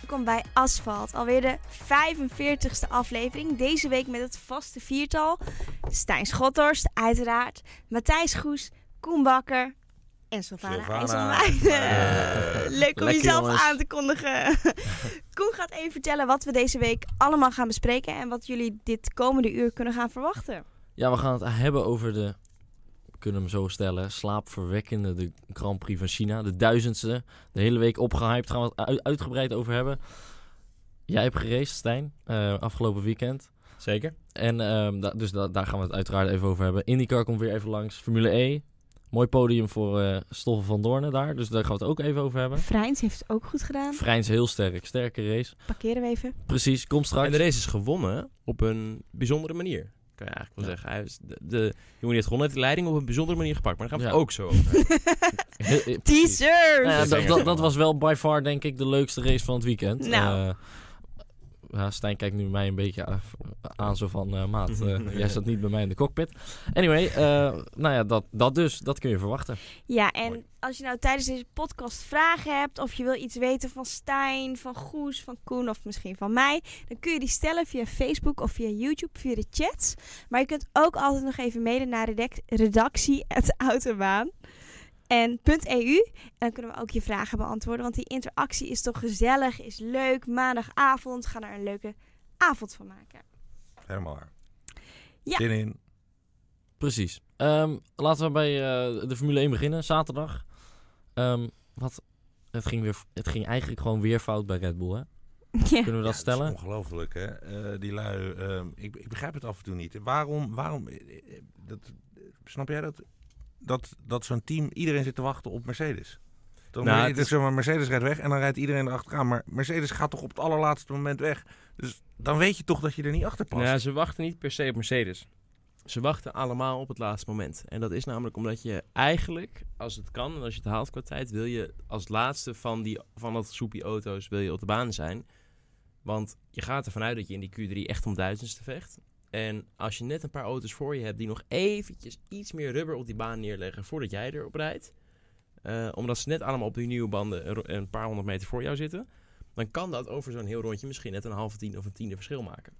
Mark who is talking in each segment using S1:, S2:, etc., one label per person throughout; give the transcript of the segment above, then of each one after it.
S1: welkom bij Asfalt. Alweer de 45ste aflevering. Deze week met het vaste viertal. Stijn Schothorst, uiteraard. Matthijs Goes, Koen Bakker en Sylvana
S2: eh,
S1: IJsselmeijden. Leuk om
S3: Lekker,
S1: jezelf
S3: jongens.
S1: aan te kondigen. Koen gaat even vertellen wat we deze week allemaal gaan bespreken... en wat jullie dit komende uur kunnen gaan verwachten.
S3: Ja, we gaan het hebben over de, we kunnen hem zo stellen, slaapverwekkende de Grand Prix van China. De duizendste, de hele week opgehyped, gaan we het ui- uitgebreid over hebben. Jij hebt geraced, Stijn, eh, afgelopen weekend.
S4: Zeker.
S3: En ehm, da- dus da- daar gaan we het uiteraard even over hebben. IndyCar komt weer even langs, Formule E. Mooi podium voor eh Stoffel van Doornen daar, dus daar gaan we het ook even over hebben.
S1: Vrijns heeft het ook goed gedaan.
S3: Vrijns heel sterk, sterke race.
S1: Parkeren we even.
S3: Precies, kom straks.
S4: En de race is gewonnen op een bijzondere manier. Kan je eigenlijk wel
S3: Ja.
S4: zeggen. Hij is de, de jongen die het gewonnen heeft de leiding op een bijzondere manier gepakt. Maar daar gaan we
S3: Ja.
S4: het ook zo over. hebben.
S3: Heel- eh, precies.
S1: Teasers!
S3: Nou ja,
S4: Dus
S3: dat,
S4: denk
S3: dat,
S4: ik
S3: dat
S4: wel.
S3: was wel by far, denk ik, de leukste race van het weekend.
S1: Nou.
S3: Eh, ja, Stijn kijkt nu mij een beetje af- aan, zo van, eh, maat, eh, jij zat niet bij mij in de cockpit. Anyway, eh, nou ja, dat, dat dus, dat kun je verwachten.
S1: Ja, en
S4: Mooi.
S1: als je nou tijdens deze podcast vragen hebt of je wil iets weten van Stijn, van Goes, van Koen of misschien van mij, dan kun je die stellen via Facebook of via YouTube, via de chats. Maar je kunt ook altijd nog even mailen naar redac- redactie autobaan. En .eu. En dan kunnen we ook je vragen beantwoorden. Want die interactie is toch gezellig, is leuk. Maandagavond gaan we er een leuke avond van maken.
S2: Helemaal waar.
S1: Ja.
S2: Zin in.
S3: Precies. Ehm, laten we bij eh, de Formule 1 beginnen, zaterdag. Ehm, wat, het ging, weer, het ging eigenlijk gewoon weer fout bij Red Bull, hè?
S1: Ja.
S3: Kunnen we dat
S2: Ja,
S3: stellen?
S2: is ongelooflijk, hè? Eh, die lui, ehm, ik, ik begrijp het af en toe niet. Waarom, waarom eh, eh, dat, eh, snap jij dat, dat, dat zo'n team, iedereen zit te wachten op Mercedes? Dan
S4: Nou,
S2: moet je-
S4: het
S2: dus
S4: is-
S2: zeg maar, Mercedes rijdt weg en dan rijdt iedereen erachteraan. Maar Mercedes gaat toch op het allerlaatste moment weg. Dus dan weet je toch dat je er niet achter past.
S4: Nou, ze wachten niet per se op Mercedes. Ze wachten allemaal op het laatste moment. En dat is namelijk omdat je eigenlijk, als het kan en als je het haalt qua tijd, wil je als laatste van, die, van dat soepje auto's wil je op de baan zijn. Want je gaat ervan uit dat je in die Q3 echt om duizendste vecht. En als je net een paar auto's voor je hebt die nog eventjes iets meer rubber op die baan neerleggen voordat jij erop rijdt. eh, omdat ze net allemaal op die nieuwe banden een ro- een paar honderd meter voor jou zitten. Dan kan dat over zo'n heel rondje misschien net een halve tien of een tiende verschil maken.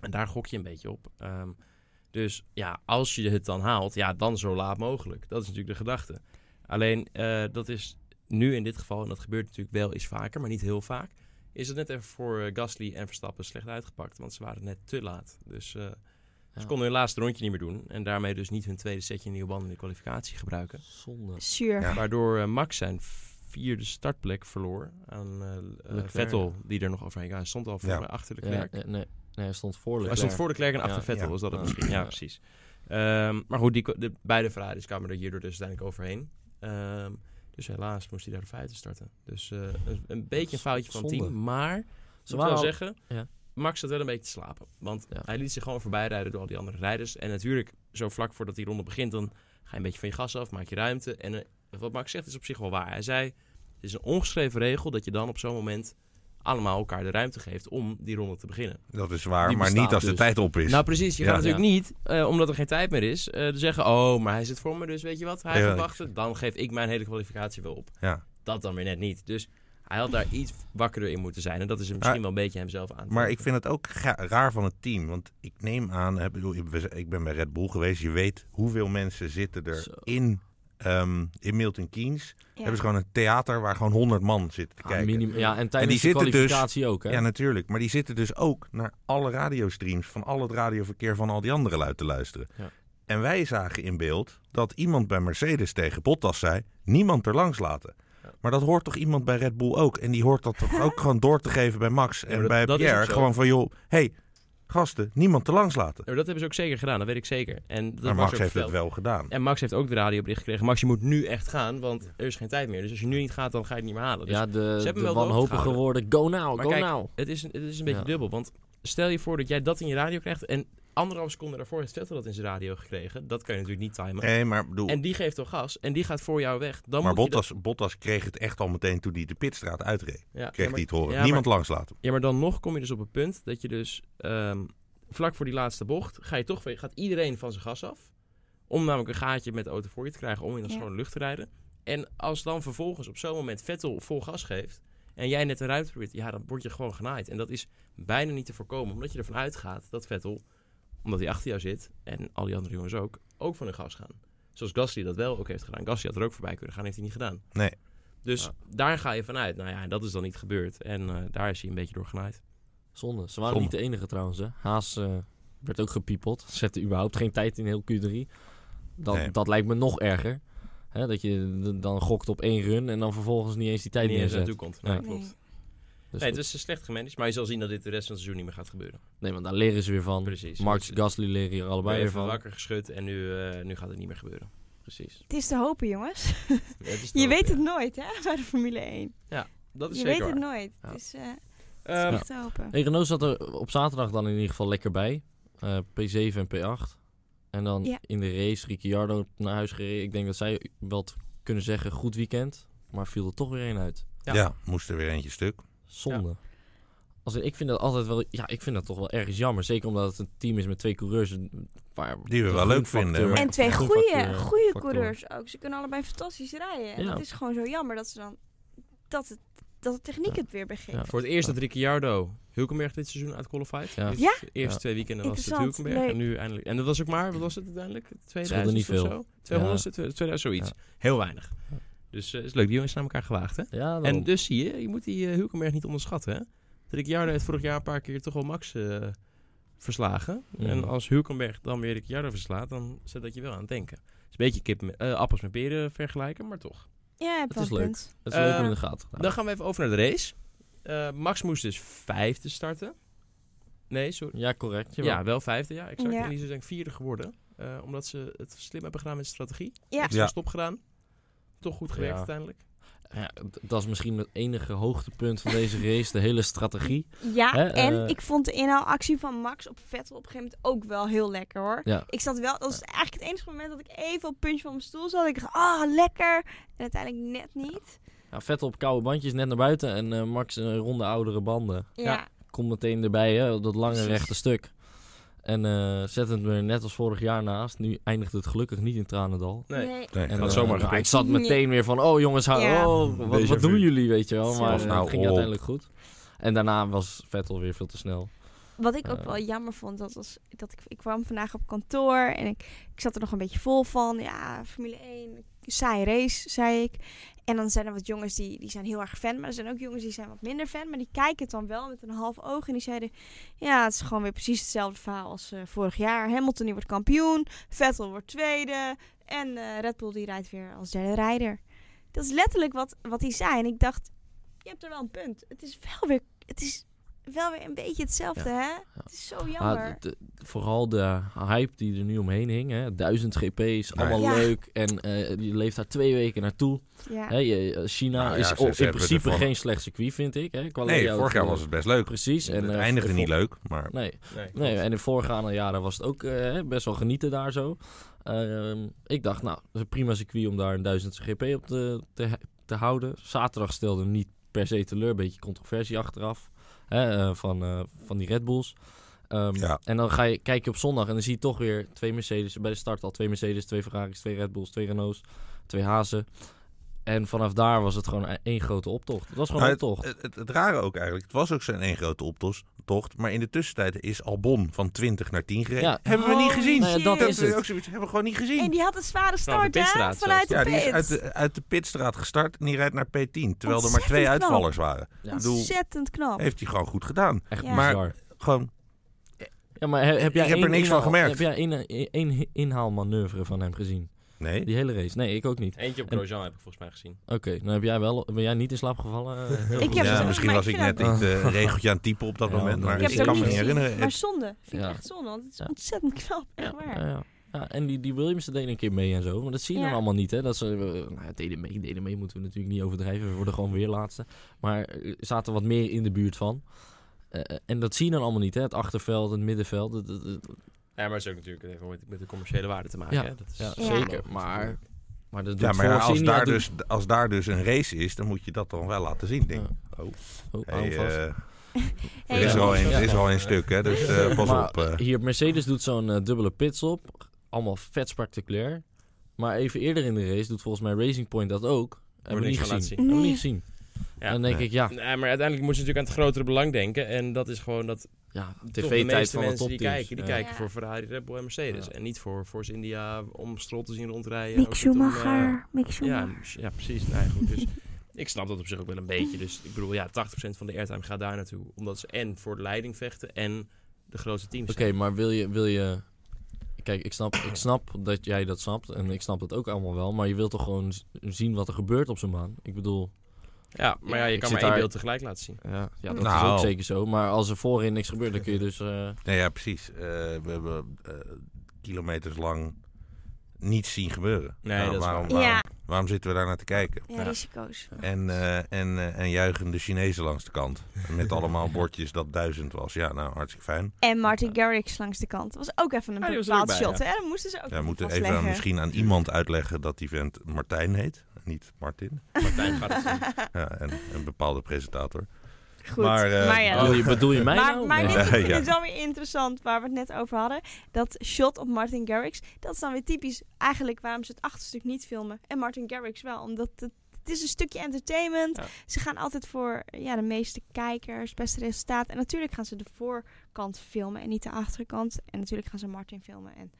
S4: En daar gok je een beetje op. Ehm, dus ja, als je het dan haalt, ja, dan zo laat mogelijk. Dat is natuurlijk de gedachte. Alleen eh, dat is nu in dit geval, en dat gebeurt natuurlijk wel eens vaker, maar niet heel vaak. Is het net even voor eh, Gasly en Verstappen slecht uitgepakt, want ze waren net te laat. Dus eh,
S3: Ja.
S4: ze konden hun laatste rondje niet meer doen. En daarmee dus niet hun tweede setje nieuwe banden in de kwalificatie gebruiken.
S3: Zonde.
S1: Zuur.
S2: Ja.
S4: Waardoor eh, Max zijn vierde startplek verloor aan eh, eh,
S3: Leclerc.
S4: Vettel, die er nog overheen ging. Hij stond al voor
S2: Ja.
S4: mij achter de
S3: Ja,
S4: klerk.
S3: eh, nee, nee, hij stond voor
S4: Hij stond
S3: Leclerc.
S4: voor de Klerk en achter
S3: Ja,
S4: Vettel,
S2: ja.
S4: was dat het
S3: Ja.
S4: misschien? Ja,
S3: Ja.
S4: precies. Ehm, maar goed, die, ko- de, beide Ferraris kwamen er hierdoor dus uiteindelijk overheen. Ehm, dus helaas moest hij daar de vijfde starten. Dus eh, een, een beetje een foutje van het
S3: Zonde.
S4: team. Maar, ze
S3: waren
S4: moet wel
S3: al-
S4: zeggen,
S3: ja.
S4: Max zat wel een beetje te slapen. Want
S3: Ja.
S4: hij liet zich gewoon voorbij rijden door al die andere rijders. En natuurlijk, zo vlak voordat die ronde begint, dan ga je een beetje van je gas af, maak je ruimte. En eh, wat Max zegt is op zich wel waar. Hij zei, het is een ongeschreven regel dat je dan op zo'n moment allemaal elkaar de ruimte geeft om die ronde te beginnen.
S2: dat is waar,
S3: Die
S2: maar
S3: bestaat
S2: niet als de
S3: dus.
S2: tijd op is.
S4: Nou, precies. Je
S2: Ja.
S4: gaat natuurlijk niet, eh, omdat er geen tijd meer is, eh, zeggen: Oh, maar hij zit voor me, dus weet je wat? Hij
S2: Ja.
S4: gaat wachten. Dan geef ik mijn hele kwalificatie wel op.
S2: ja.
S4: Dat dan weer net niet. Dus hij had daar iets wakkerder in moeten zijn. En dat is hem misschien
S2: Maar-
S4: wel een beetje hemzelf aan. te
S2: Maar ik
S4: rekenen.
S2: vind het ook ga- raar van het team. Want ik neem aan, ik bedoel, ik ben- ik ben bij Red Bull geweest. Je weet hoeveel mensen zitten er
S3: Zo.
S2: in, ehm, in Milton Keynes. Hebben ze gewoon een theater waar gewoon 100 man zitten te
S3: Ah,
S2: kijken.
S3: minim- ja, en tijdens de
S2: zitten dus-
S3: kwalificatie ook, hè?
S2: Ja, natuurlijk. Maar die zitten dus ook naar alle radiostreams van al het radioverkeer van al die andere lui te luisteren.
S3: Ja.
S2: En wij zagen in beeld dat iemand bij Mercedes tegen Bottas zei: niemand er langs laten.
S4: Ja.
S2: Maar dat hoort toch iemand bij Red Bull ook? En die hoort dat toch ook gewoon door te geven bij Max en
S4: maar dat-
S2: bij
S4: dat is
S2: Pierre?
S4: ook zo.
S2: Gewoon van joh, hey, gasten, niemand er langs laten.
S4: Ja, maar dat hebben ze ook zeker gedaan, dat weet ik zeker. En dat
S2: Maar
S4: was
S2: Max
S4: ook
S2: heeft
S4: verteld.
S2: het wel gedaan.
S4: En Max heeft ook de radiobericht gekregen. Max, je moet nu echt gaan, want er is geen tijd meer. Dus als je nu niet gaat, dan ga je het niet meer halen. Dus
S3: ja, de,
S4: hem
S3: de
S4: wel
S3: wanhopige
S4: doorgehouden.
S3: geworden. Go now,
S4: Maar
S3: go
S4: kijk,
S3: now.
S4: Het is, een- het is een beetje
S3: Ja.
S4: dubbel, want stel je voor dat jij dat in je radio krijgt en anderhalf seconde daarvoor heeft Vettel dat in zijn radio gekregen. Dat kan je natuurlijk niet timen.
S2: Nee, maar bedoel,
S4: En die geeft dan gas en die gaat voor jou weg. Dan
S2: maar
S4: moet je dat-
S2: Bottas, Bottas kreeg het echt al meteen toen hij de pitstraat uitreed.
S4: ja,
S2: Kreeg
S4: ja, maar,
S2: hij het horen.
S4: ja,
S2: niemand langs laten.
S4: ja, maar dan nog kom je dus op het punt dat je dus ehm, vlak voor die laatste bocht ga je toch, weer- gaat iedereen van zijn gas af. Om namelijk een gaatje met de auto voor je te krijgen om in de
S1: Ja.
S4: schone lucht te rijden. En als dan vervolgens op zo'n moment Vettel vol gas geeft en jij net eruit probeert, ja, dan word je gewoon genaaid. En dat is bijna niet te voorkomen, omdat je ervan uitgaat dat Vettel, omdat hij achter jou zit en al die andere jongens ook, ook van hun gas gaan. Zoals Gasly dat wel ook heeft gedaan. Gasly had er ook voorbij kunnen gaan, heeft hij niet gedaan.
S2: Nee.
S4: Dus
S3: Ja.
S4: daar ga je vanuit. Nou ja, en dat is dan niet gebeurd. En eh, daar is hij een beetje door genaaid.
S3: Zonde. Ze waren
S2: Zonde.
S3: niet de enige trouwens. Hè. Haas eh, werd ook gepiepeld. Zette überhaupt geen tijd in heel Q3. Dat,
S2: Nee.
S3: dat lijkt me nog erger. Hè, dat je d- dan gokt op één run en dan vervolgens niet eens die tijd
S4: Niet eens
S3: neerzet.
S4: naartoe komt. Nee,
S3: Ja.
S4: klopt.
S3: Dus
S4: nee,
S3: goed. Mm.
S4: het is slecht gemanaged, maar je zal zien dat dit de rest van het seizoen niet meer gaat gebeuren.
S3: nee, want daar leren ze weer van.
S4: Precies.
S3: Max
S4: Dus-
S3: Gasly leren hier allebei weer
S4: even
S3: van.
S4: wakker geschud en nu, eh, nu gaat het niet meer gebeuren. Precies.
S1: Het is te hopen, jongens.
S4: Ja, het is te
S1: Je
S4: hopen,
S1: weet het
S4: ja.
S1: nooit, hè, bij de Formule 1.
S4: Dat is
S1: je weet
S4: zeker
S1: het
S4: waar.
S1: nooit.
S3: Ja.
S1: Dus eh, het is
S4: Ehm,
S1: echt te hopen.
S3: Hey, Renault zat er op zaterdag dan in ieder geval lekker bij. Eh, P7 en P8. En dan
S1: Ja.
S3: in de race Ricciardo naar huis gereden. Ik denk dat zij wel t- kunnen zeggen goed weekend. Maar viel er toch weer één uit.
S2: Ja.
S4: Ja.
S2: moest er weer eentje stuk.
S3: Zonde. Als in, ik vind dat altijd wel... Ja, ik vind dat toch wel ergens jammer. Zeker omdat het een team is met twee coureurs. en- Waar
S2: Die we
S3: de
S2: wel leuk
S3: groenfactor-
S2: vinden, maar-
S1: En twee
S3: de
S1: goede,
S3: groenfactor-
S1: goede
S3: factor.
S1: coureurs ook. Ze kunnen allebei fantastisch rijden. En
S3: Ja.
S1: dat is gewoon zo jammer dat ze dan dat, het, dat de techniek
S3: Ja.
S1: het weer begint.
S3: Ja.
S4: Voor het eerst dat Ricciardo Hulkenberg dit seizoen uitqualified.
S3: Ja.
S4: Dit-
S1: Ja?
S4: De eerste
S3: Ja.
S4: twee weekenden was het
S1: Interessant,
S4: Hulkenberg. En
S1: leuk.
S4: nu eindelijk. En dat was ook maar, wat was het uiteindelijk? 2000
S3: Scheelde niet
S4: of
S3: veel.
S4: zo? 200, 2000, zoiets. Heel weinig. Dus eh, is leuk, die jongens zijn aan elkaar gewaagd, hè?
S3: Ja,
S4: En
S3: en
S4: dus zie je, je moet die eh, Hulkenberg niet onderschatten, hè? Ricciardo heeft vorig jaar een paar keer toch wel Max eh, verslagen.
S3: Mhm.
S4: En als Hulkenberg dan weer Ricciardo verslaat, dan zet dat je wel aan het denken. Het is een beetje kip met, eh, appels met peren vergelijken, maar toch.
S1: Ja, je hebt
S3: Dat
S1: wel
S3: is
S1: een
S3: leuk.
S1: punt.
S3: dat is leuk om
S4: eh,
S3: in de gaten te houden.
S4: Dan gaan we even over naar de race. Eh, Max moest dus vijfde starten. Nee, sorry.
S3: Ja, correct. jawel.
S4: Ja, wel vijfde, ja, exact.
S1: Ja.
S4: En die is dus denk ik vierde geworden. eh, omdat ze het slim hebben gedaan met strategie.
S1: Ja.
S4: Extra
S2: Ja.
S4: stop gedaan. Toch goed gewerkt
S3: Ja.
S4: uiteindelijk.
S3: Ja, d- dat is misschien het enige hoogtepunt van deze race. De hele strategie.
S1: Ja,
S3: Hè,
S1: en
S3: eh,
S1: ik vond de inhaalactie van Max op Vettel op een gegeven moment ook wel heel lekker hoor.
S3: Ja.
S1: Ik zat wel, dat was eigenlijk het enige moment dat ik even op het puntje van mijn stoel zat. Ik dacht, ah, lekker. En uiteindelijk net niet.
S3: Ja, Vettel Nou, op koude bandjes net naar buiten en eh, Max een ronde oudere banden.
S1: Ja,
S4: Ja.
S3: Komt meteen erbij, hè, op dat lange
S4: Precies.
S3: rechte stuk. En eh, zet het me net als vorig jaar naast. Nu eindigt het gelukkig niet in Tranendal.
S4: Nee.
S1: nee.
S2: Nee,
S3: En,
S4: had
S3: eh,
S4: zomaar
S3: nou,
S4: gekund.
S3: ik zat meteen weer van, oh jongens, hou-
S1: Ja.
S3: oh, wat,
S4: Déjà
S3: wat doen
S4: vu.
S3: jullie, weet je wel. Maar
S2: Pas
S3: eh,
S2: nou
S3: het ging
S2: op.
S3: uiteindelijk goed. En daarna was Vettel weer veel te snel.
S1: Wat ik ook
S3: Eh.
S1: wel jammer vond, dat was dat ik, ik kwam vandaag op kantoor en ik, ik zat er nog een beetje vol van. Ja, Formule 1, saaie race, zei ik. En dan zijn er wat jongens die, die zijn heel erg fan, maar er zijn ook jongens die zijn wat minder fan. Maar die kijken het dan wel met een half oog en die zeiden... Ja, het is gewoon weer precies hetzelfde verhaal als eh, vorig jaar. Hamilton die wordt kampioen, Vettel wordt tweede en eh, Red Bull die rijdt weer als derde rijder. Dat is letterlijk wat, wat hij zei en ik dacht, je hebt er wel een punt. Het is wel weer, het is wel weer een beetje hetzelfde, hè? Het is
S3: Ah,
S1: zo jammer.
S3: Maar de- vooral de hype die er nu omheen hing. Hè. Duizend GP's,
S2: Nou ja.
S3: allemaal
S1: Ja.
S3: leuk. En eh, je leeft daar twee weken naartoe.
S1: ja.
S3: Hè, je- eh, China
S2: Nou ja,
S3: is
S2: ze-
S3: op-
S2: ze
S3: in
S2: hebben
S3: principe
S2: ervan-
S3: geen slecht circuit, vind ik. Hè, qua
S2: Nee,
S3: layout,
S2: vorig jaar
S3: eh,
S2: was het best leuk.
S3: Precies. En,
S2: het
S3: eh,
S2: eindigde
S3: de
S2: niet
S3: vol-
S2: leuk, maar
S3: Nee,
S4: Nee,
S3: nee, en in voorgaande jaren was het ook eh, best wel genieten daar zo. Ehm, ik dacht, nou, dat is een prima circuit om daar een duizendste GP op te, te, te houden. Zaterdag stelde hem niet per se teleur, een beetje controversie achteraf hè, eh, van, eh, van die Red Bulls. Ehm,
S2: Ja.
S3: En dan ga je, kijk je op zondag en dan zie je toch weer twee Mercedes. Bij de start al twee Mercedes, twee Ferraris, twee Red Bulls, twee Renaults, twee Hazen. En vanaf daar was het gewoon e-, één grote optocht. Het was gewoon
S2: Nou,
S3: een optocht.
S2: het, het, het rare ook eigenlijk. Het was ook zo'n één grote optos- tocht, maar in de tussentijd is Albon van 20 naar 10 gereden.
S3: Ja.
S2: Hebben we niet
S1: Holy
S2: gezien.
S1: shit.
S3: Nou ja, dat is
S2: hebben, we
S3: het.
S2: ook zoiets, hebben we gewoon niet
S1: En
S2: gezien.
S1: die had een zware
S4: Vanaf
S1: start,
S4: de pitstraat
S1: hè?
S4: zelfs.
S1: Vanuit de
S2: Ja,
S1: pit.
S2: die is uit de, uit de pitstraat gestart en die rijdt naar P10. Terwijl er maar
S1: Ontzettend
S2: twee
S1: knap.
S2: uitvallers waren.
S3: Ja,
S2: Ik bedoel,
S1: Ontzettend knap.
S2: heeft hij gewoon goed gedaan.
S3: Echt
S1: Ja.
S3: bizar.
S2: Maar- Gewoon,
S3: Ja, maar he- heb jij
S2: Ik heb er
S3: één
S2: niks van
S3: inhaal-
S2: gemerkt.
S3: Heb jij één- één, één inhaalmanoeuvre van hem gezien?
S2: nee.
S3: Die hele race? Nee, ik ook niet.
S4: Eentje op
S3: En-
S4: Grosjean heb ik volgens mij gezien.
S3: Oké, nou heb jij wel, ben jij niet in slaap gevallen? eh, heel
S1: Ik
S3: goed.
S1: heb
S2: ja,
S1: het-
S2: misschien
S1: maar
S2: was
S1: ik
S2: ik net
S1: vind
S2: niet
S3: dat-
S2: eh, regeltje aan het typen op dat
S3: Ja,
S2: moment.
S3: dan
S2: Maar
S3: is
S2: ik,
S3: het
S2: kan
S1: ook
S2: me niet
S1: niet gezien,
S2: herinneren.
S1: Maar
S2: Het-
S1: zonde. Vind
S3: Ja.
S1: ik echt zonde, want het is
S3: Ja.
S1: ontzettend knap. Echt
S3: Ja,
S1: waar.
S3: ja, ja. Ja, en die, die Williams deden een keer mee en zo. Maar dat zie je
S1: Ja.
S3: dan allemaal niet, hè? Dat ze eh, nou, deden mee, deden mee moeten we natuurlijk niet overdrijven. We worden gewoon weer laatste. Maar eh, zaten wat meer in de buurt van. Eh, eh, en dat zie je dan allemaal niet, hè? Het achterveld, het middenveld. Het, het- het-
S4: Ja, maar het is ook natuurlijk het heeft wel met, met de commerciële waarde te maken.
S3: Ja.
S4: hè? Dat is
S3: ja,
S1: Ja.
S3: zeker. Maar, maar dat doet
S2: Ja, maar ja,
S3: Force
S2: als,
S3: India
S2: daar
S3: doet-
S2: dus, als daar dus een race is, dan moet je dat dan wel laten zien. Denk. ik. Oh,
S3: Oh, hou
S2: hey,
S3: hem vast.
S2: eh,
S1: Hey,
S2: er, is er, al een,
S3: Ja.
S2: er is er al een stuk, hè, dus eh, pas
S3: Maar,
S2: op. eh.
S3: eh, Hier, Mercedes doet zo'n eh, dubbele pitstop. Allemaal vet spectaculair. Maar even eerder in de race doet volgens mij Racing Point dat ook. Hebben we
S4: niks
S3: niet
S4: van
S3: gezien.
S4: laten zien.
S3: Hebben we
S1: Nee.
S3: niet gezien.
S4: Ja.
S3: dan denk
S2: Nee.
S3: ik, ja,
S4: Nee, maar uiteindelijk moet je natuurlijk aan het grotere belang denken. En dat is gewoon dat
S3: ja
S4: toch de
S3: tv-tijd
S4: meeste
S3: van de
S4: mensen die
S3: topteams.
S4: kijken, die
S3: Ja.
S4: kijken
S1: Ja.
S4: voor Ferrari, Red Bull en Mercedes.
S3: Ja.
S4: En niet voor Force India om Stroll te zien rondrijden.
S1: Mick
S4: ook niet om, eh,
S1: Schumacher. Mick
S4: ja,
S1: Schumacher.
S4: ja, precies. Nou ja, goed, dus ik snap dat op zich ook wel een beetje. Dus ik bedoel, ja, 80% van de airtime gaat daar naartoe. Omdat ze en voor de leiding vechten en de grootste teams.
S3: Oké, maar wil je, wil je... Kijk, ik snap, ik snap dat jij dat snapt. En ik snap dat ook allemaal wel. Maar je wilt toch gewoon z- zien wat er gebeurt op zo'n baan? Ik bedoel...
S4: zijn. Ja, maar ja, je
S3: Ik
S4: kan
S3: zit
S4: maar één
S3: daar-
S4: beeld tegelijk laten zien.
S3: Ja, ja dat is
S2: Nou.
S3: ook zeker zo. Maar als er voorin niks gebeurt, dan kun je dus... eh,
S2: Nee, ja, precies. Eh, we hebben eh, kilometers lang niets zien gebeuren.
S4: Nee,
S2: Nou,
S4: dat is
S2: waarom,
S4: waar.
S2: waarom,
S1: Ja.
S2: waarom zitten we daar naar te kijken?
S1: Ja,
S4: Ja.
S1: risico's.
S2: En, eh, en, eh, en juichen de Chinezen langs de kant. Met allemaal bordjes dat duizend was. Ja, nou, hartstikke fijn.
S1: En Martin Garrix langs de kant. Dat was ook even een
S4: Ah, die was er
S1: bepaald
S4: ook bij,
S1: shot, hè? Dat moesten ze ook
S2: Ja, we moeten
S1: vastleggen.
S2: even aan, misschien aan iemand uitleggen dat die vent Martijn heet. Niet Martin.
S4: Martijn gaat het zien.
S2: Ja, en een bepaalde presentator.
S1: Goed, maar,
S2: Maar, eh,
S1: ja.
S3: bedoel, je, bedoel je mij
S1: Maar,
S3: nou?
S1: maar
S3: Nee.
S1: dit, ik vind
S2: Ja.
S1: het wel weer interessant waar we het net over hadden. Dat shot op Martin Garrix. Dat is dan weer typisch eigenlijk waarom ze het achterstuk niet filmen. En Martin Garrix wel. Omdat het, het is een stukje entertainment.
S4: Ja.
S1: Ze gaan altijd voor ja, de meeste kijkers, het beste resultaat. En natuurlijk gaan ze de voorkant filmen en niet de achterkant. En natuurlijk gaan ze Martin filmen en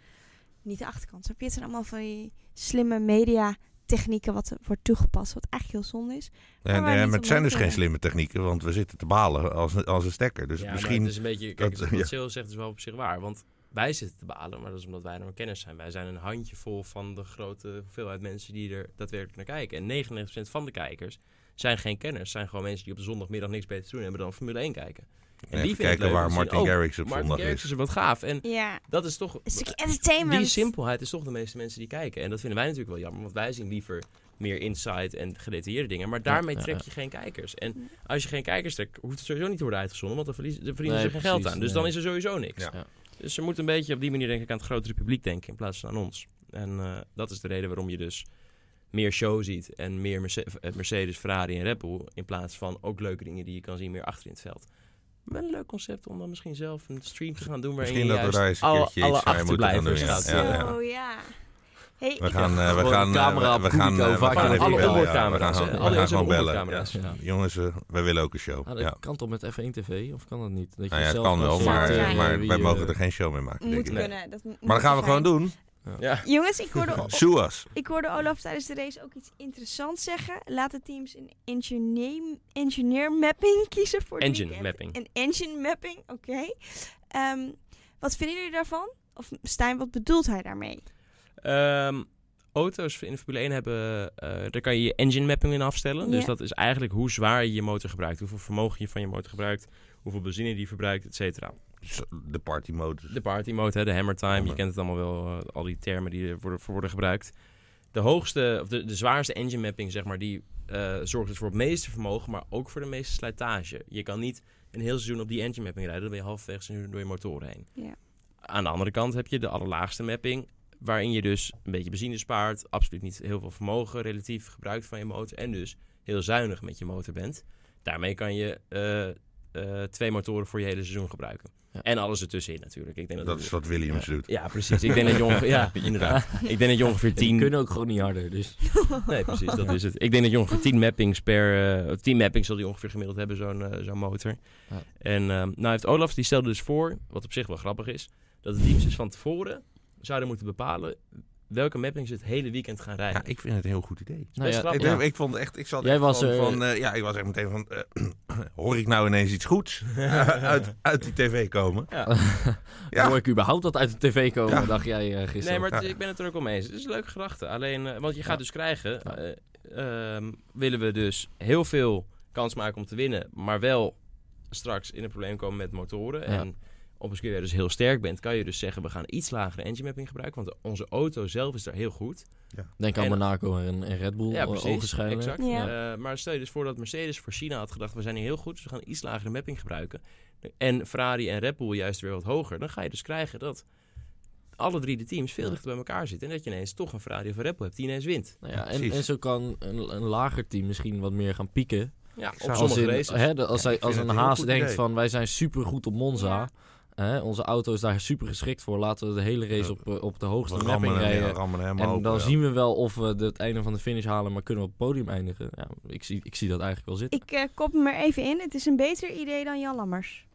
S1: niet de achterkant. Snap je? Het zijn allemaal van die slimme media technieken wat er wordt toegepast. Wat eigenlijk heel zonde is.
S2: En,
S1: maar
S2: eh,
S1: niet
S2: maar het zijn dus
S1: omdat,
S2: geen
S1: eh,
S2: slimme technieken, want we zitten te balen als, als een stekker. Dus
S4: ja,
S2: misschien...
S4: Maar het is een beetje, kijk,
S2: dat-
S4: wat
S2: ja.
S4: Sil zegt is wel op zich waar. Want wij zitten te balen, maar dat is omdat wij nog kennis zijn. Wij zijn een handjevol van de grote hoeveelheid mensen die er daadwerkelijk naar kijken. En 99% van de kijkers zijn geen kenners. Zijn gewoon mensen die op de zondagmiddag niks beter te doen hebben dan Formule 1 kijken. En
S2: even
S4: vinden het
S2: kijken
S4: leuk om
S2: waar
S4: te zien,
S2: Martin
S4: oh,
S2: Garrix op
S4: Martin
S2: zondag
S4: Garrix
S2: is.
S4: is wat gaaf. En
S1: Ja,
S4: dat is toch...
S1: een stukje entertainment.
S4: Die simpelheid is toch de meeste mensen die kijken. En dat vinden wij natuurlijk wel jammer, want wij zien liever meer insight en gedetailleerde dingen. Maar daarmee
S3: ja,
S4: trek
S3: ja.
S4: je geen kijkers. En als je geen kijkers trekt, hoeft het sowieso niet te worden uitgezonden, want dan verliezen, dan verdienen
S3: Nee,
S4: ze geen geld
S3: precies,
S4: aan. Dus
S3: nee.
S4: dan is er sowieso niks.
S2: Ja.
S3: Ja.
S4: Dus ze moeten een beetje op die manier denk ik aan het grotere publiek denken in plaats van aan ons. En eh, dat is de reden waarom je dus meer show ziet en meer Merce- eh, Mercedes, Ferrari en Red Bull in plaats van ook leuke dingen die je kan zien meer achter in het veld. Wel een leuk concept om dan misschien zelf een stream te gaan doen waarin
S2: Misschien
S4: je
S2: dat we
S4: juist
S2: daar eens een
S4: alle,
S2: keertje
S4: alle
S2: iets mee moeten gaan doen.
S4: achterblijvers
S2: Ja,
S4: laat
S2: ja,
S4: zien.
S2: ja.
S1: Oh ja. Hey,
S2: We
S1: ik-
S2: gaan, eh, we
S3: Gewoon
S2: gaan,
S3: een
S2: eh,
S3: camera
S2: we
S3: op
S2: gaan, eh,
S3: Cubico,
S2: we
S3: vaak
S2: gaan
S3: aan
S2: even
S3: alle
S2: bellen.
S4: onboardcamera's,
S2: Ja,
S4: hè?
S2: we gaan,
S4: Alle
S2: we gaan
S4: onze
S2: gewoon bellen.
S4: onboardcamera's.
S2: Ja.
S3: Ja.
S2: Jongens, eh, wij willen ook een show.
S3: Ah, dat
S2: ja.
S3: kan toch met F1 TV? Of kan dat niet? Dat je
S2: Nou ja, het
S3: zelf
S2: kan wel,
S1: zelf
S2: maar,
S3: selecteren
S1: zijn.
S2: maar
S3: wie,
S2: wij
S3: eh,
S2: mogen er geen show mee maken.
S1: moet
S2: Denk ik.
S4: Nee.
S1: kunnen. Dat moet
S2: Maar dat gaan we
S1: er zijn.
S2: gewoon doen.
S4: Ja.
S1: Jongens, ik
S4: Oh.
S1: hoorde,
S2: Sue us.
S1: ik hoorde Olaf tijdens de race ook iets interessants zeggen. Laat de teams een engineer, engineer mapping kiezen voor het
S4: Engine
S1: weekend.
S4: mapping.
S1: Een engine mapping, oké. Ehm, wat vinden jullie daarvan? Of Stijn, wat bedoelt hij daarmee?
S4: Ehm, auto's in de Formule 1 hebben, eh, daar kan je je engine mapping in afstellen. Dus
S1: Ja.
S4: dat is eigenlijk hoe zwaar je je motor gebruikt. Hoeveel vermogen je van je motor gebruikt. Hoeveel benzine die verbruikt, et cetera.
S2: De party mode.
S4: De party mode, hè, de hammer time. Je
S2: Hammer.
S4: kent het allemaal wel, eh, al die termen die ervoor voor worden gebruikt. De hoogste, of de, de zwaarste engine mapping, zeg maar, die eh, zorgt dus voor het meeste vermogen, maar ook voor de meeste slijtage. Je kan niet een heel seizoen op die engine mapping rijden, dan ben je halverwege het seizoen door je motoren heen.
S1: Ja.
S4: Aan de andere kant heb je de allerlaagste mapping, waarin je dus een beetje benzine spaart, absoluut niet heel veel vermogen relatief gebruikt van je motor en dus heel zuinig met je motor bent. Daarmee kan je eh, eh, twee motoren voor je hele seizoen gebruiken.
S3: Ja.
S4: En alles ertussenin natuurlijk. Ik denk dat,
S2: Dat is wat Williams doet.
S4: ja, precies. Ik denk dat je ongeveer... Ja, inderdaad. Ik denk dat je ongeveer
S3: Die
S4: 10...
S3: kunnen ook gewoon niet harder, dus...
S4: Nee, precies. Dat is het. Ik denk dat je ongeveer 10 mappings per... eh 10 mappings zal die ongeveer gemiddeld hebben, zo'n eh, zo'n motor.
S3: Ja.
S4: En ehm, nou heeft Olaf, die stelde dus voor, wat op zich wel grappig is, dat de teams dus van tevoren zouden moeten bepalen welke mappings het hele weekend gaan rijden.
S2: Ja, ik vind het een heel goed idee.
S3: Nou
S4: Best
S3: ja,
S4: grappig.
S2: Ik,
S3: ja.
S2: ik vond echt, ik zat
S3: Jij
S2: echt
S3: was
S2: van,
S3: er-
S2: van, eh, ja, ik was echt meteen van, eh, hoor ik nou ineens iets goeds uit, uit die tv komen? Ja.
S3: Hoor ik überhaupt dat uit de tv komen,
S2: Ja.
S3: dacht jij eh, gisteren?
S4: Nee, maar het-
S2: Ja.
S4: ik ben het er ook al mee eens. Het is een leuke gedachte. Alleen, eh, want je gaat
S3: Ja.
S4: dus krijgen...
S3: Ja.
S4: eh, ehm, willen we dus heel veel kans maken om te winnen... maar wel straks in een probleem komen met motoren...
S3: Ja.
S4: en op een keer weer dus heel sterk bent... kan je dus zeggen, we gaan iets lagere engine mapping gebruiken... want onze auto zelf is daar heel goed.
S3: Denk aan
S4: En-
S3: Monaco en, en Red Bull, eh, ogenschijnlijk.
S4: Exact.
S1: Ja.
S4: Eh, maar stel je dus voor dat Mercedes voor China had gedacht... we zijn hier heel goed, dus we gaan iets lagere mapping gebruiken. En Ferrari en Red Bull juist weer wat hoger. Dan ga je dus krijgen dat alle drie de teams veel
S3: Ja.
S4: dichter bij elkaar zitten... en dat je ineens toch een Ferrari of een Red Bull hebt die ineens wint.
S3: Nou ja, en,
S2: Precies.
S3: en zo kan een, een lager team misschien wat meer gaan pieken.
S4: Ja, op
S2: zou-
S3: Als,
S4: sommige
S3: in,
S4: races.
S3: hè, de- als,
S2: Ja,
S3: hij,
S2: ik
S3: als
S2: vind het
S3: een
S2: een heel
S3: haas
S2: goed
S3: denkt
S2: idee.
S3: van wij zijn supergoed op Monza.
S1: Ja.
S3: Hè, onze auto is daar super geschikt voor. Laten we de hele race op, eh, op de
S2: We
S3: hoogste
S2: rammen
S3: mapping
S2: hem, ja,
S3: rijden.
S2: rammen hem
S3: En
S2: open,
S3: dan
S2: ja.
S3: zien we wel of we de- het einde van de finish halen, maar kunnen we op het podium eindigen. Ja, ik, zie, ik zie dat eigenlijk wel zitten.
S1: Ik eh, kop hem er even in. Het is een beter idee dan Jan Lammers.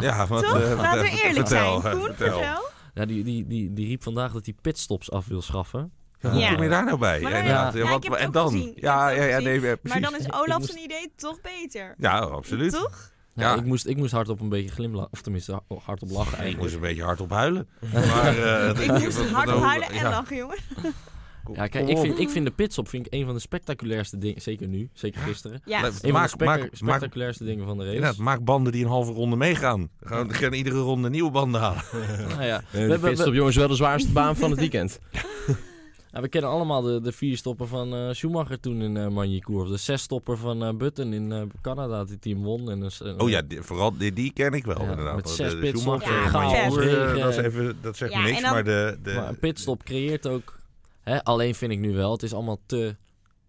S2: Ja, want,
S1: Toch?
S2: eh,
S1: Laten we
S2: vertel,
S1: eerlijk
S2: vertel, eh,
S1: zijn. Koen,
S2: vertel.
S1: vertel.
S3: Ja, die, die, die, die riep vandaag dat hij pitstops af wil schaffen.
S2: Ja,
S1: Ja.
S2: Hoe kom je daar nou bij?
S1: Maar
S2: Ja,
S1: dan-
S2: inderdaad.
S1: ja, ik
S2: wat,
S1: heb het
S2: en
S1: ook
S2: dan?
S1: gezien. Ik heb
S2: Ja,
S1: het
S2: ja,
S1: ook
S2: ja, nee,
S1: gezien.
S2: ja,
S1: Maar
S2: precies.
S1: dan is
S3: Ik
S1: Olaf
S3: moest-
S1: zijn idee toch beter.
S2: Ja, absoluut.
S1: Toch?
S3: Ja,
S2: Ja.
S3: Ik, moest, ik moest hardop een beetje glimlachen. Of tenminste, ha- hardop lachen
S2: Ik moest
S3: eigenlijk.
S2: een beetje hardop huilen. Maar, eh, dat-
S1: Ik moest hard
S2: dat-
S1: huilen en
S2: ja,
S1: lachen, jongen.
S2: kom-
S3: Ja, kijk,
S2: kom
S3: ik
S2: op.
S3: vind, ik vind de pitstop vind ik een van de spectaculairste dingen. Zeker nu, zeker gisteren.
S1: Ja,
S2: Blijf-
S3: Een van de
S2: Maak-
S3: spectac-
S2: maak- maak-
S3: spectaculairste dingen van de race.
S2: Inderdaad, maak banden die een halve ronde meegaan. Gaan, gaan iedere ronde nieuwe banden halen.
S3: Nou ja, we,
S4: We
S3: hebben- we,
S4: pitstop, jongens, wel de zwaarste baan van het weekend.
S3: ja, we kennen allemaal de, de vier stoppen van eh, Schumacher toen in eh Magny-Cours. Of de zes stopper van eh, Button in eh, Canada, die team won. En dus, eh,
S2: Oh ja, die- vooral die, die ken ik wel
S3: Ja,
S2: inderdaad.
S3: met
S2: De-
S3: zes
S2: de
S3: pitstops,
S2: Schumacher,
S1: ja,
S2: Magnus,
S1: chaos,
S2: eh,
S3: regen.
S2: dat, is even, dat zegt
S1: Ja,
S2: me niks,
S1: en dan-
S2: maar de... de
S3: Maar een pitstop creëert ook. Hè, alleen vind ik nu wel, het is allemaal te.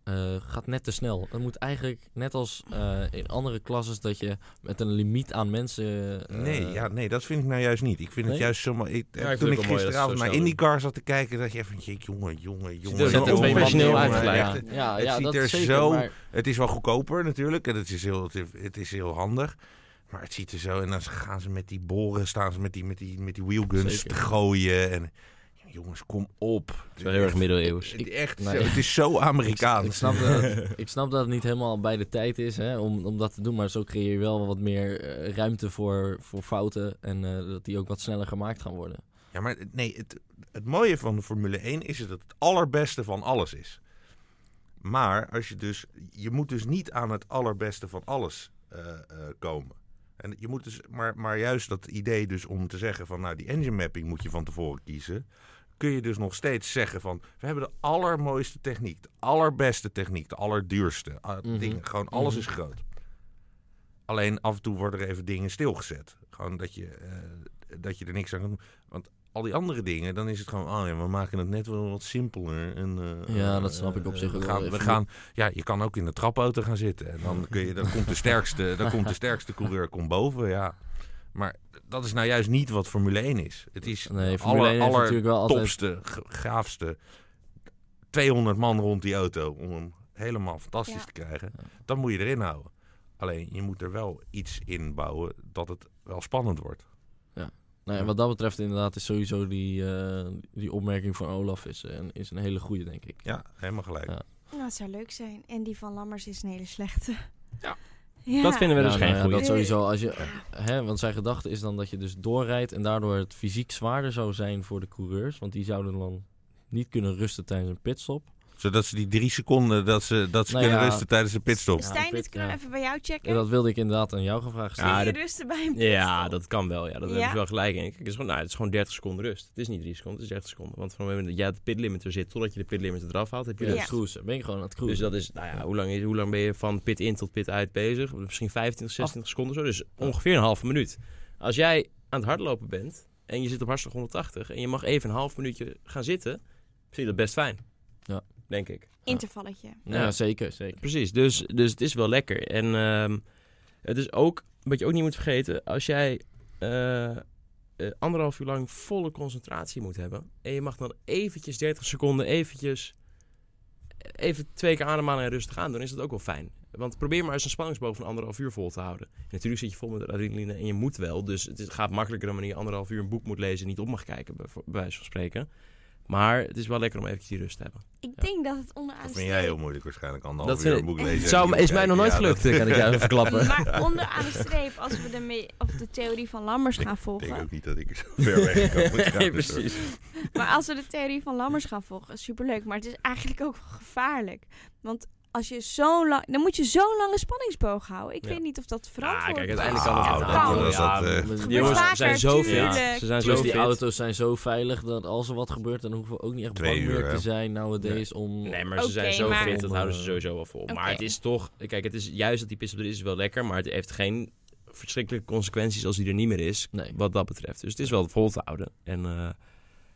S3: eh, gaat net te snel. Het moet eigenlijk net als eh, in andere klasses dat je met een limiet aan mensen. eh,
S2: Nee, ja, nee, dat vind ik nou juist niet. Ik vind
S3: Nee?
S2: het juist zomaar... Ik, eh,
S4: Ja, ik vind het
S2: toen
S4: ook
S2: ik
S4: wel mooi dat ze zo
S2: gisteravond naar
S4: snel doen.
S2: IndyCar zat te kijken, dacht je even... jeetje, Jongen, jongen, jongen.
S4: er
S2: jongen,
S4: zit een
S2: jongen,
S4: professioneel
S2: jongen,
S4: uitgeleid.
S2: echt.
S3: Ja, ja,
S2: het
S3: ja,
S2: ziet
S3: dat
S2: er
S3: zeker,
S2: zo-
S3: maar-
S2: Het is wel goedkoper natuurlijk en het is heel, het is heel handig. Maar het ziet er zo... En dan gaan ze met die boren, staan ze met die, met die, met die wheelguns
S3: Zeker.
S2: te gooien. En, jongens, kom op. Het
S4: is wel heel erg middeleeuws.
S2: Het, echt,
S3: Nee.
S2: zo- het is zo Amerikaans.
S3: Ik snap, dat, het- ik snap dat het niet helemaal bij de tijd is hè, om, om dat te doen, maar zo creëer je wel wat meer eh, ruimte voor, voor fouten en eh, dat die ook wat sneller gemaakt gaan worden.
S2: Ja, maar het- nee, het, het mooie van de Formule 1 is dat het allerbeste van alles is. Maar als je dus, je moet dus niet aan het allerbeste van alles eh, eh, komen. En je moet dus, maar, maar juist dat idee dus om te zeggen van nou die engine mapping moet je van tevoren kiezen. Kun je dus nog steeds zeggen van we hebben de allermooiste techniek, de allerbeste techniek, de allerduurste ah,
S3: Mhm.
S2: dingen. Gewoon alles
S3: Mhm.
S2: is groot. Alleen af en toe worden er even dingen stilgezet. Gewoon dat je, eh, dat je er niks aan kan doen. Want al die andere dingen, dan is het gewoon, oh ja, we maken het net wel wat simpeler. En, eh,
S3: Ja, dat
S2: eh,
S3: snap ik op
S2: eh,
S3: zich
S2: we
S3: ook wel.
S2: gaan, we
S3: Even-
S2: gaan, Ja, je kan ook in de trapauto gaan zitten. En dan, kun je, dan, komt, de sterkste, dan komt de sterkste coureur komt boven, ja. Maar dat is nou juist niet wat Formule 1 is. Het is
S3: Nee,
S2: nee,
S3: eh, Formule 1
S2: aller,
S3: heeft
S2: aller
S3: natuurlijk wel altijd
S2: topste, g- gaafste. 200 man rond die auto om hem helemaal fantastisch
S1: Ja.
S2: te krijgen.
S3: Ja.
S2: Dan moet je erin houden. Alleen je moet er wel iets in bouwen dat het wel spannend wordt.
S3: Nou, en wat dat betreft inderdaad is sowieso die, eh, die opmerking van Olaf is, eh, een- is een hele goede, denk ik.
S2: Ja, helemaal gelijk.
S3: Ja.
S1: Nou, het zou leuk zijn. En die van Lammers is een hele slechte.
S4: Ja.
S1: Ja.
S4: Dat vinden we
S3: Ja,
S4: dus
S3: nou
S4: geen
S3: ja,
S4: goede.
S3: Dat sowieso, als je, hè, want zijn gedachte is dan dat je dus doorrijdt en daardoor het fysiek zwaarder zou zijn voor de coureurs. Want die zouden dan niet kunnen rusten tijdens een pitstop.
S2: Zodat ze die drie seconden dat ze, dat ze
S3: Nou
S2: kunnen
S3: ja.
S2: rusten tijdens de pitstop.
S3: Ja,
S1: Stijn,
S3: pit,
S1: dit kunnen we
S3: ja.
S1: even bij jou checken.
S3: En dat wilde ik inderdaad aan jou gevraagd
S4: Ja,
S3: stellen.
S1: Zie je dus
S4: dat-
S1: rusten bij een pitstop?
S4: Ja, dat kan wel. Ja, dat
S1: Ja?
S4: hebben ze wel gelijk in. Kijk, het is, gewoon, nou, het is gewoon 30 seconden rust. Het is niet 3 seconden, het is 30 seconden. Want van het moment dat jij op de pitlimiter zit, totdat je de pitlimiter eraf haalt, heb je
S3: Ben je
S1: Ja.
S3: aan het cruisen? Ben je gewoon aan het
S4: Dus
S3: cruisen?
S4: dat is, nou ja, hoe lang, is, hoe lang ben je van pit in tot pit uit bezig? Misschien 25, 26 seconden zo. Dus ongeveer een halve minuut. Als jij aan het hardlopen bent en je zit op hartslag 180 en je mag even een half minuutje gaan zitten, vind je dat best fijn.
S3: Ja.
S4: Denk ik.
S1: Intervalletje.
S3: ja,
S4: ja.
S3: zeker, zeker.
S4: Precies, dus, dus het is wel lekker. En ehm, het is ook, wat je ook niet moet vergeten, als jij eh, eh, anderhalf uur lang volle concentratie moet hebben. En je mag dan eventjes 30 seconden, eventjes, eh, even twee keer ademhalen en rustig aan doen, is dat ook wel fijn. Want probeer maar eens een spanningsboog van anderhalf uur vol te houden. En natuurlijk zit je vol met adrenaline en je moet wel. Dus het is- gaat makkelijker dan wanneer je anderhalf uur een boek moet lezen en niet op mag kijken, bij, bij wijze van spreken. Maar het is wel lekker om eventjes die rust te hebben.
S1: Ik denk dat het onderaan
S2: Dat
S1: de
S2: vind jij
S1: streep...
S2: heel moeilijk waarschijnlijk. Anderhalf
S4: Dat
S2: uur
S4: vind
S2: een boek lezen.
S4: Het
S2: en
S4: zou,
S2: niet
S4: is mij nog nooit
S2: kijken. Ja,
S4: gelukt, kan ik jou even verklappen.
S1: Maar onderaan de streep, als we de, me- of de theorie van Lammers gaan
S2: dat- Ik denk
S1: volgen.
S2: ook niet dat ik er zo ver weg kan. Het gaat
S4: Nee,
S2: dus
S4: precies.
S1: Maar als we de theorie van Lammers gaan volgen, is superleuk. Maar het is eigenlijk ook wel gevaarlijk. Want als je zo lang... Dan moet je zo'n lange spanningsboog houden. Ik
S4: Ja.
S1: weet niet of dat
S4: Ah,
S1: verantwoord
S4: kijk,
S1: is.
S4: uiteindelijk kan het
S2: Ah,
S4: wel.
S2: dat
S1: kan.
S2: was dat, eh,
S3: maar
S1: gebeurt
S4: Die jongens
S1: vaker,
S4: zijn zo fit.
S1: tuurlijk.
S4: Ze zijn zo
S3: Plus die
S4: fit.
S3: auto's zijn zo veilig dat als er wat gebeurt, dan hoeven we ook niet echt
S2: Twee
S3: bang
S2: uur,
S3: meer te
S2: hè?
S3: zijn nowadays om...
S4: Nee, maar ze
S1: Oké,
S4: zijn zo
S1: maar-
S4: fit, dat houden ze sowieso wel vol.
S1: Oké.
S4: Maar het is toch... Kijk, het is juist dat die pitstop er is, is wel lekker. Maar het heeft geen verschrikkelijke consequenties als die er niet meer is.
S3: Nee.
S4: Wat dat betreft. Dus het is wel vol te houden. En, eh,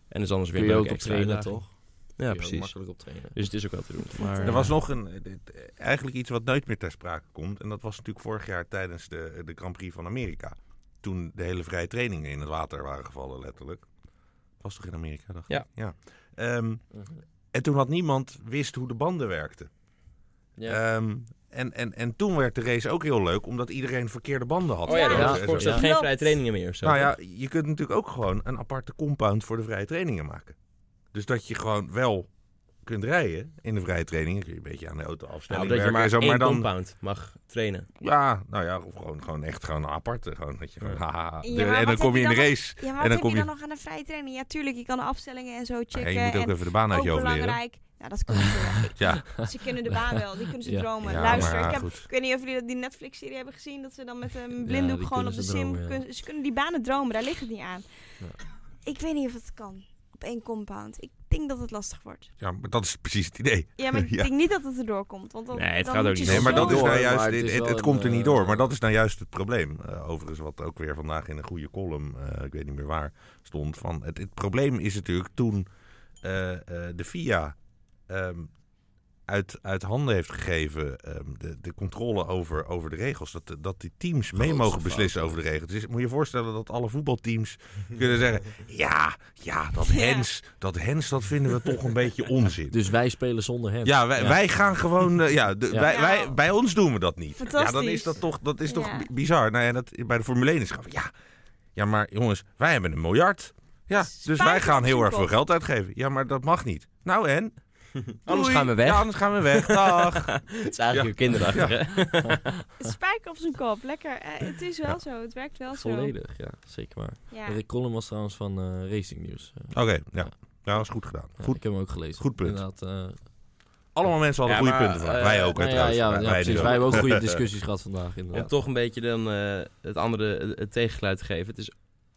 S4: en is anders weer
S3: Kun je
S4: een
S3: ook
S4: leuke
S3: op
S4: extra
S3: trainen,
S4: uitdaging.
S3: toch?
S4: Ja,
S3: Kun je ook
S4: precies.
S3: makkelijk op trainen.
S4: Dus het is ook wel te doen. Maar,
S2: Er was nog een, eh, dit- eh, eigenlijk iets wat nooit meer ter sprake komt. En dat was natuurlijk vorig jaar tijdens de, de Grand Prix van Amerika. toen de hele vrije trainingen in het water waren gevallen, letterlijk. Was toch in Amerika, dacht
S4: Ja.
S2: ik? Ja. Ehm, en toen had niemand wist hoe de banden werkten.
S3: Ja.
S2: Ehm, en, en, en toen werd de race ook heel leuk, omdat iedereen verkeerde banden had.
S4: Oh ja,
S1: Ja.
S4: dat
S3: Ja,
S4: was
S3: ja,
S4: voor
S3: ja.
S4: geen
S1: Klopt.
S4: vrije trainingen meer of zo.
S2: Nou ja, je kunt natuurlijk ook gewoon een aparte compound voor de vrije trainingen maken. Dus dat je gewoon wel kunt rijden in de vrije trainingen. Kun je een beetje aan de auto
S4: Nou,
S2: afstellen.
S4: dat je maar,
S2: en zo,
S4: één
S2: maar dan.
S4: compound mag trainen.
S2: Ja, nou ja, of gewoon, gewoon echt gewoon een aparte. Gewoon dat je gewoon, haha, de-
S1: Ja, maar
S2: en
S1: wat
S2: dan kom je
S1: heb
S2: in
S1: je
S2: de
S1: dan
S2: race.
S1: Ja, maar
S2: En
S1: wat
S2: dan
S1: heb
S2: kom
S1: je
S2: je-
S1: dan nog aan een vrije training? Ja, tuurlijk, je kan de afstellingen en zo
S2: Maar
S1: checken.
S2: je moet ook
S1: en
S2: even de baan uit je
S1: ook
S2: hoofd leren.
S1: belangrijk. Ja, dat kan natuurlijk.
S2: Ja,
S1: Ze kunnen de baan wel, die kunnen ze
S3: Ja.
S2: ja,
S1: dromen.
S2: maar
S1: Luister,
S2: ja,
S1: ik, heb,
S2: goed.
S1: ik weet niet of jullie dat die Netflix-serie hebben gezien, dat ze dan met een
S3: Ja, die
S1: blinddoek gewoon
S3: kunnen
S1: op de
S3: ze
S1: sim...
S3: dromen, ja.
S1: kunnen, ze kunnen die banen dromen, daar ligt het niet aan.
S3: Ja.
S1: Ik weet niet of het kan, op één compound. Ik denk dat het lastig wordt.
S2: Ja, maar dat is precies het idee.
S1: Ja, maar ik
S2: Ja.
S1: denk niet dat het erdoor komt. Want dan,
S4: Nee, het
S1: dan
S4: gaat
S1: moet
S4: ook
S1: je
S4: niet.
S2: Nee, maar dat is
S1: zo-
S3: Door,
S2: nou juist,
S3: maar het
S2: het,
S3: is
S2: het,
S3: wel
S2: het komt er
S3: een,
S2: niet
S3: eh,
S2: door. Maar dat is nou juist het probleem. Eh, overigens, wat ook weer vandaag in een goede column, eh, ik weet niet meer waar, stond. Van het, het probleem is natuurlijk toen eh, eh, de FIA ehm, uit, uit handen heeft gegeven ehm, de, de controle over, over de regels. Dat, de- dat die teams mee
S3: Grootste
S2: mogen
S3: fout.
S2: beslissen over de regels. Dus moet je je voorstellen dat alle voetbalteams kunnen zeggen... Ja, ja, dat
S1: Ja.
S2: hens, dat hens, dat vinden we toch een beetje onzin.
S3: Dus wij spelen zonder hen.
S2: Ja, wij, wij gaan gewoon. eh, ja, de-
S3: Ja.
S2: Wij,
S1: Ja.
S2: wij, bij ons doen we dat niet. Ja,
S1: Nou. Fantastisch.
S2: dan is dat toch, dat is toch
S1: Ja.
S2: bi- bizar. Nou ja, dat, bij de Formule 1 is het gewoon van, ja, ja, maar jongens, wij hebben een miljard. Ja, dus
S1: Spuit
S2: wij
S1: het
S2: gaan
S1: op
S2: heel
S1: zijn
S2: erg veel
S1: kop.
S2: geld uitgeven. Ja, maar dat mag niet. Nou en?
S4: Anders
S2: Doei.
S4: gaan we weg.
S2: Ja, anders gaan we weg. Dag.
S4: Het is eigenlijk uw kinderachtig, hè?
S1: Het spijker op zijn kop, lekker. Eh, het is wel
S2: Ja.
S1: zo, het werkt wel
S3: Volledig, ja, zeker waar.
S1: zo. Ja.
S3: Rick Collum was trouwens van eh, Racing News. Eh,
S2: Oké, ja. Ja, dat is goed gedaan.
S3: ja,
S2: Goed.
S3: ik heb hem ook gelezen.
S2: Goed punt.
S3: Inderdaad, eh,
S2: Allemaal mensen hadden
S4: Ja,
S2: goede
S4: maar,
S2: punten vandaag.
S4: eh,
S2: wij ook,
S3: nou
S2: hè,
S3: ja,
S2: trouwens.
S3: ja,
S2: wij,
S3: ja,
S2: wij
S3: precies.
S2: dus
S3: Wij hebben ook
S2: ook.
S3: goede discussies gehad vandaag,
S4: Om
S3: inderdaad.
S4: toch een beetje dan, eh, het andere eh, het tegengeluid te geven. Het is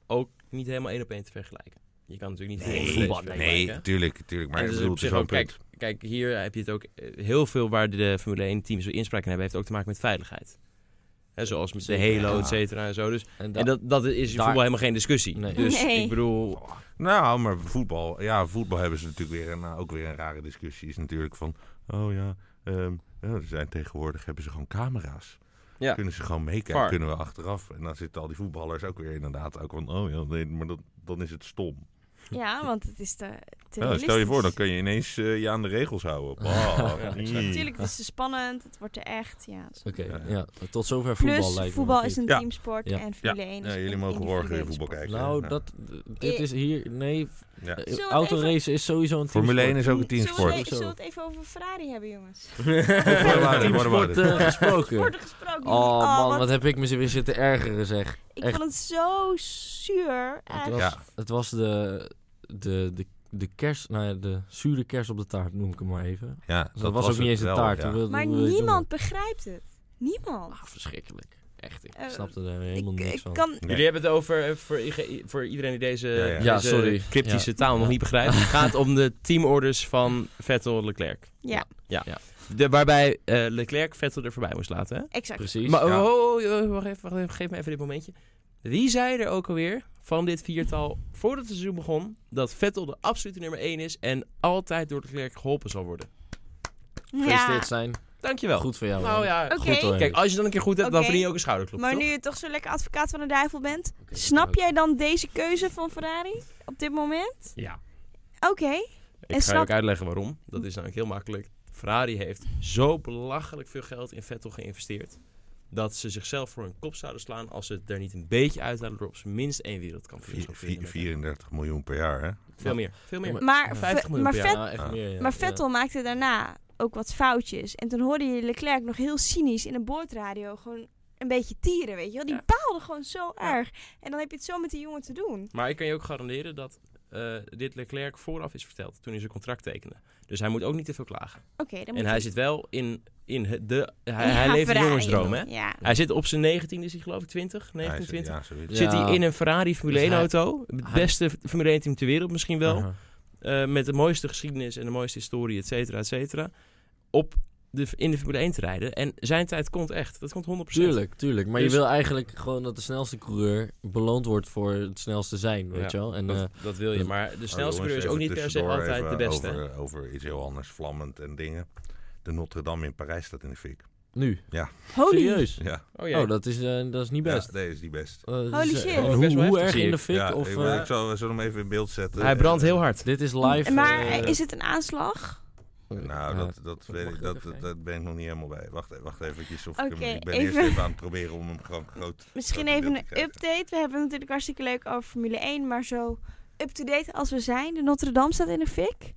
S4: ook niet helemaal één op één te vergelijken. Je kan natuurlijk niet
S2: Nee,
S4: helemaal voetbal
S2: nee,
S4: vergelijken.
S2: tuurlijk, tuurlijk. Maar
S4: En
S2: ik
S4: dus
S2: bedoel,
S4: op
S2: het is
S4: zich
S2: wel een
S4: ook, kijk,
S2: punt.
S4: kijk, hier heb je het ook eh, heel veel waar de Formule 1 teams inspraak in hebben, heeft ook te maken met veiligheid. Hè, zoals met de
S3: Zeker,
S4: Halo,
S3: ja.
S4: et cetera en zo. Dus,
S3: En da-
S4: en dat, dat is in
S3: daar-
S4: voetbal helemaal geen discussie.
S3: Nee.
S4: Dus
S1: Nee.
S4: ik bedoel,
S2: Nou, maar voetbal. Ja, voetbal hebben ze natuurlijk weer een, nou, ook weer een rare discussie. Is natuurlijk van, oh ja, ehm, ja, er zijn tegenwoordig hebben ze gewoon camera's.
S4: Ja.
S2: Kunnen ze gewoon meekijken,
S4: Var.
S2: kunnen we achteraf. En dan zitten al die voetballers ook weer inderdaad ook van, oh ja, nee, maar dat, dan is het stom.
S1: ja, want het is te, te
S2: Ja, stel je voor, dan
S1: realistisch.
S2: kun je ineens eh, je aan de regels houden. Bah,
S4: Ja,
S2: mm.
S1: Natuurlijk, het is te spannend, het wordt te echt. Ja, het is-
S3: Oké,
S2: Ja.
S3: ja. Tot zover voetbal
S1: Plus,
S3: lijkt me.
S1: voetbal is een
S2: Ja.
S1: teamsport
S3: Ja.
S1: en Formule 1 is
S2: Ja, jullie
S1: een
S2: mogen morgen weer
S1: individuele
S2: voetbal
S1: sport.
S2: kijken.
S3: Nou,
S2: Ja.
S3: dat, dit is hier... Nee,
S2: Ja.
S3: eh,
S1: Zullen we het
S3: autoracen is sowieso een
S2: Formule 1
S3: teamsport.
S2: is ook een
S1: Zullen we,
S2: teamsport.
S1: het-
S3: Zo.
S1: zullen we het even over Ferrari hebben, jongens?
S2: What about it? What about
S3: Teamsport
S2: it?
S3: eh, gesproken.
S1: Worden gesproken.
S3: Oh man, wat
S1: wat,
S3: heb ik me weer zitten ergeren zeg.
S1: ik
S3: echt.
S1: vond het zo zuur.
S3: Het
S1: echt.
S3: was,
S2: Ja.
S3: het was de, de, de, de kerst, nou ja, de zure kerst op de taart noem ik hem maar even.
S2: Ja,
S3: Dat, was ook niet eens
S2: het
S3: een
S2: wel,
S3: taart.
S2: ja.
S3: hoe wil-
S1: Maar
S3: hoe wil je het
S1: niemand begrijpt het. Niemand.
S3: noemen? Ah, verschrikkelijk. Echt, ik
S1: Eh,
S3: snapte er helemaal
S1: ik,
S3: niks
S1: ik
S3: van.
S1: kan...
S2: Nee.
S4: Jullie hebben het over, eh, voor, i- voor iedereen die deze,
S2: Ja, ja.
S4: deze
S3: Ja, sorry.
S4: cryptische
S3: Ja.
S4: taal nog
S3: Ja.
S4: niet begrijpt. Het gaat om de teamorders van Vettel en Leclerc.
S1: Ja,
S4: De, waarbij eh, Leclerc Vettel er voorbij moest laten. Hè?
S1: exact.
S3: Precies.
S4: Maar
S2: ja.
S4: oh, oh, oh, wacht, even, wacht even, geef me even dit momentje. Wie zei er ook alweer van dit viertal, voordat het seizoen begon, dat Vettel de absolute nummer 1 is en altijd door Leclerc geholpen zal worden?
S1: Ja, Oh,
S3: Gefeliciteerd zijn.
S4: Dankjewel.
S3: Goed voor jou.
S4: nou
S3: man.
S4: ja,
S1: Oké.
S3: Goed hoor.
S4: kijk, als je dan een keer goed hebt, dan
S1: Oké.
S4: verdien je ook een schouderklop,
S1: maar
S4: toch?
S1: nu je toch zo lekker advocaat van de duivel bent,
S3: Oké,
S1: snap
S3: dat-
S1: jij dan deze keuze van Ferrari op dit moment?
S4: Ja.
S1: Oké,
S4: Ik
S1: En
S4: ga je
S1: snap-
S4: ook uitleggen waarom. Dat is namelijk heel makkelijk. Ferrari heeft zo belachelijk veel geld in Vettel geïnvesteerd. Dat ze zichzelf voor hun kop zouden slaan als ze het er niet een beetje uithalen door op zijn minst één wereldkampioen.
S2: Vier-
S4: te
S2: vier-
S4: winnen.
S2: 34 miljoen per jaar, hè?
S4: Veel meer. Veel meer.
S1: maar,
S4: 50
S1: Ve-
S4: miljoen
S1: maar,
S4: per
S1: Vet-
S3: Ja, echt
S2: Ja.
S3: meer, ja.
S1: maar
S3: Ja.
S1: Vettel maakte daarna ook wat foutjes. En toen hoorde je Leclerc nog heel cynisch in een boordradio gewoon een beetje tieren, weet je wel. Die
S4: Ja.
S1: baalde gewoon zo
S4: Ja.
S1: erg. En dan heb je het zo met die jongen te doen.
S4: Maar ik kan je ook garanderen dat eh, dit Leclerc vooraf is verteld toen hij zijn contract tekende. Dus hij moet ook niet te veel klagen.
S1: Oké, dan moet
S4: En
S1: je-
S4: hij zit wel in, in het- de... Hij,
S1: Ja,
S4: hij leeft een
S1: Ferrari.
S4: jongensdroom, hè?
S1: Ja.
S4: Hij zit op zijn 19, is hij geloof ik 20, 19,
S2: Ja,
S4: 20.
S2: ja, zoiets.
S3: Ja.
S4: Zit hij in een Ferrari Formule
S3: Dus
S4: 1
S3: hij-
S4: auto. Het
S3: hij-
S4: beste Formule 1 team ter wereld misschien wel.
S3: Aha.
S4: Eh, met de mooiste geschiedenis en de mooiste historie, et cetera, et cetera. Op de, in de Formule 1 te rijden. En zijn tijd komt echt. Dat komt 100%.
S3: Tuurlijk, tuurlijk. Maar
S4: Dus-
S3: je wil eigenlijk gewoon dat de snelste coureur beloond wordt voor het snelste zijn, weet
S4: Ja.
S3: je wel. En, eh,
S4: Dat, dat wil je.
S3: dat-
S4: Maar de
S2: Oh,
S4: snelste
S2: jongens,
S4: coureur is
S2: even
S4: ook niet per se
S2: tussendoor
S4: altijd de
S2: even eh,
S4: beste. hè?
S2: Over, over iets heel anders, vlammend en dingen. De Notre Dame in Parijs staat in de fik.
S3: Nu.
S1: Holy.
S3: Serieus.
S2: Ja,
S4: Oh ja.
S3: Oh, dat is, eh, dat is niet best.
S2: ja nee, is die best.
S3: Eh, dus,
S1: Holy
S3: eh,
S1: shit.
S3: en
S4: Oh, best wel
S3: Hoe, hoe
S4: heftig,
S3: erg
S4: zie
S3: in
S4: ik.
S3: de fik?
S2: ja,
S3: of,
S2: ik,
S3: eh,
S2: ik zal, we zullen hem even in beeld zetten.
S4: Hij brandt
S2: En,
S4: heel hard.
S3: dit is live.
S1: maar
S3: eh,
S1: is het een aanslag?
S2: Nou,
S3: Ja.
S2: dat, dat,
S3: dat
S2: weet
S3: mag
S2: ik,
S3: ik
S2: dat,
S3: ook even.
S2: dat ben ik nog niet helemaal bij. Wacht, e- wacht eventjes. Of ik,
S1: Oké,
S2: hem, ik ben
S1: even-
S2: eerst even aan het proberen om hem gewoon groot...
S1: Misschien
S2: Grote
S1: even
S2: beeld
S1: een
S2: te krijgen.
S1: update. We hebben het natuurlijk hartstikke leuk over Formule 1, maar zo up-to-date als we zijn. De Notre Dame staat in de fik.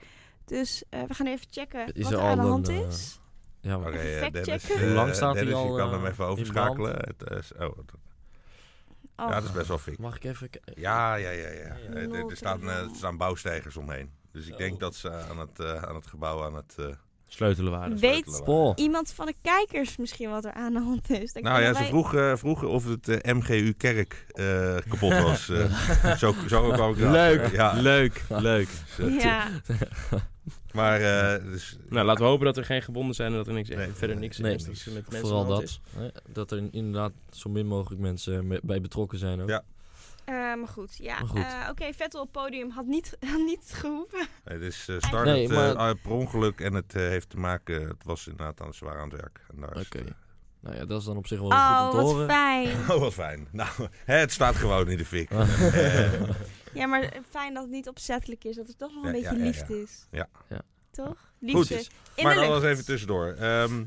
S1: Dus eh, we gaan even checken
S3: Is
S1: wat
S3: er
S1: er aan de
S3: al
S1: hand
S3: een, eh,
S1: is.
S3: Ja,
S2: Oké,
S3: maar-
S1: Even
S2: eh,
S1: fact
S2: Dennis,
S1: checken.
S2: eh,
S3: Hoe lang staat hij
S2: Dennis, je
S3: al,
S2: kan
S3: eh,
S2: hem even
S3: in
S2: overschakelen. Het, eh, is- oh, wat-
S1: Oh.
S2: ja, dat is best wel fik.
S3: Mag ik even... k-
S2: Ja, ja, ja. ja.
S3: Ja, ja.
S2: Eh, Er, er staan, eh, er staan bouwsteigers omheen. Dus ik denk dat ze aan het, eh, aan het gebouw aan het... eh,
S4: Sleutelen
S3: Ah,
S4: waren.
S1: Weet
S2: sleutelen waren.
S3: Paul.
S1: iemand van de kijkers misschien wat er aan de hand is? Dan
S2: Nou
S1: kunnen
S2: ja, ze
S1: wij-
S2: vroeg, eh, vroegen of het eh, MGU Kerk eh, kapot was. eh. zo, zo kwam ik erachter.
S4: Leuk,
S2: Ja,
S4: leuk, leuk.
S2: dus, eh,
S1: Ja,
S2: Maar eh, dus,
S4: Nou, laten we hopen dat er geen gebonden zijn en dat er niks,
S2: Nee,
S4: verder niks
S3: nee,
S4: is. Dat er met mensen
S3: Vooral
S4: aan de hand
S3: dat.
S4: is.
S3: hè, Dat er inderdaad zo min mogelijk mensen me- bij betrokken zijn ook.
S2: Ja.
S1: Eh, maar goed. Ja.
S3: Maar goed.
S1: Eh, Oké, Vettel op het podium had niet, had niet gehoeven.
S2: het is eh start
S3: Nee,
S2: het,
S3: maar-
S2: eh, ah, per ongeluk en het eh, heeft te maken, het was inderdaad aan zwaar aan het werk. En daar is het,
S3: Oké.
S2: eh,
S3: Nou ja, dat is dan op zich wel
S1: Oh,
S3: goed om te horen.
S1: wat fijn.
S2: Oh, wat fijn. Nou, hè, het staat gewoon in de fik. Eh,
S1: Ja, maar fijn dat het niet opzettelijk is. Dat het toch nog een
S2: Ja,
S1: beetje
S2: ja, ja,
S1: liefde
S2: ja.
S1: is.
S2: Ja.
S3: Ja.
S1: Toch? Liefde.
S3: Precies.
S1: In
S2: maar
S1: de
S2: dan
S1: lucht.
S2: was even tussendoor. Ehm,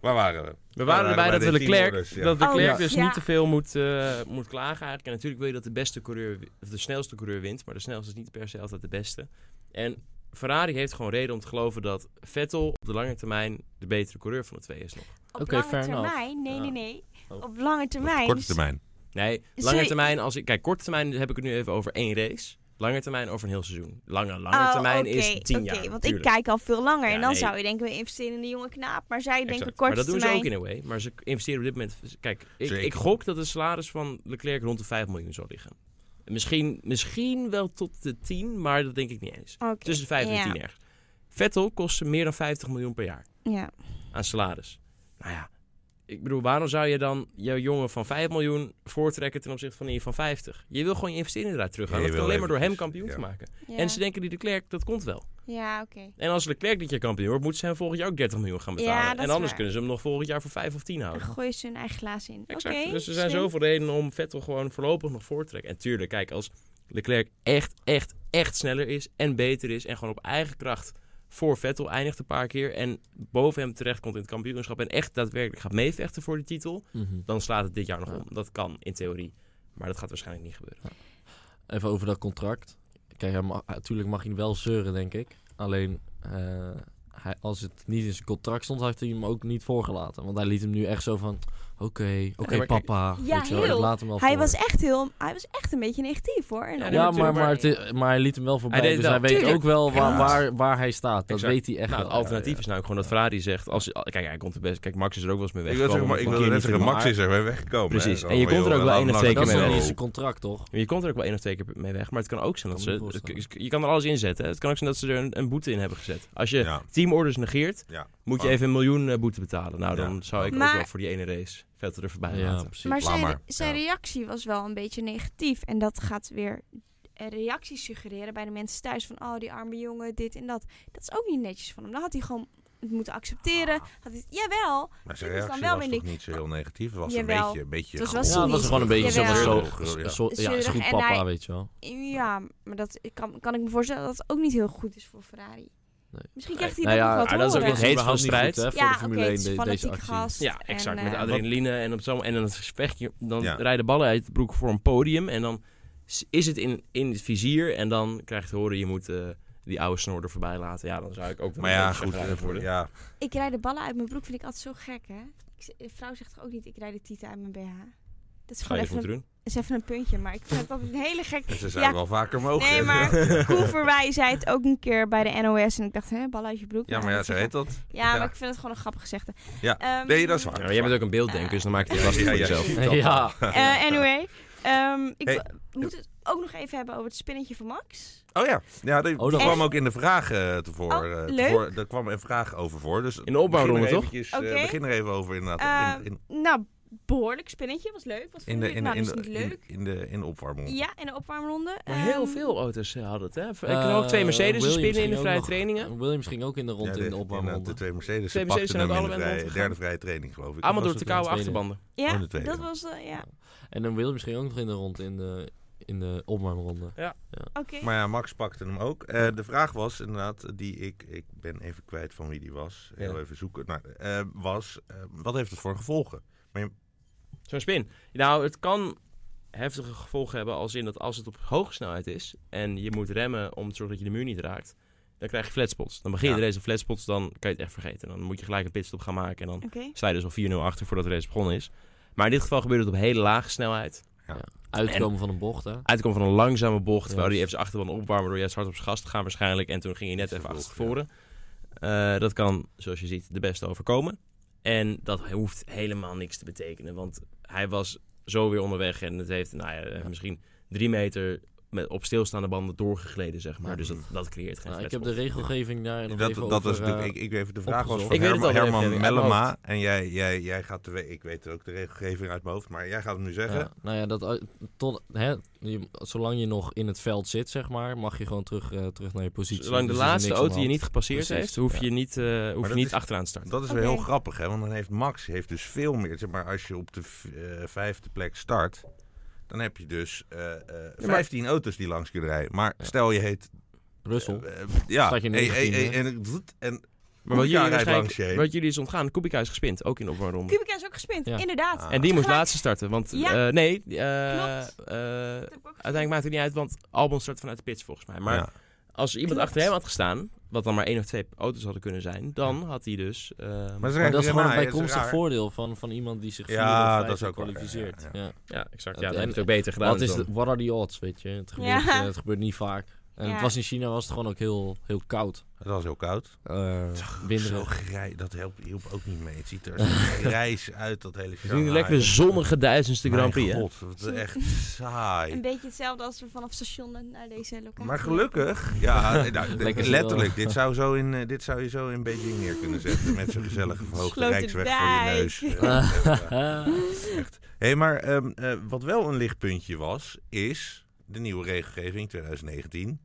S2: waar waren we?
S4: We waren erbij dat we
S2: de
S4: Leclerc,
S2: teamorders, ja.
S4: dat Leclerc
S3: Oh,
S4: dus
S1: ja.
S4: niet te veel moet, eh, moet klagen eigenlijk. En natuurlijk wil je dat de beste coureur, wi- of de snelste coureur wint, maar de snelste is niet per se altijd de beste. En Ferrari heeft gewoon reden om te geloven dat Vettel op de lange termijn de betere coureur van de twee is nog.
S1: Op
S3: Oké,
S1: lange
S3: fair enough.
S1: termijn. Nee,
S3: Ja.
S1: nee, nee.
S3: Oh.
S1: Op lange termijn.
S2: Korte termijn.
S4: Nee,
S1: Zul
S4: lange
S1: je-
S4: termijn als ik kijk, korte termijn heb ik het nu even over één race. Lange termijn over een heel seizoen. Lange, lange
S1: Oh,
S4: termijn is
S1: oké,
S4: tien
S1: oké,
S4: jaar.
S1: want
S4: tuurlijk.
S1: ik kijk al veel langer.
S4: Ja,
S1: en dan
S4: nee.
S1: zou je denken, we investeren in de jonge knaap. Maar zij denken
S4: Exact.
S1: korte
S4: Maar dat doen ze
S1: termijn.
S4: ook in een way. Maar ze investeren op dit moment... Kijk, ik,
S2: Zeker.
S4: ik gok dat de salaris van Leclerc rond de 5 miljoen zal liggen. Misschien, misschien wel tot de 10, maar dat denk ik niet eens.
S1: Oké,
S4: Tussen de 5
S1: ja.
S4: en 10 erg. Vettel kost ze meer dan 50 miljoen per jaar
S1: Ja.
S4: aan salaris. Nou ja, ik bedoel, waarom zou je dan jouw jongen van 5 miljoen voortrekken ten opzichte van die van 50? Je wil gewoon je investeringen eruit terughalen.
S2: Ja, je
S4: dat kan
S2: wil
S4: alleen maar door hem
S2: eventjes,
S4: kampioen
S2: ja.
S4: te maken.
S1: Ja,
S4: En ze denken die de Klerk, dat komt wel.
S1: ja oké.
S4: En als Leclerc dit jaar kampioen wordt, moeten ze hem volgend jaar ook 30 miljoen gaan
S1: Ja,
S4: betalen.
S1: dat
S4: en
S1: is
S4: anders
S1: waar.
S4: kunnen ze hem nog volgend jaar voor 5 of 10
S1: Dan
S4: houden.
S1: gooien ze hun eigen glaas in. Oké,
S4: Oh, Exact. dus er zijn
S1: slim.
S4: zoveel redenen om Vettel gewoon voorlopig nog voor te trekken. En tuurlijk, kijk, als Leclerc echt, echt, echt sneller is en beter is en gewoon op eigen kracht voor Vettel eindigt een paar keer en boven hem terecht komt in het kampioenschap en echt daadwerkelijk gaat meevechten voor de titel,
S3: Mhm.
S4: dan slaat het dit jaar nog
S3: Ja.
S4: om. Dat kan in theorie. Maar dat gaat waarschijnlijk niet gebeuren.
S3: Even over dat contract. Kijk, hij mag- natuurlijk mag hij wel zeuren, denk ik. Alleen, eh, hij, als het niet in zijn contract stond, had hij hem ook niet voorgelaten. Want hij liet hem nu echt zo van, oké, oké
S4: maar kijk-
S3: papa.
S1: Ja,
S3: weet je wel, ik
S1: heel.
S3: laat hem wel
S1: Hij
S3: voor.
S1: was echt heel... Hij was echt een beetje negatief, hoor. En
S4: Ja,
S1: dan-
S4: nee,
S3: Ja, maar,
S4: natuurlijk,
S3: maar, het is- maar hij liet hem wel voorbij.
S4: Hij deed
S3: dus
S4: wel.
S3: hij weet
S4: Tuurlijk.
S3: ook wel waar,
S2: Ja.
S3: waar, waar hij staat. Dat
S4: Exact.
S3: weet hij echt
S4: nou, het
S3: wel.
S4: alternatief
S3: Ja,
S4: is nou gewoon dat Ferrari zegt... Als, kijk, hij komt er best... Kijk, Max is er ook wel eens mee
S2: Ik wil
S4: weggekomen.
S2: zeggen, maar, ik
S4: Van
S2: wil
S4: keer
S2: net
S4: niet
S2: zeggen,
S4: veel,
S2: Max
S4: maar-
S2: is er weer weggekomen.
S4: Precies.
S2: hè.
S4: En je
S2: Zo,
S4: komt er
S2: joh,
S4: ook wel
S2: laat
S4: één
S2: hem
S4: of
S2: nou
S4: twee
S3: ja. Dat
S4: keer
S3: is
S4: mee
S2: zo.
S3: wel
S4: weg.
S3: in zijn contract, toch?
S4: Je komt er ook wel één of twee keer mee weg, maar het kan ook zijn dat
S3: Kan me
S4: ze...
S3: voorstellen.
S4: het- Je kan er alles in zetten. hè. Het kan ook zijn dat ze er een, een boete in hebben gezet. Als je
S2: Ja.
S4: teamorders negeert,
S2: Ja.
S4: moet je
S2: Oh.
S4: even een miljoen eh, boete betalen. Nou,
S2: Ja.
S4: dan zou ik ook
S1: Maar-
S4: wel voor die ene race Vettel er voorbij
S3: Ja,
S4: laten.
S3: precies.
S1: Maar
S2: Laat
S1: zijn,
S2: maar.
S1: zijn
S2: Ja.
S1: reactie was wel een beetje negatief. En dat gaat weer eh, reacties suggereren bij de mensen thuis. Van, oh, die arme jongen, dit en dat. Dat is ook niet netjes van hem. Dan had hij gewoon het moeten accepteren.
S4: Ah.
S1: Had hij, jawel. Dit
S2: Maar zijn
S1: is dan
S2: reactie
S1: wel
S2: was
S1: weer
S2: toch niet zo heel negatief? Het was
S1: Jawel.
S2: een beetje... Een beetje
S1: Het was wel
S2: gewoon-
S3: Ja, dat was
S1: cynisch.
S3: gewoon een beetje zo van,
S1: Jawel.
S3: zo, zo- ja, is
S1: Zeurig
S3: goed
S1: en
S3: papa,
S1: hij-
S3: weet je wel.
S1: Ja, maar dat kan, kan ik me voorstellen dat het ook niet heel goed is voor Ferrari.
S3: Nee.
S1: Misschien krijgt hij
S3: Nou
S1: dat
S3: ja,
S1: nog wat
S4: ah, dat is ook
S1: horen.
S4: weer Het heet van strijd.
S3: hè, voor
S1: ja,
S3: de
S1: oké,
S3: Formule
S1: het
S3: 1
S1: is
S3: de-
S1: een
S3: deze
S1: fanatiek
S3: actie.
S1: gast.
S4: Ja, exact.
S1: En,
S4: met
S1: eh,
S4: adrenaline en op zo'n en dan het gesprekje. Dan
S2: Ja.
S4: rijden ballen uit de broek voor een podium en dan s- is het in, in het vizier en dan krijg je te horen je moet eh, die oude snor er voorbij laten. Ja, dan zou ik ook wel
S2: Maar
S4: een
S2: ja,
S4: beetje
S2: goed.
S4: chagrijnig
S2: eh,
S4: worden.
S2: Ja,
S1: ik rijd de ballen uit mijn broek, vind ik altijd zo gek, hè? Ik z- een vrouw zegt toch ook niet, ik rijd de tieten uit mijn BH? Dat is
S4: Ga
S1: gewoon
S4: je
S1: even
S4: goed
S1: een,
S4: doen.
S1: is even een puntje, maar ik vind dat een hele gek...
S2: ze zijn
S1: Ja.
S2: wel vaker mogen.
S1: Nee, maar Koeverwij zei het ook een keer bij de NOS. En ik dacht, hè, ballen uit je broek.
S2: Ja, maar
S1: Nou,
S2: ja,
S1: dat
S2: zo
S1: is
S2: heet
S1: wel-
S2: dat.
S1: Ja,
S2: Ja.
S1: maar ik vind het gewoon een grappig gezegde.
S2: Ja.
S1: Ehm,
S2: Nee, dat is waar.
S4: Ja, maar jij bent ook een beelddenker, dus dan maak je het lastig
S2: Ja,
S4: voor
S2: ja,
S4: jezelf.
S2: ja.
S3: Ja.
S1: Eh, anyway, ehm, ik
S2: Hey.
S1: wil- we moeten het ook nog even hebben over het spinnetje van Max.
S2: Oh ja, ja die,
S3: Oh,
S2: die
S3: dat-
S2: kwam ook in de vraag eh tevoor.
S1: Oh,
S2: eh,
S1: leuk.
S2: tevoor- Daar kwam een vraag over voor. Dus
S4: In de opbouwronde,
S2: begin er
S4: toch?
S2: eventjes, eh,
S1: Oké.
S2: begin er even over inderdaad. In-
S1: Eh,
S2: in-
S1: Nou, behoorlijk spinnetje. Was leuk. Wat
S2: In
S1: vond
S2: de,
S1: ik
S2: in, de-
S1: nou
S2: in,
S1: dus
S2: de,
S1: niet leuk?
S2: in, in de, in de opwarming.
S1: ja, in de opwarmronde.
S4: Maar heel
S1: Ehm,
S4: veel auto's eh, hadden het, hè? Ik
S3: Eh,
S4: ken ook twee Mercedes
S3: Williams
S4: spinnen in
S3: ging
S4: de
S3: ook
S4: vrije
S3: nog-
S4: trainingen.
S3: Williams ging ook in de rond
S2: Ja, de,
S3: in de
S2: inderdaad,
S3: opwarmronde.
S2: de twee Mercedes
S4: Twee
S2: pakten
S4: Mercedes zijn
S2: hem
S4: ook
S2: in de
S4: allebei
S2: vrije-
S4: rondgegaan. Ah,
S2: derde vrije training, geloof ik.
S4: Allemaal
S2: Of
S4: door
S2: was
S4: de
S2: het
S4: koude
S3: tweede?
S4: achterbanden.
S1: Ja,
S2: Oh, de tweede
S1: dat
S2: dan.
S1: was... eh, ja,
S3: En dan Williams ging ook nog in de rond in de, in de opwarmronde.
S1: oké.
S2: Maar ja, Max pakte hem ook. Eh, de vraag was inderdaad, die ik, ik ben even kwijt van wie die was. Heel
S4: Ja.
S2: even zoeken. Nou, eh, was, eh, wat heeft het voor gevolgen?
S4: Zo'n spin. Nou, het kan heftige gevolgen hebben als in dat als het op hoge snelheid is en je moet remmen om te zorgen dat je de muur niet raakt, dan krijg je flatspots. Dan begin je
S2: Ja.
S4: de race op flatspots, dan kan je het echt vergeten. Dan moet je gelijk een pitstop gaan maken en dan
S1: Oké.
S4: sta je dus al 4-0 achter voordat de race begonnen is. Maar in dit geval gebeurt het op hele lage snelheid.
S3: Uitkomen van een bocht, hè?
S4: Uitkomt van een langzame bocht,
S3: Ja.
S4: waar hij even zijn achterban opwarmen door juist hard op zijn gas te gaan waarschijnlijk. En toen ging hij net
S2: Iets
S4: even
S2: vervolg,
S4: achter voren. Eh, dat kan, zoals je ziet, de beste overkomen. En dat hoeft helemaal niks te betekenen, want hij was zo weer onderweg. En het heeft nou ja, eh,
S3: Ja.
S4: misschien drie meter met, op stilstaande banden doorgegleden, zeg maar.
S3: Ja.
S4: Dus dat, dat creëert geen
S3: Nou, ik heb
S4: flatspot.
S3: de regelgeving daar nog
S2: dat
S3: even
S2: dat
S3: over,
S2: was natuurlijk,
S3: eh,
S2: ik, ik even de vraag was
S3: opgezocht.
S2: van
S4: Ik weet het
S2: Herman,
S4: al, de
S2: Herman
S4: regelgeving uit mijn
S2: Mellema. En jij, jij, jij gaat de, we- ik weet ook de regelgeving uit mijn hoofd, maar jij gaat hem nu zeggen.
S3: Ja, nou ja, dat, uit- tot, hè, je- zolang je nog in het veld zit, zeg maar, mag je gewoon terug, eh, terug naar je positie.
S4: Zolang de
S3: Dus er is
S4: laatste
S3: niks
S4: auto
S3: aan
S4: je
S3: de
S4: niet gepasseerd
S3: Precies,
S4: heeft, hoef
S3: ja.
S4: je niet, eh, hoef je
S2: dat
S4: niet
S2: is-
S4: achteraan te starten.
S2: Dat is
S1: Oké.
S2: wel heel grappig, hè? Want dan heeft Max heeft dus veel meer. Zeg maar als je op de v- eh, vijfde plek start, dan heb je dus eh, eh, 15 auto's die langs kunnen rijden. Maar
S3: Ja.
S2: stel je heet.
S3: hand. Russell.
S2: eh, eh, ja,
S3: Staat je
S2: hey, hey,
S3: 19e,
S2: hey,
S3: hè?
S2: en, ik- doet- en
S4: Maar wat jullie,
S2: Kubica rijdt langs
S4: waarschijnlijk-
S2: je heen.
S4: wat jullie is ontgaan, Kubica is gespind, ook in de opwarmronde.
S1: Kubica is ook gespind,
S3: Ja.
S1: inderdaad.
S2: Ah.
S4: En die moest
S1: Tegelijk-
S4: laatste starten, want
S1: Ja.
S4: eh, nee, eh,
S1: Klopt.
S4: eh,
S1: Dat heb ik ook gezien.
S4: uiteindelijk maakt het niet uit, want Albon start vanuit de pits volgens mij. Maar
S2: ja.
S4: als iemand
S1: Klopt.
S4: achter hem had gestaan, wat dan maar één of twee auto's hadden kunnen zijn, dan had hij dus... eh,
S2: Maar, ze
S3: Maar
S2: rijden
S3: dat is gewoon een
S2: erna, hè,
S3: bijkomstig
S2: raar.
S3: voordeel van, van iemand die zich
S2: Ja,
S3: vierde of vijfde
S2: dat is ook waar, ja,
S3: kwalificeert.
S2: ja,
S3: Ja.
S4: ja, exact.
S3: Ja, dat
S4: Ja, dat heeft
S3: en-
S4: ook beter gedaan.
S3: Wat is
S4: dan.
S3: de, what are the odds, weet je? Het gebeurt,
S1: Ja.
S3: eh, het gebeurt niet vaak. En
S1: Ja.
S3: het was in China was het gewoon ook heel, heel koud.
S2: Het was heel koud.
S3: Eh
S2: Zo
S3: winderig.
S2: grij, dat helpt, hielp ook niet mee. Het ziet er grijs uit, dat hele
S4: Het is nu een lekkere zonnige duizendste Grand Prix, hè?
S2: Mijn god, wat echt saai.
S1: Een beetje hetzelfde als we vanaf station naar deze locatie.
S2: Maar gelukkig, ja, nou, d-
S3: Lekker
S2: letterlijk, dit zou, zo in, eh, dit zou je zo in Beijing neer kunnen zetten. Met zo'n gezellige verhoogde
S1: Sloterdijk.
S2: rijksweg voor je neus. Hé, hey, maar ehm, eh, wat wel een lichtpuntje was, is de nieuwe regelgeving 2019.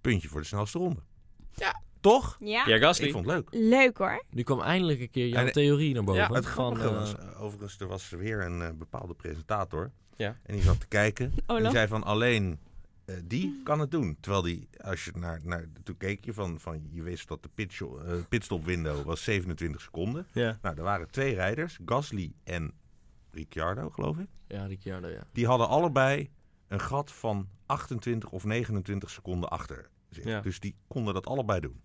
S2: Puntje voor de snelste ronde.
S4: Ja.
S2: Toch?
S1: Ja.
S4: Pierre
S2: Ik
S4: Gasly.
S2: vond het leuk.
S1: Leuk hoor.
S3: nu kwam eindelijk een keer jouw
S2: En-
S3: theorie naar boven.
S4: Ja,
S2: Het
S3: van,
S2: grappige
S3: eh,
S2: was, eh, overigens, er was weer een eh, bepaalde presentator.
S4: Ja.
S2: En die zat te kijken. En die
S1: Olaf.
S2: zei van alleen eh, die kan het doen. Terwijl die, als je naar, naar toen keek je van, van je wist dat de pitstop, eh pitstop window was 27 seconden.
S4: Ja.
S2: Nou, er waren twee rijders, Gasly en Ricciardo, geloof ik.
S3: ja, Ricciardo, ja.
S2: Die hadden allebei een gat van 28 of 29 seconden achter zich.
S4: Ja.
S2: Dus die konden dat allebei doen.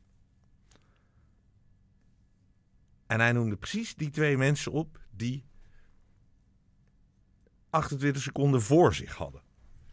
S2: En hij noemde precies die twee mensen op die 28 seconden voor zich hadden.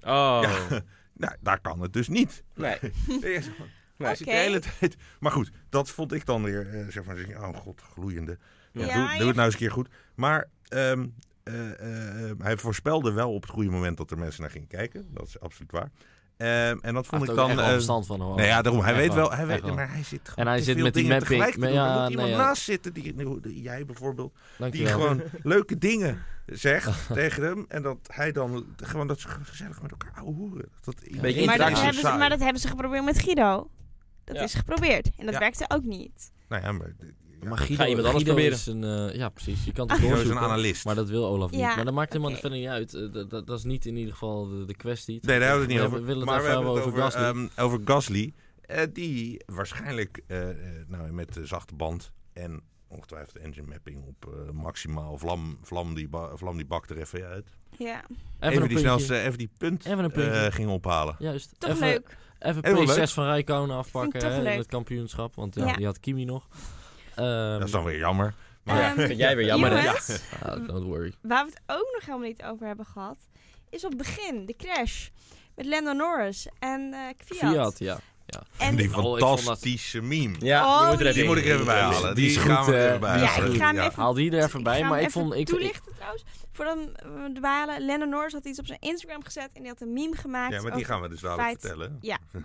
S4: Oh.
S2: Ja. Nou, daar kan het dus niet.
S4: Nee.
S2: Nee, ja, zeg maar.
S4: Nee.
S2: Als je de hele tijd... Maar goed, dat vond ik dan weer, eh, zeg maar, oh god, gloeiende. Ja,
S1: Ja,
S2: doe,
S1: je-
S2: doe het nou eens een keer goed. Maar ehm, eh, eh, eh, hij voorspelde wel op het goede moment dat er mensen naar gingen kijken. Dat is absoluut waar. Ehm, en dat vond
S3: Had
S2: ik
S3: ook
S2: dan...
S3: echt wel
S2: eh,
S3: verstand van hoor.
S2: nou ja, daarom. Hij
S3: Echt
S2: weet
S3: waar,
S2: wel, hij weet,
S3: echt waar.
S2: maar hij zit gewoon
S3: En hij
S2: te
S3: zit
S2: veel
S3: met die
S2: dingen
S3: mapping.
S2: tegelijk te
S3: Maar
S2: doen. Er
S3: ja,
S2: moet
S3: nee,
S2: iemand
S3: ja.
S2: naast zitten, die, die- die- jij bijvoorbeeld, die
S3: Dankjewel.
S2: gewoon leuke dingen zegt tegen hem. En dat hij dan gewoon dat ze gezellig met elkaar ouwe hoeren. Dat,
S4: Beetje
S1: Maar dat,
S4: interactie.
S1: hebben ze,
S2: Saai.
S1: maar dat hebben ze geprobeerd met Guido. Dat
S4: Ja.
S1: is geprobeerd. En dat
S2: Ja.
S1: werkte ook niet.
S2: Nou ja, maar... d- ja.
S3: Maar Guido,
S4: Ga iemand anders
S3: Guido
S4: proberen.
S3: is een... eh, ja, precies. Je kan het
S2: Guido is een
S3: doorzoeken.
S2: analist.
S3: Maar dat wil Olaf niet.
S1: Ja,
S3: maar dat maakt helemaal
S1: oké.
S3: verder niet uit. Eh, dat, dat, dat is niet in ieder geval de, de kwestie.
S2: Nee, daar hebben we het niet
S3: We
S2: over.
S3: willen het
S2: maar
S3: even
S2: we hebben
S3: hebben
S2: het
S3: over Gasly.
S2: ehm, over Gasly. eh, die waarschijnlijk eh, eh, nou, met de zachte band en ongetwijfeld engine mapping op eh, maximaal vlam, vlam, die ba- vlam die bak er even uit. Even,
S1: Ja,
S3: even, een
S2: die
S3: puntje.
S2: snelste, even die punt
S3: Even een puntje. Ehm,
S2: eh, ging ophalen.
S3: Juist.
S1: toch
S3: even,
S1: leuk.
S3: Even
S2: Heel
S3: P6
S2: leuk.
S3: van Rijkonen afpakken
S1: Vind ik toch
S3: hè, in
S1: leuk.
S3: het kampioenschap. Want ja,
S1: Ja.
S3: die had Kimi nog. Ehm,
S2: Dat is dan weer jammer. Maar
S1: Ehm,
S4: Vind jij weer jammer, hè?
S1: jongens,
S3: ah, don't worry.
S1: Waar we het ook nog helemaal niet over hebben gehad, is op het begin de crash met Lando Norris en eh Kvyat.
S3: Fiat, ja.
S1: En
S2: die
S3: Oh, ik vond
S2: fantastische meme.
S1: Oh,
S4: je moet er even
S2: Die
S1: jee.
S4: in.
S2: moet ik er even bij halen.
S3: Die is
S2: Die gaan
S3: goed,
S2: we er
S3: eh,
S2: even bij
S1: Ja,
S2: halen.
S1: ik ga hem
S2: Ja.
S1: even-
S3: Haal die er even bij.
S1: ga
S3: maar
S1: hem
S3: ik vond...
S1: even
S3: Ik, ik,
S1: toelichten trouwens. Voordat we dwalen, Lennon Norris had iets op zijn Instagram gezet en die had een meme gemaakt.
S2: Ja, maar die
S1: over-
S2: gaan we dus wel
S1: feit.
S2: vertellen.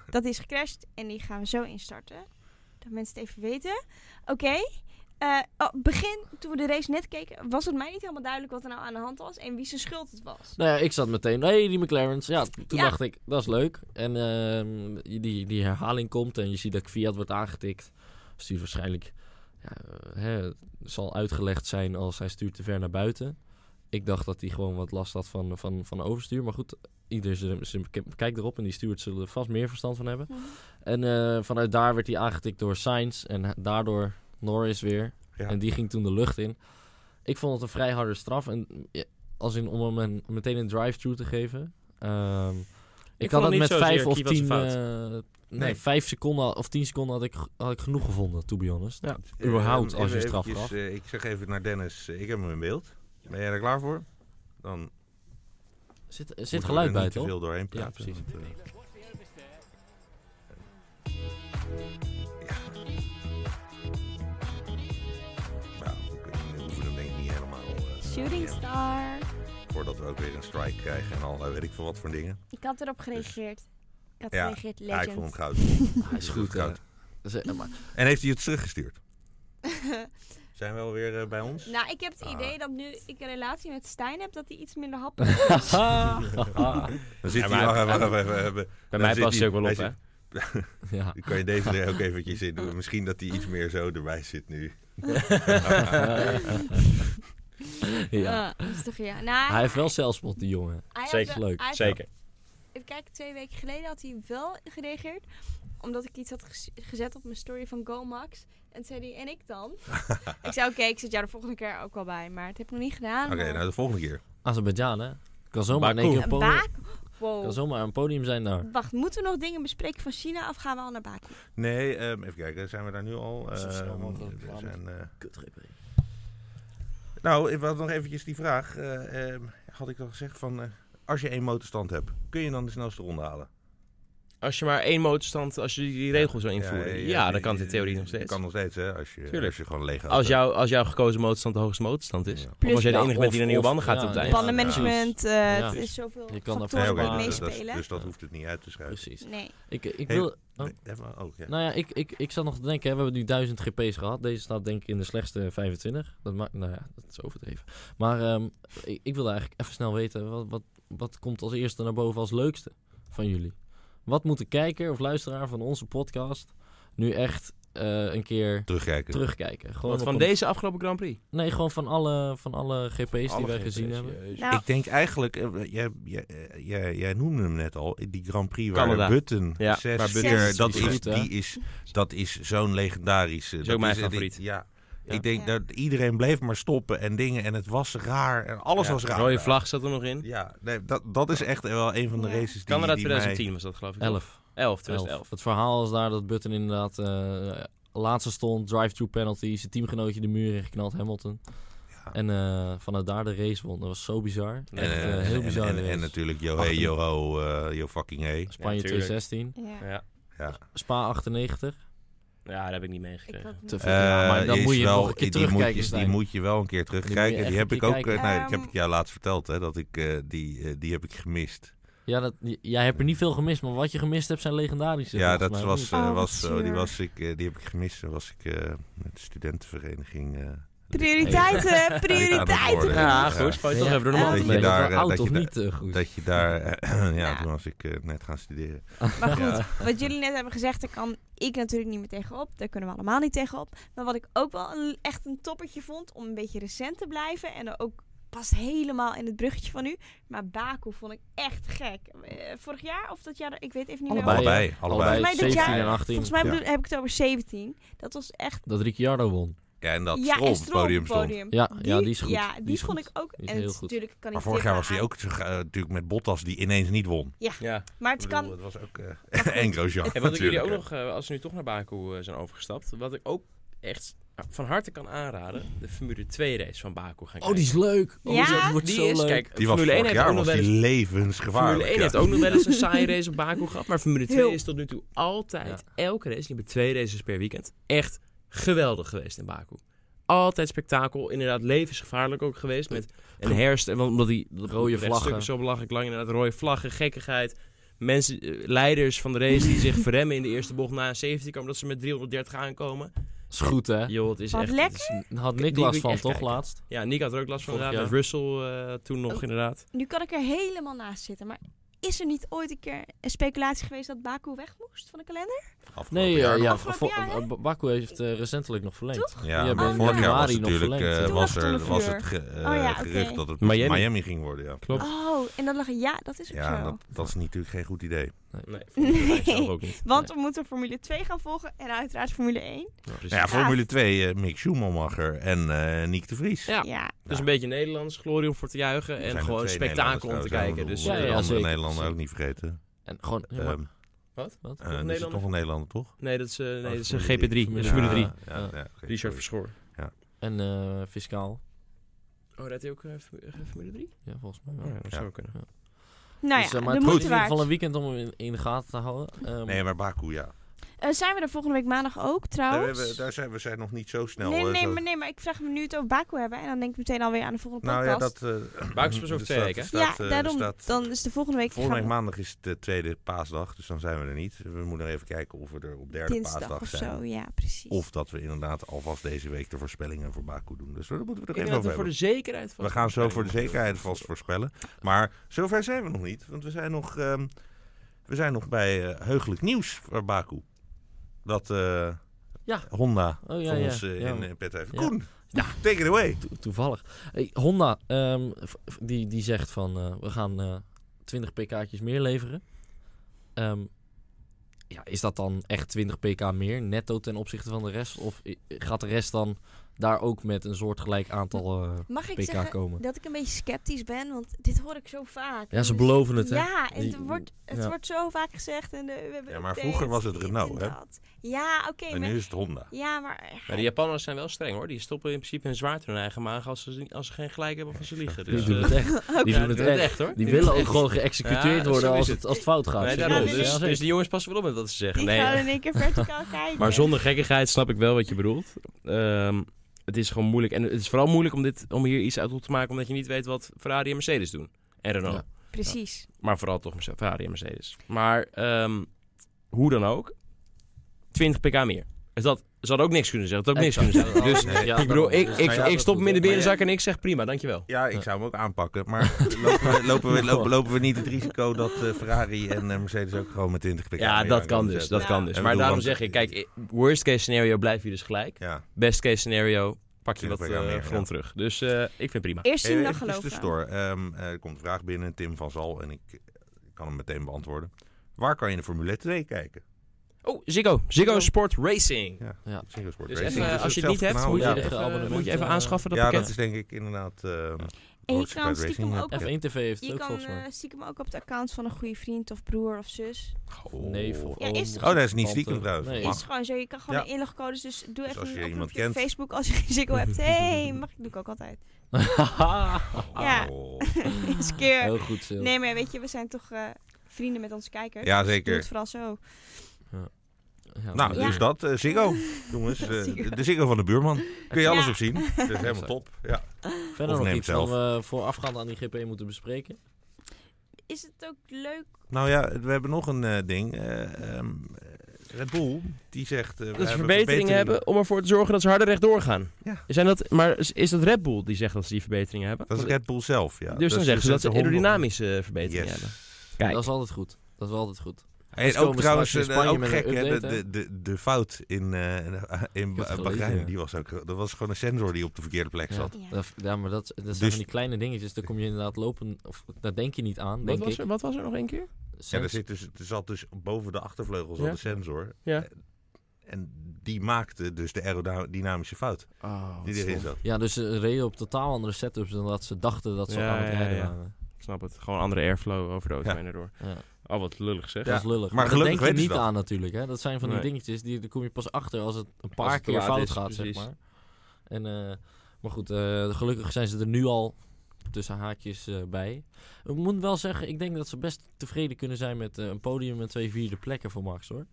S1: Dat is gecrashed en die gaan we zo instarten. Dat mensen het even weten. Oké, eh, oh, begin, toen we de race net keken, was het mij niet helemaal duidelijk wat er nou aan de hand was en wie zijn schuld het was.
S3: Nou ja, ik zat meteen, hey, die McLaren's. Ja, t- toen
S1: Ja.
S3: dacht ik, dat is leuk. En ehm, die, die herhaling komt en je ziet dat Fiat wordt aangetikt. Stuurt waarschijnlijk, ja, eh, hè, zal uitgelegd zijn als hij stuurt te ver naar buiten. Ik dacht dat hij gewoon wat last had van, van, van overstuur. Maar goed, ieder zijn- zijn k- kijkt erop en die stuurt zullen er vast meer verstand van hebben.
S1: Mhm.
S3: En eh, vanuit daar werd hij aangetikt door Sainz en ha- daardoor Norris weer.
S2: Ja.
S3: En die ging toen de lucht in. Ik vond het een vrij harde straf. En ja, als in om hem een- meteen een drive-through te geven. Ehm, ik,
S4: vond
S3: had
S4: het
S3: het
S4: niet
S3: met
S4: zozeer
S3: vijf of
S4: Kiewit's
S3: tien...
S4: fout.
S3: eh, nee, vijf seconden of tien seconden had ik, had ik genoeg gevonden, to be honest.
S2: Eh,
S3: Überhaupt,
S2: ehm,
S3: als je
S2: even-
S3: straf
S2: eventjes,
S3: gaf.
S2: eh, ik zeg even naar Dennis, eh, ik heb hem in beeld. Ben jij er klaar voor? Dan
S3: Zit, er
S2: moeten
S3: zit
S2: we
S3: geluid
S2: er
S3: bij,
S2: niet te
S3: toch?
S2: veel doorheen praten.
S3: precies.
S2: want, eh, nou, we hoeven hem denk ik niet helemaal... eh,
S1: Shooting
S2: ja,
S1: star.
S2: voordat we ook weer een strike krijgen en al eh, weet ik veel wat voor dingen.
S1: Ik had erop gereageerd. Ik had
S2: Dus- Ja,
S1: gereageerd
S2: Ja,
S1: legend.
S2: ik vond hem goud.
S3: Hij is goed,
S2: Goud.
S3: eh, dat is- eh, maar-
S2: En heeft hij het teruggestuurd? Zijn we alweer eh, bij ons?
S1: Nou, ik heb het
S2: Ah.
S1: idee dat nu ik een relatie met Stijn heb, dat hij iets minder happig is.
S2: Dan zit
S4: Ja,
S2: hij... eh,
S4: maar-
S2: wacht even, wacht even, wacht even.
S4: Bij
S2: Dan
S4: mij
S2: zit
S4: past hij
S2: hij-
S4: ook wel op,
S2: hij
S4: hè?
S2: zit-
S3: ja.
S2: Dan kan je deze er ook eventjes in doen. Misschien dat hij iets meer zo erbij zit nu.
S3: ja.
S1: Eh, dat is toch ja. Nou,
S3: Hij heeft wel zelfspot, die jongen.
S1: hij had
S4: Zeker,
S1: wel-
S3: leuk,
S1: hij had-
S4: Zeker.
S1: Even kijken, twee weken geleden had hij wel gereageerd. Omdat ik iets had ges- gezet op mijn story van GoMax. En zei hij, en ik dan? ik zei, oké, ik zet jou de volgende keer ook wel bij. Maar het heb ik nog niet gedaan. Oh.
S2: Oké,
S1: maar-
S2: nou de volgende keer.
S3: Azerbeidzjan, hè? Kan zomaar, in eh, één
S4: Baku.
S3: keer een podium,
S1: Baak? Wow.
S3: kan zomaar een podium zijn daar.
S1: Wacht, moeten we nog dingen bespreken van China of gaan we al naar Baku?
S2: Nee, ehm, even kijken. Zijn we daar nu al?
S3: Zo snel
S2: Ehm,
S3: mogelijk
S2: we
S3: reclame.
S2: zijn, eh, nou, ik had nog eventjes die vraag. eh, ehm, had ik al gezegd van... eh, als je één motorstand hebt, kun je dan de snelste ronde halen?
S4: Als je maar één motorstand, als je die regel zou invoeren, ja, dan
S2: die-
S4: kan het in theorie
S2: die-
S4: nog
S2: Dat
S4: steeds.
S2: kan nog steeds, hè? Als je,
S4: Tuurlijk.
S2: als je gewoon leeg
S4: Als, jou, als jouw gekozen motorstand de hoogste motorstand is.
S2: Ja.
S4: Of als jij de
S3: Ja,
S4: enige bent die
S3: of-
S4: naar nieuwe
S3: of-
S4: banden gaat
S3: ja,
S4: op het
S3: ja.
S4: eind.
S1: Bandenmanagement, eh,
S3: Ja.
S1: het is zoveel
S3: Je kan daar
S1: factoren
S3: Nee, oké,
S1: die
S3: dat-
S1: meespelen.
S2: dus dat hoeft het niet uit te schrijven.
S3: Precies.
S1: nee.
S3: Ik, ik
S2: Hey,
S3: wil... Oh.
S2: Nee, hebben we ook, ja.
S3: Nou ja, ik, ik, ik zat nog te denken, hè, we hebben nu 1000 GP's gehad. Deze staat denk ik in de slechtste 25. Dat maakt, nou ja, dat is overdreven. Maar ehm, ik, ik wilde eigenlijk even snel weten, wat, wat, wat komt als eerste naar boven als leukste van jullie? Wat moet de kijker of luisteraar van onze podcast nu echt eh, een keer
S2: Terugkijken.
S3: terugkijken? Gewoon
S4: Wat,
S3: op
S4: van
S3: een-
S4: deze afgelopen Grand Prix.
S3: Nee, gewoon van alle, van alle GP's die wij gezien hebben.
S1: Nou,
S2: Ik denk eigenlijk, eh, jij, jij, eh, jij, jij noemde hem net al, die Grand Prix waar
S4: Canada.
S2: Button
S4: Ja,
S2: zes
S4: waar
S1: Button-
S2: keer,
S1: Zes.
S2: dat
S3: Die
S2: is,
S3: goed, hè?
S2: die is, dat is zo'n legendarische.
S4: ook
S2: dat
S4: mijn
S2: het-
S4: favoriet.
S2: ja.
S3: Ja.
S2: Ik denk
S1: Ja.
S2: dat iedereen bleef maar stoppen en dingen en het was raar en alles was raar.
S4: Rode
S2: daar.
S4: vlag zat er nog in.
S2: Ja, nee, dat, dat is echt wel een van de
S1: Ja.
S2: races die
S4: Canada
S2: die mij-
S4: 2010 was dat geloof ik.
S3: 11.
S4: 11,
S3: Elf.
S4: 2011.
S3: Het verhaal is daar dat Button inderdaad eh, laatste stond, drive-through penalty, zijn teamgenootje de muur ingeknald, Hamilton.
S2: Ja.
S3: En eh, vanuit daar de race won. Dat was zo bizar.
S4: En,
S2: En,
S3: Echt,
S2: eh,
S3: eh, heel
S2: en-
S3: bizar.
S2: En, en, natuurlijk yo hey, yo ho, eh, yo fucking hey.
S3: Spanje
S4: Ja, tuurlijk.
S3: 216,
S1: Ja.
S4: Ja.
S2: Ja.
S3: Spa 98.
S4: ja, dat heb ik niet
S1: Ik
S4: meegekregen.
S1: had
S3: Te
S1: niet-
S3: veel. Ja, maar
S2: Eh,
S3: dan
S2: die
S3: moet
S2: is
S3: je
S2: wel-
S3: nog een keer
S2: die moet
S3: terugkijken,
S2: je- Die
S3: Stijn.
S2: moet je wel een keer terugkijken. Die,
S3: echt een
S2: heb
S3: keer
S2: ik ook.
S3: kijken. Ah.
S2: eh, nee, ik
S1: Ehm,
S2: heb het jou laatst verteld, hè, dat ik eh, die, eh, die heb ik gemist.
S3: Ja, dat, j- jij hebt er niet veel gemist, maar wat je gemist hebt zijn legendarische.
S2: ja,
S3: volgens
S2: dat
S3: mij,
S2: was,
S3: of
S2: eh,
S1: Oh, wat
S2: was zo. Die,
S1: zuur.
S2: was ik, eh, die heb ik gemist. Toen was ik eh, met de studentenvereniging. eh,
S1: Prioriteiten, prioriteiten.
S2: worden.
S4: Ja,
S2: Ja,
S4: goed.
S2: goed.
S4: Val
S3: niet?
S4: je toch
S3: Ja,
S4: even door de
S1: Ja,
S2: dat
S3: dat
S4: mand.
S2: je
S3: je
S4: heen.
S2: daar, eh,
S3: oud
S2: dat
S3: of
S2: je
S3: niet eh, goed.
S2: dat je daar. eh, ja,
S1: Ja.
S2: toen was ik eh, net gaan studeren.
S1: Maar goed,
S2: Ja.
S1: wat jullie net hebben gezegd, daar kan ik natuurlijk niet meer tegenop. Daar kunnen we allemaal niet tegenop. Maar wat ik ook wel een- echt een toppertje vond, om een beetje recent te blijven. En ook past helemaal in het bruggetje van nu. Maar Baku vond ik echt gek. Eh, Vorig jaar of dat jaar, ik weet even niet
S3: Allebei.
S1: meer.
S2: allebei, allebei.
S1: Volgens mij dit
S3: 17 en
S1: jaar-
S3: 18.
S1: Volgens mij
S2: Ja.
S1: bedoel- heb ik het over 17. Dat was echt...
S3: Dat Ricciardo won.
S2: Ja, en dat
S1: ja,
S2: Stroll
S1: en
S2: op het podium
S1: Stroll op het
S2: stond.
S1: podium.
S3: Ja, ja, die is goed.
S1: Ja,
S3: Die
S1: die,
S3: is
S1: vond
S3: goed.
S1: ik ook.
S3: Die is
S1: en het
S3: heel
S1: is
S3: goed.
S1: natuurlijk kan
S2: Maar
S1: niet
S2: vorig jaar
S1: tegen
S2: was hij
S1: aan.
S2: ook zo- eh, natuurlijk met Bottas die ineens niet won.
S4: Ja.
S1: Maar het
S2: Ik
S1: kan
S2: bedoel, het was ook eh en Grosjean
S4: En wat ik jullie
S2: natuurlijk,
S4: ook
S2: hè.
S4: nog, eh, als we nu toch naar Baku eh, zijn overgestapt, wat ik ook echt van harte kan aanraden, de Formule 2 race van Baku gaan kijken.
S3: Oh, die is leuk. Oh,
S1: Ja?
S3: dat wordt
S4: Die
S3: zo
S4: is,
S3: leuk.
S4: kijk,
S2: Die was
S4: Formule 1
S2: vorig
S4: heeft
S2: jaar
S4: ook nog
S2: was
S4: wel
S2: die
S4: eens-
S2: levensgevaarlijk.
S4: Formule 1
S2: ja.
S4: heeft ook nog wel eens een saaie race op Baku gehad. Maar Formule 2
S1: Heel.
S4: is tot nu toe altijd, elke race, die hebben twee races per weekend, echt geweldig geweest in Baku. Altijd spektakel, inderdaad levensgevaarlijk ook geweest. Met een herst, en omdat die
S3: Rode vlaggen.
S4: Zo belachelijk lang, inderdaad rode vlaggen, gekkigheid. Mensen, eh, leiders van de race die zich verremmen in de eerste bocht na een safety car, omdat ze met 330 aankomen.
S3: is goed, hè?
S4: Joh, het is
S1: Wat
S4: echt... het
S1: lekker.
S4: is een-
S3: Daar Had
S4: Die moet
S3: Niklas
S4: ik
S3: van,
S4: echt
S3: toch,
S4: kijken.
S3: laatst?
S4: ja, Nick had er ook last van
S3: Vorig
S4: inderdaad.
S3: jaar.
S4: Met Russell eh, toen nog
S1: Oh.
S4: inderdaad.
S1: Nu kan ik er helemaal naast zitten. Maar is er niet ooit een keer een speculatie geweest dat Baku weg moest van de kalender?
S2: Afgelopen
S3: Nee, eh,
S2: jaar
S3: ja, ja,
S2: nog.
S1: Afgelopen
S3: vo-
S1: jaar, hè?
S3: B- Baku heeft eh, recentelijk nog verlengd.
S2: Ja,
S3: Ja,
S2: maar
S1: oh,
S2: vorig
S1: ja.
S2: jaar was het
S3: januari nog
S2: natuurlijk
S3: verlengd.
S2: eh,
S1: Toen
S2: was,
S1: was het
S2: er,
S1: een
S2: was
S1: vuur.
S2: het ge- eh,
S1: Oh ja, oké.
S2: gerucht dat het
S4: Miami.
S2: Miami. ging worden. Ja,
S4: Klopt.
S1: Oh, en dan dacht ik, ja, dat is ook
S2: ja
S1: zo.
S2: dat, dat is natuurlijk geen goed idee.
S4: Nee, volgens mij
S1: Nee.
S4: zelf ook niet.
S1: Want we moeten Formule 2 gaan volgen en uiteraard Formule 1.
S2: Nou ja, Formule 2, eh Mick Schumacher en eh Nick de Vries.
S4: Ja. Dus
S2: Ja.
S4: een beetje Nederlands, glorie om voor te juichen
S2: Er zijn
S4: en
S2: er
S4: gewoon
S2: twee
S4: spektakel om te
S2: Nederlanders trouwens,
S4: kijken. Dus
S2: ik bedoel,
S3: Ja, ja,
S2: de andere
S3: zeker,
S2: Nederlander
S3: zeker.
S2: ook niet vergeten.
S3: En gewoon, ja, maar-
S2: Ehm,
S4: Wat?
S3: wat?
S2: eh, er is
S4: Nederlander?
S2: toch een Nederlander, toch?
S4: Nee, dat is, eh, nee,
S2: Oh,
S4: dat is een
S2: Formule
S4: GP3,
S2: drie.
S3: Formule
S4: dus Formule
S2: Ja,
S4: 3.
S2: ja, ja,
S3: Ja.
S2: oké,
S4: Richard
S2: sorry.
S4: Verschoor.
S3: En eh, fiscaal.
S4: Oh, rijdt hij ook eh, Formu- eh, Formule 3?
S3: Ja, volgens mij wel.
S4: Oh, ja, dat
S2: Ja.
S4: zou kunnen.
S1: Nou ja,
S3: Dus, eh, maar
S1: de
S3: het is in
S1: moeite
S3: ieder
S1: waard.
S3: geval een weekend om in, in de gaten te houden. Ehm,
S2: Nee, maar Baku, ja.
S1: Eh, zijn we er volgende week maandag ook
S2: Daar,
S1: trouwens?
S2: hebben- daar zijn we zijn nog niet zo snel.
S1: Oh, nee,
S2: eh,
S1: nee,
S2: zo-
S1: maar, nee, maar ik vraag me nu het over Baku hebben en dan denk ik meteen alweer aan de volgende
S2: Nou ja,
S1: podcast.
S2: dat... eh
S4: Baku is pas over
S2: er
S4: twee
S2: staat-
S4: weken, hè?
S2: staat,
S1: Ja,
S2: eh,
S1: daarom.
S2: staat-
S1: dan is de volgende week
S2: Volgende
S1: gaan
S2: week
S1: we
S2: maandag is de tweede paasdag, dus dan zijn we er niet. We moeten nog even kijken of we er op derde
S1: dinsdag
S2: paasdag
S1: of
S2: zijn.
S1: zo. Ja, precies.
S2: Of dat we inderdaad alvast deze week de voorspellingen voor Baku doen. Dus daar moeten we
S4: Ik
S2: er
S4: denk
S2: even
S4: dat
S2: over
S4: we voor de
S2: hebben.
S4: zekerheid van...
S2: We gaan zo voor de zekerheid vast voorspellen. Maar zover zijn we nog niet, want we zijn nog, ehm, we zijn nog bij eh, heugelijk nieuws voor Baku. Dat eh,
S3: Ja.
S2: Honda
S3: Oh, ja,
S2: voor
S3: ja,
S2: ons eh,
S3: ja.
S2: in eh, pet heeft.
S3: Ja.
S2: Koen,
S3: Ja.
S2: take it away.
S3: to- toevallig. Hey, Honda, ehm, v- v- die, die zegt van eh, we gaan eh 20 pk'tjes meer leveren. Ehm, ja, is dat dan echt 20 pk meer netto ten opzichte van de rest? Of i- gaat de rest dan daar ook met een soortgelijk aantal eh,
S1: Mag ik
S3: pk
S1: zeggen
S3: komen?
S1: dat ik een beetje sceptisch ben? Want dit hoor ik zo vaak.
S3: Ja, ze
S1: Dus-
S3: beloven het, hè?
S1: Ja, en het,
S3: Die-
S1: wordt, het
S3: ja.
S1: wordt zo vaak gezegd. En de, we hebben
S2: Ja, maar
S1: updates,
S2: vroeger was het
S1: dit
S2: Renault,
S1: en
S2: hè?
S1: dat. Ja, oké.
S2: En
S1: maar-
S2: nu is het Honda.
S1: Ja, maar...
S4: Maar de Japanners zijn wel streng hoor. Die stoppen in principe een zwaard in hun eigen maag als ze, als ze geen gelijk hebben van ze liegen.
S3: Die
S4: Dus,
S3: doen
S4: eh,
S3: het echt. Die
S4: ja,
S3: doen het
S4: doen het
S3: echt.
S4: echt, hoor.
S3: Die
S4: Die doen
S3: willen
S4: het
S3: ook
S4: echt.
S3: gewoon geëxecuteerd
S4: Ja,
S3: worden
S4: zo is
S3: als
S4: het.
S3: het, als het fout gaat.
S4: Nee,
S3: zeg
S4: daarom.
S3: maar.
S1: Ja,
S4: Dus,
S3: zeker.
S4: dus die jongens passen wel op met wat ze zeggen.
S1: Ik
S4: Nee,
S1: ga in één keer verticaal kijken.
S4: Maar zonder gekkigheid snap ik wel wat je bedoelt. Ehm, het is gewoon moeilijk. En het is vooral moeilijk om, dit, om hier iets uit op te maken... omdat je niet weet wat Ferrari en Mercedes doen. En Renault.
S3: Ja.
S1: Precies.
S4: Maar vooral toch Merce- Ferrari en Mercedes. Maar ehm, hoe dan ook, 20 pk meer. Dus dat, ze hadden ook niks kunnen zeggen. Dat ook niks kunnen
S3: Exact.
S4: zeggen. Dus
S2: Nee.
S3: Ja,
S4: ik bedoel,
S3: daarom.
S4: ik,
S3: Dus
S4: ik,
S3: nou ja,
S4: ik
S3: dat
S4: stop hem in de
S3: moet-
S4: berenzak en ik zeg prima, dankjewel.
S2: Ja, ik
S3: Ja.
S2: zou hem ook aanpakken. Maar lopen we, lopen we, lopen, lopen we niet het risico dat eh, Ferrari en eh, Mercedes ook gewoon met 20 pk
S4: Ja,
S2: meer
S4: dat
S2: aan
S4: kan
S2: kunnen
S4: dus.
S2: zetten?
S4: Dat kan dus.
S2: Ja,
S4: Maar
S2: ik bedoel,
S4: daarom
S2: want-
S4: zeg ik, kijk, worst case scenario blijf je dus gelijk.
S2: Ja.
S4: Best case scenario pak je
S2: 20
S4: wat
S2: pk
S4: eh,
S2: meer, ja.
S4: grond terug. Dus eh, ik vind prima.
S1: Eerst zien,
S2: Even
S1: dan
S2: eventjes
S1: geloven.
S2: tussendoor. Ehm, eh, er komt een vraag binnen, Tim van Zal, en ik eh, kan hem meteen beantwoorden. Waar kan je de Formule 2 kijken?
S4: Oh, Ziggo. Ziggo Sport Racing.
S2: op Ziggo Sport
S4: Dus
S2: Racing.
S4: even,
S2: Dus
S4: eh, als je het niet
S2: hetzelfde kanaal, ja.
S4: hebt, moet je,
S3: ja.
S4: even,
S3: Eigen abonnement,
S4: moet je even
S3: eh,
S4: aanschaffen dat
S2: Ja,
S4: pakket.
S2: dat is denk ik inderdaad... eh,
S1: En je
S2: World
S1: kan
S2: Superbike
S1: stiekem
S2: Racing,
S1: ook
S2: ja.
S1: op...
S3: F1 TV heeft het
S1: Je
S3: ook
S1: kan
S3: volgens mij.
S1: eh, stiekem ook op het account van een goede vriend of broer of zus.
S3: neef of
S1: Ja,
S3: oom
S1: is
S3: of
S1: toch-
S2: Oh, dat is niet
S3: tante.
S2: stiekem trouwens.
S3: Nee.
S2: Mag.
S1: Is gewoon zo. Je kan gewoon
S2: Ja.
S1: de inlogcodes. Dus doe even
S2: als je
S1: een
S2: iemand
S1: oproepje op
S2: kent.
S1: Facebook als je geen Ziggo hebt. hey, mag ik doe ik ook altijd. Ja.
S2: Oh.
S1: Eens een keer.
S3: Heel goed, Sil.
S1: Nee, maar weet je, we zijn toch eh, vrienden met onze kijkers.
S2: Ja,
S1: dus doe
S2: zeker.
S1: het vooral zo.
S3: Ja,
S2: Nou,
S1: Ja.
S2: dus dat. eh, Ziggo, jongens. eh,
S1: Ziggo.
S2: de Ziggo van de buurman. Kun je alles
S1: Ja.
S2: op zien. Dat is helemaal top. Ja.
S3: Verder
S2: Of
S3: nog
S2: neem
S3: iets
S2: het
S3: wat
S2: zelf.
S3: we voorafgaand aan die GP moeten bespreken.
S1: Is het ook leuk?
S2: Nou ja, we hebben nog een eh, ding. eh, ehm, Red Bull, die zegt... eh, we
S4: dat ze
S2: hebben
S4: verbeteringen hebben om ervoor te zorgen dat ze harder rechtdoor gaan.
S2: Ja.
S4: Zijn dat, maar is- is dat Red Bull die zegt dat ze die verbeteringen hebben?
S2: Dat is
S4: Want-
S2: Red Bull zelf, ja.
S4: dus dan zeggen ze dat ze
S2: honden-
S4: aerodynamische eh, verbeteringen
S2: Yes.
S4: hebben. Kijk,
S3: Dat is altijd goed. Dat is wel altijd goed.
S2: En
S3: Ze
S2: ook
S3: komen
S2: trouwens,
S3: straks in
S2: eh,
S3: Spanje
S2: ook
S3: met
S2: gek,
S3: een
S2: hè, de, de,
S3: update,
S2: de, de fout in, eh in Ba-
S3: gelezen,
S2: Bahrein,
S3: ja.
S2: die was ook, dat was gewoon een sensor die op de verkeerde plek
S3: Ja,
S2: zat.
S1: Ja.
S3: dat- ja maar dat, dat zijn
S2: Dus-
S3: van die kleine dingetjes. Daar kom je inderdaad lopen. Of, daar denk je niet aan,
S4: wat
S3: denk
S4: was,
S3: ik.
S4: er, wat was er nog één keer?
S2: Ja, er,
S3: Sens-
S2: zit dus, er zat dus boven de achtervleugel zat
S4: Ja.
S2: een sensor.
S4: Ja.
S2: Eh, En die maakte dus de aerodynamische fout
S3: Oh,
S2: die erin zat.
S3: ja, dus ze reden op totaal andere setups dan dat ze dachten dat ze
S4: Ja,
S3: aan het
S4: ja,
S3: rijden
S4: ja.
S3: waren.
S4: Ik snap het. Gewoon andere airflow over de auto
S2: Ja.
S4: heen erdoor.
S3: Ja,
S4: Oh, wat lullig zeg.
S3: dat is lullig.
S2: maar
S3: Maar, daar
S2: gelukkig
S3: denk je
S2: weten ze
S3: niet
S2: dat.
S3: aan natuurlijk. Hè? Dat zijn van die
S4: Nee.
S3: dingetjes, die, daar kom je pas achter als het een paar
S4: Als het te
S3: keer
S4: laat
S3: fout
S4: is,
S3: gaat,
S4: precies.
S3: zeg maar. En, eh, maar goed, eh, gelukkig zijn ze er nu al tussen haakjes eh, bij. Ik moet wel zeggen, ik denk dat ze best tevreden kunnen zijn met eh, een podium en twee vierde plekken voor Max, hoor.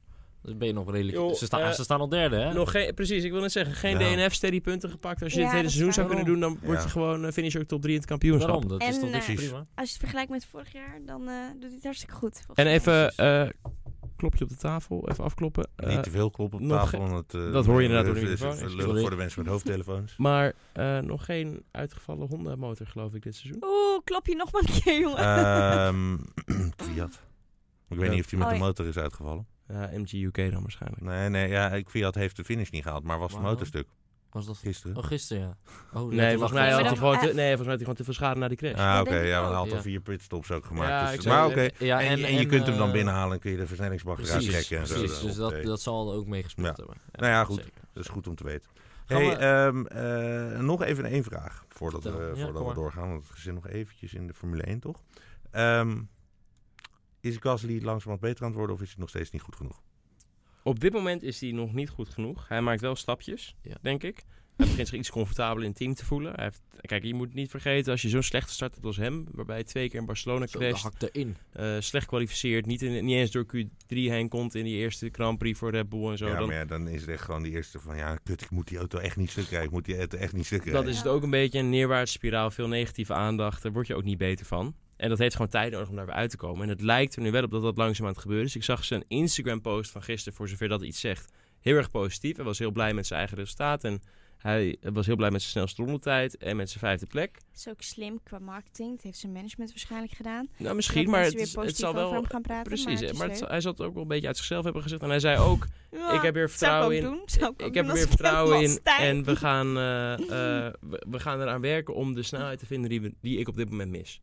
S3: Dan ben je nog redelijk...
S4: Joh,
S3: ze, staan
S4: eh,
S3: ze staan al derde, hè?
S4: Nog geen, precies, ik wil net zeggen,
S2: Ja.
S4: geen DNF, steady punten gepakt. Als je
S1: Ja,
S4: dit hele
S1: dat is
S4: seizoen zou
S3: waar.
S4: kunnen doen, dan word je
S2: Ja.
S4: gewoon eh, finish ook top 3 in het
S3: Daarom,
S4: kampioenschap.
S3: dat is
S1: En,
S3: toch
S1: eh,
S3: niks
S2: Precies.
S3: prima.
S1: Als je het vergelijkt met vorig jaar, dan eh, doet hij het hartstikke goed. volgens
S4: En
S1: mij.
S4: even, eh, klopje op de tafel, even afkloppen. Eh,
S2: Niet te veel kloppen op
S4: nog
S2: tafel. want, eh,
S4: dat hoor je inderdaad door de
S2: is- is-
S4: microfoon.
S2: is lullig
S3: Sorry.
S2: voor de mensen met hoofdtelefoons.
S4: maar eh, nog geen uitgevallen Honda-motor, geloof ik, dit seizoen.
S1: Oeh, klop je nog maar een keer, jongen.
S2: Ehm, Fiat. Ik weet
S4: Ja.
S2: niet of die met de
S1: Oh, ja.
S2: motor is uitgevallen.
S4: Ja, MG UK dan waarschijnlijk.
S2: Nee, nee, ja, ik- Fiat heeft de finish niet gehaald, maar was het
S3: Wauw.
S2: motorstuk
S3: Was dat
S2: gisteren.
S3: Oh, gisteren, ja. Oh,
S4: Nee, volgens mij
S1: Ja,
S4: had
S1: maar
S4: hij
S1: dat-
S4: gewoon te-
S1: eh.
S4: nee, volgens mij had hij gewoon te veel schade na die crash.
S2: Ah,
S1: dat
S2: oké,
S1: denk ik
S2: ja, want hij
S3: ook.
S2: had al
S3: Ja.
S2: vier pitstops ook
S4: Ja,
S2: gemaakt.
S4: ik
S2: dus,
S4: zou-
S2: maar oké.
S4: eh,
S3: Ja, eh,
S2: en, en, je kunt hem dan binnenhalen en kun je de versnellingsbak eruit
S3: Precies,
S2: trekken en zo.
S3: precies. Dus dat,
S2: Hoppatee.
S3: dat zal er ook mee gespeeld
S2: Ja.
S3: hebben. Ja,
S2: Nou ja, goed.
S3: zeker.
S2: Dat is goed om te weten.
S3: Gaan
S2: hey,
S3: we- eh,
S2: ehm, eh, nog even één vraag voordat, we,
S3: Vertel. Ja,
S2: voordat
S3: kom
S2: we
S3: maar.
S2: doorgaan. Want we zitten nog eventjes in de Formule 1, toch? Ehm, is Gasly langzamerhand beter aan het worden of is het nog steeds niet goed genoeg?
S4: Op dit moment is hij nog niet goed genoeg. Hij maakt wel stapjes,
S3: Ja.
S4: denk ik. Hij begint zich iets comfortabeler in het team te voelen. Hij heeft, kijk, je moet niet vergeten, als je zo'n slechte start hebt als hem, waarbij hij twee keer in Barcelona
S3: Zo, dat
S4: crasht,
S3: hakt erin.
S4: eh, slecht kwalificeert, niet, in, niet eens door Q3 heen komt in die eerste Grand Prix voor Red Bull en zo,
S2: ja,
S4: dan,
S2: maar ja, dan is het echt gewoon die eerste van... Ja, kut, ik moet die auto echt niet stuk krijgen. Ik moet die auto echt niet stuk krijgen.
S4: dat is het ook een beetje een neerwaartse spiraal. Veel negatieve aandacht, daar word je ook niet beter van. En dat heeft gewoon tijd nodig om daar weer uit te komen. En het lijkt er nu wel op dat dat langzaam aan het gebeuren is. Ik zag zijn Instagram-post van gisteren, voor zover dat iets zegt, heel erg positief. Hij was heel blij met zijn eigen resultaat en hij was heel blij met zijn snelste rondetijd en met zijn vijfde plek.
S1: is ook slim qua marketing. Dat heeft zijn management waarschijnlijk gedaan.
S4: Nou, misschien, maar
S1: Zodat mensen
S4: het,
S1: weer
S4: het
S1: positief
S4: zal
S1: over
S4: wel...
S1: hem gaan praten.
S4: Precies,
S1: maar,
S4: hè, maar het zal- hij zal het ook wel een beetje uit zichzelf hebben gezegd. En hij zei ook, ik heb
S1: zou
S4: weer vertrouwen
S1: ik
S4: in.
S1: ook doen. Zou ik, ook
S4: Ik
S1: doen
S4: heb er
S1: als
S4: weer
S1: ik hem
S4: vertrouwen
S1: was,
S4: in
S1: Stijn.
S4: en we gaan, eh, eh, we, we gaan eraan werken om de snelheid te vinden die, we, die ik op dit moment mis.